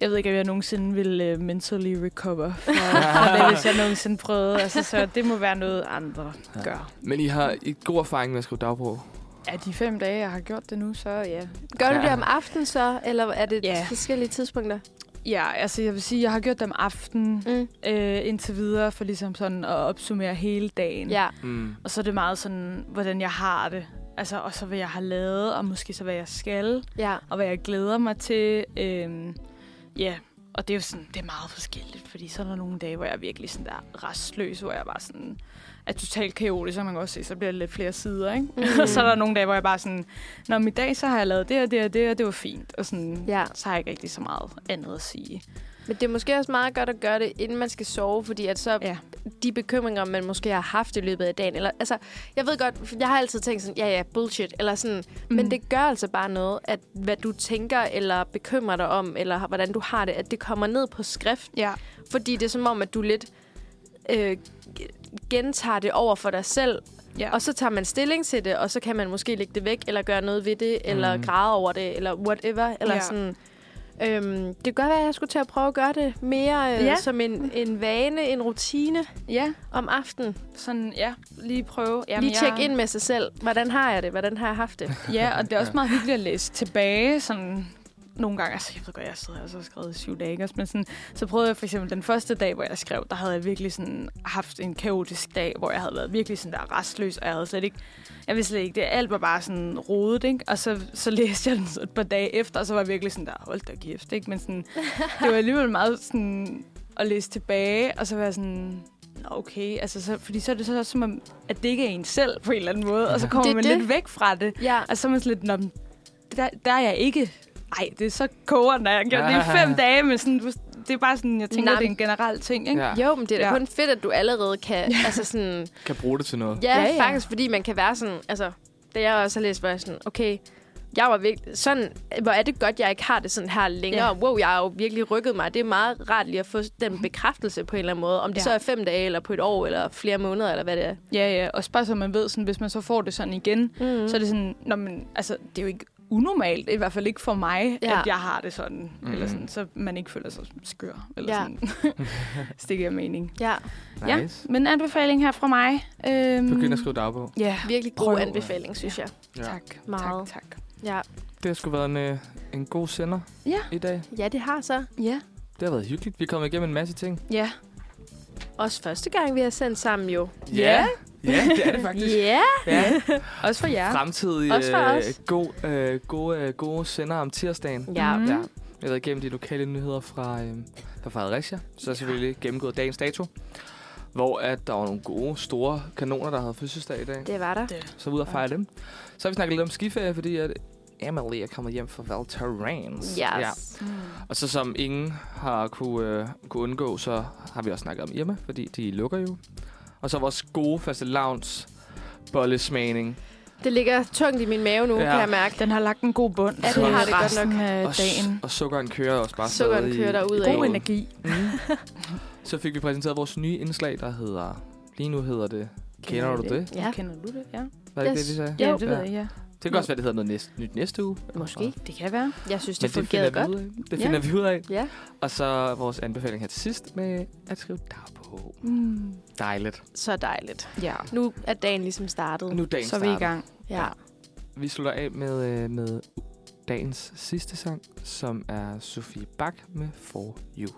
Jeg ved ikke, om jeg nogensinde vil uh, mentally recover fra, fra det, hvis jeg nogensinde prøvede. Altså, så det må være noget, andre Ja. gør. Men I har I god erfaring med at skrive dagbog. Ja, de fem dage, jeg har gjort det nu, så ja. Gør du Ja. det om aftenen så, eller er det Ja. forskellige tidspunkter? Ja, altså jeg vil sige, jeg har gjort dem aften Mm. Øh, indtil videre, for ligesom sådan at opsummere hele dagen. Ja, Mm. Og så er det meget sådan, hvordan jeg har det. Altså, og så hvad jeg har lavet, og måske så hvad jeg skal, ja. og hvad jeg glæder mig til. Øhm, ja, og det er jo sådan, det er meget forskelligt, fordi så er der nogle dage, hvor jeg er virkelig sådan der restløs, hvor jeg bare sådan er totalt kaotisk, som man kan også se, så bliver det lidt flere sider, ikke? Mm. Mm. og så er der nogle dage, hvor jeg bare sådan, når i dag, så har jeg lavet det og det og det, og det var fint, og sådan, Ja. så har jeg ikke rigtig så meget andet at sige. Men det er måske også meget godt at gøre det, inden man skal sove, fordi at så Ja. de bekymringer, man måske har haft i løbet af dagen, eller altså, jeg ved godt, for jeg har altid tænkt sådan, ja ja, bullshit, eller sådan, mm. men Mm. det gør altså bare noget, at hvad du tænker, eller bekymrer dig om, eller har- hvordan du har det, at det kommer ned på skrift, Ja. fordi det er som om, at du lidt øh, g- gentager det over for dig selv, Ja. Og så tager man stilling til det, og så kan man måske lægge det væk, eller gøre noget ved det, eller Mm. græde over det, eller whatever. Eller ja. Ja. sådan. Øhm, det kan godt være, at jeg skulle til at prøve at gøre det mere øh, ja. Ja. som en, en vane, en rutine ja, om aftenen. sådan, ja, lige prøve. Jamen, Lige tjekke ind med sig selv. Hvordan har jeg det? Hvordan har jeg haft det? Ja, og det er også meget hyggeligt at læse tilbage, sådan nogle gange, altså jeg ved godt, jeg sidder og så har skrevet syv dage, ikke? også? men sådan, så prøvede jeg for eksempel den første dag, hvor jeg skrev, der havde jeg virkelig sådan haft en kaotisk dag, hvor jeg havde været virkelig sådan der restløs, og jeg havde slet ikke, jeg vidste slet ikke, det alt var bare sådan rodet, ikke? og så, så læste jeg den så et par dage efter, og så var jeg virkelig sådan der, hold da kæft, ikke? men sådan, det var alligevel meget sådan at læse tilbage, og så var jeg sådan, "Nå, okay, altså så, fordi så er det så også som om, at det ikke er en selv på en eller anden måde, og så Det kommer er man det. lidt væk fra det, Ja, og så er man sådan lidt, Nå, men der, der er jeg ikke... Ej, det er så koger, når jeg har gjort det i fem dage, men sådan, det er bare sådan, jeg tænker, Nej, det er en generel ting, ikke? Ja. Ja. Altså, jo, men det er da Ja. kun fedt, at du allerede kan... Ja. Altså sådan, Kan bruge det til noget. Ja, Ja, ja, ja. faktisk, fordi man kan være sådan... Altså, da jeg også har læst, var jeg sådan, okay, jeg var virkelig... Sådan, hvor er det godt, jeg ikke har det sådan her længere. Ja. Ja. Wow, jeg har jo virkelig rykket mig. Det er meget rart lige at få den bekræftelse på en eller anden måde. Om det ja. Ja. så er fem dage, eller på et år, eller flere måneder, eller hvad det er. ja, ja. Og bare så man ved, sådan, hvis man så får det sådan igen, mm. Mm. så er det sådan, Nå, men, altså, det er jo ikke unormalt, i hvert fald ikke for mig, Ja. ja. at jeg har det sådan, Mm. mm. eller sådan, så man ikke føler sig skør, eller Ja. ja. sådan, stikker jeg mening. Ja, Nice. Ja, men anbefaling her fra mig. Øhm, Begynd at skrive dagbog. Ja, virkelig god Prøv. anbefaling, synes jeg. Ja. tak. Meget. Tak, tak. Ja. Det har sgu været en, øh, en god sender Ja. i dag. ja, det har så. Ja. Det har været hyggeligt. Vi er kommet igennem en masse ting. Ja. Også første gang, vi har sendt sammen jo. Ja. Ja, det er det Ja, faktisk. yeah. Ja. Også for jer. Fremtidig Også for os. øh, god, øh, gode, øh, gode sender om tirsdagen. ja. Mhm. Ja. Vi har været igennem de lokale nyheder fra, øh, fra Fredericia. Så er selvfølgelig gennemgået dagens dato, hvor at der var nogle gode, store kanoner, der havde fødselsdag i dag. det var der. Så ud og fejre dem. Så har vi snakket lidt om skiferie, fordi at Emily er kommet hjem fra Valterrans. Yes. Ja. Og så som ingen har kunne, øh, kunne undgå, så har vi også snakket om Irma, fordi de lukker jo. Og så vores gode faste lavns bollesmagning. Det ligger tungt i min mave nu, Ja. ja. kan jeg mærke. Den har lagt en god bund. Ja, det til har det godt resten nok. Af Og, s- dagen. og sukkeren kører også bare Øh, Sukkeren stadig i- kører derudad. i God blodet. energi. Mm. Så fik vi præsenteret vores nye indslag, der hedder... Lige nu hedder det... Kender du det? det? Ja. Kender du det? Ja, Var det yes. det, Yes. de sagde? ja det ved jeg, ja. Det kan også være, det hedder noget næste, nyt næste uge. Måske. Det kan være. Jeg synes, Men det det fungerede finder, godt. vi ud af. det Ja. finder vi ud af. Ja. Og så vores anbefaling her til sidst med at skrive dagbog. Mm. Dejligt. Så dejligt. Ja, Nu er dagen ligesom startet. Nu er dagen så er vi i startet. gang. Ja. Vi slutter af med, øh, med dagens sidste sang, som er Sofie Bak med For You.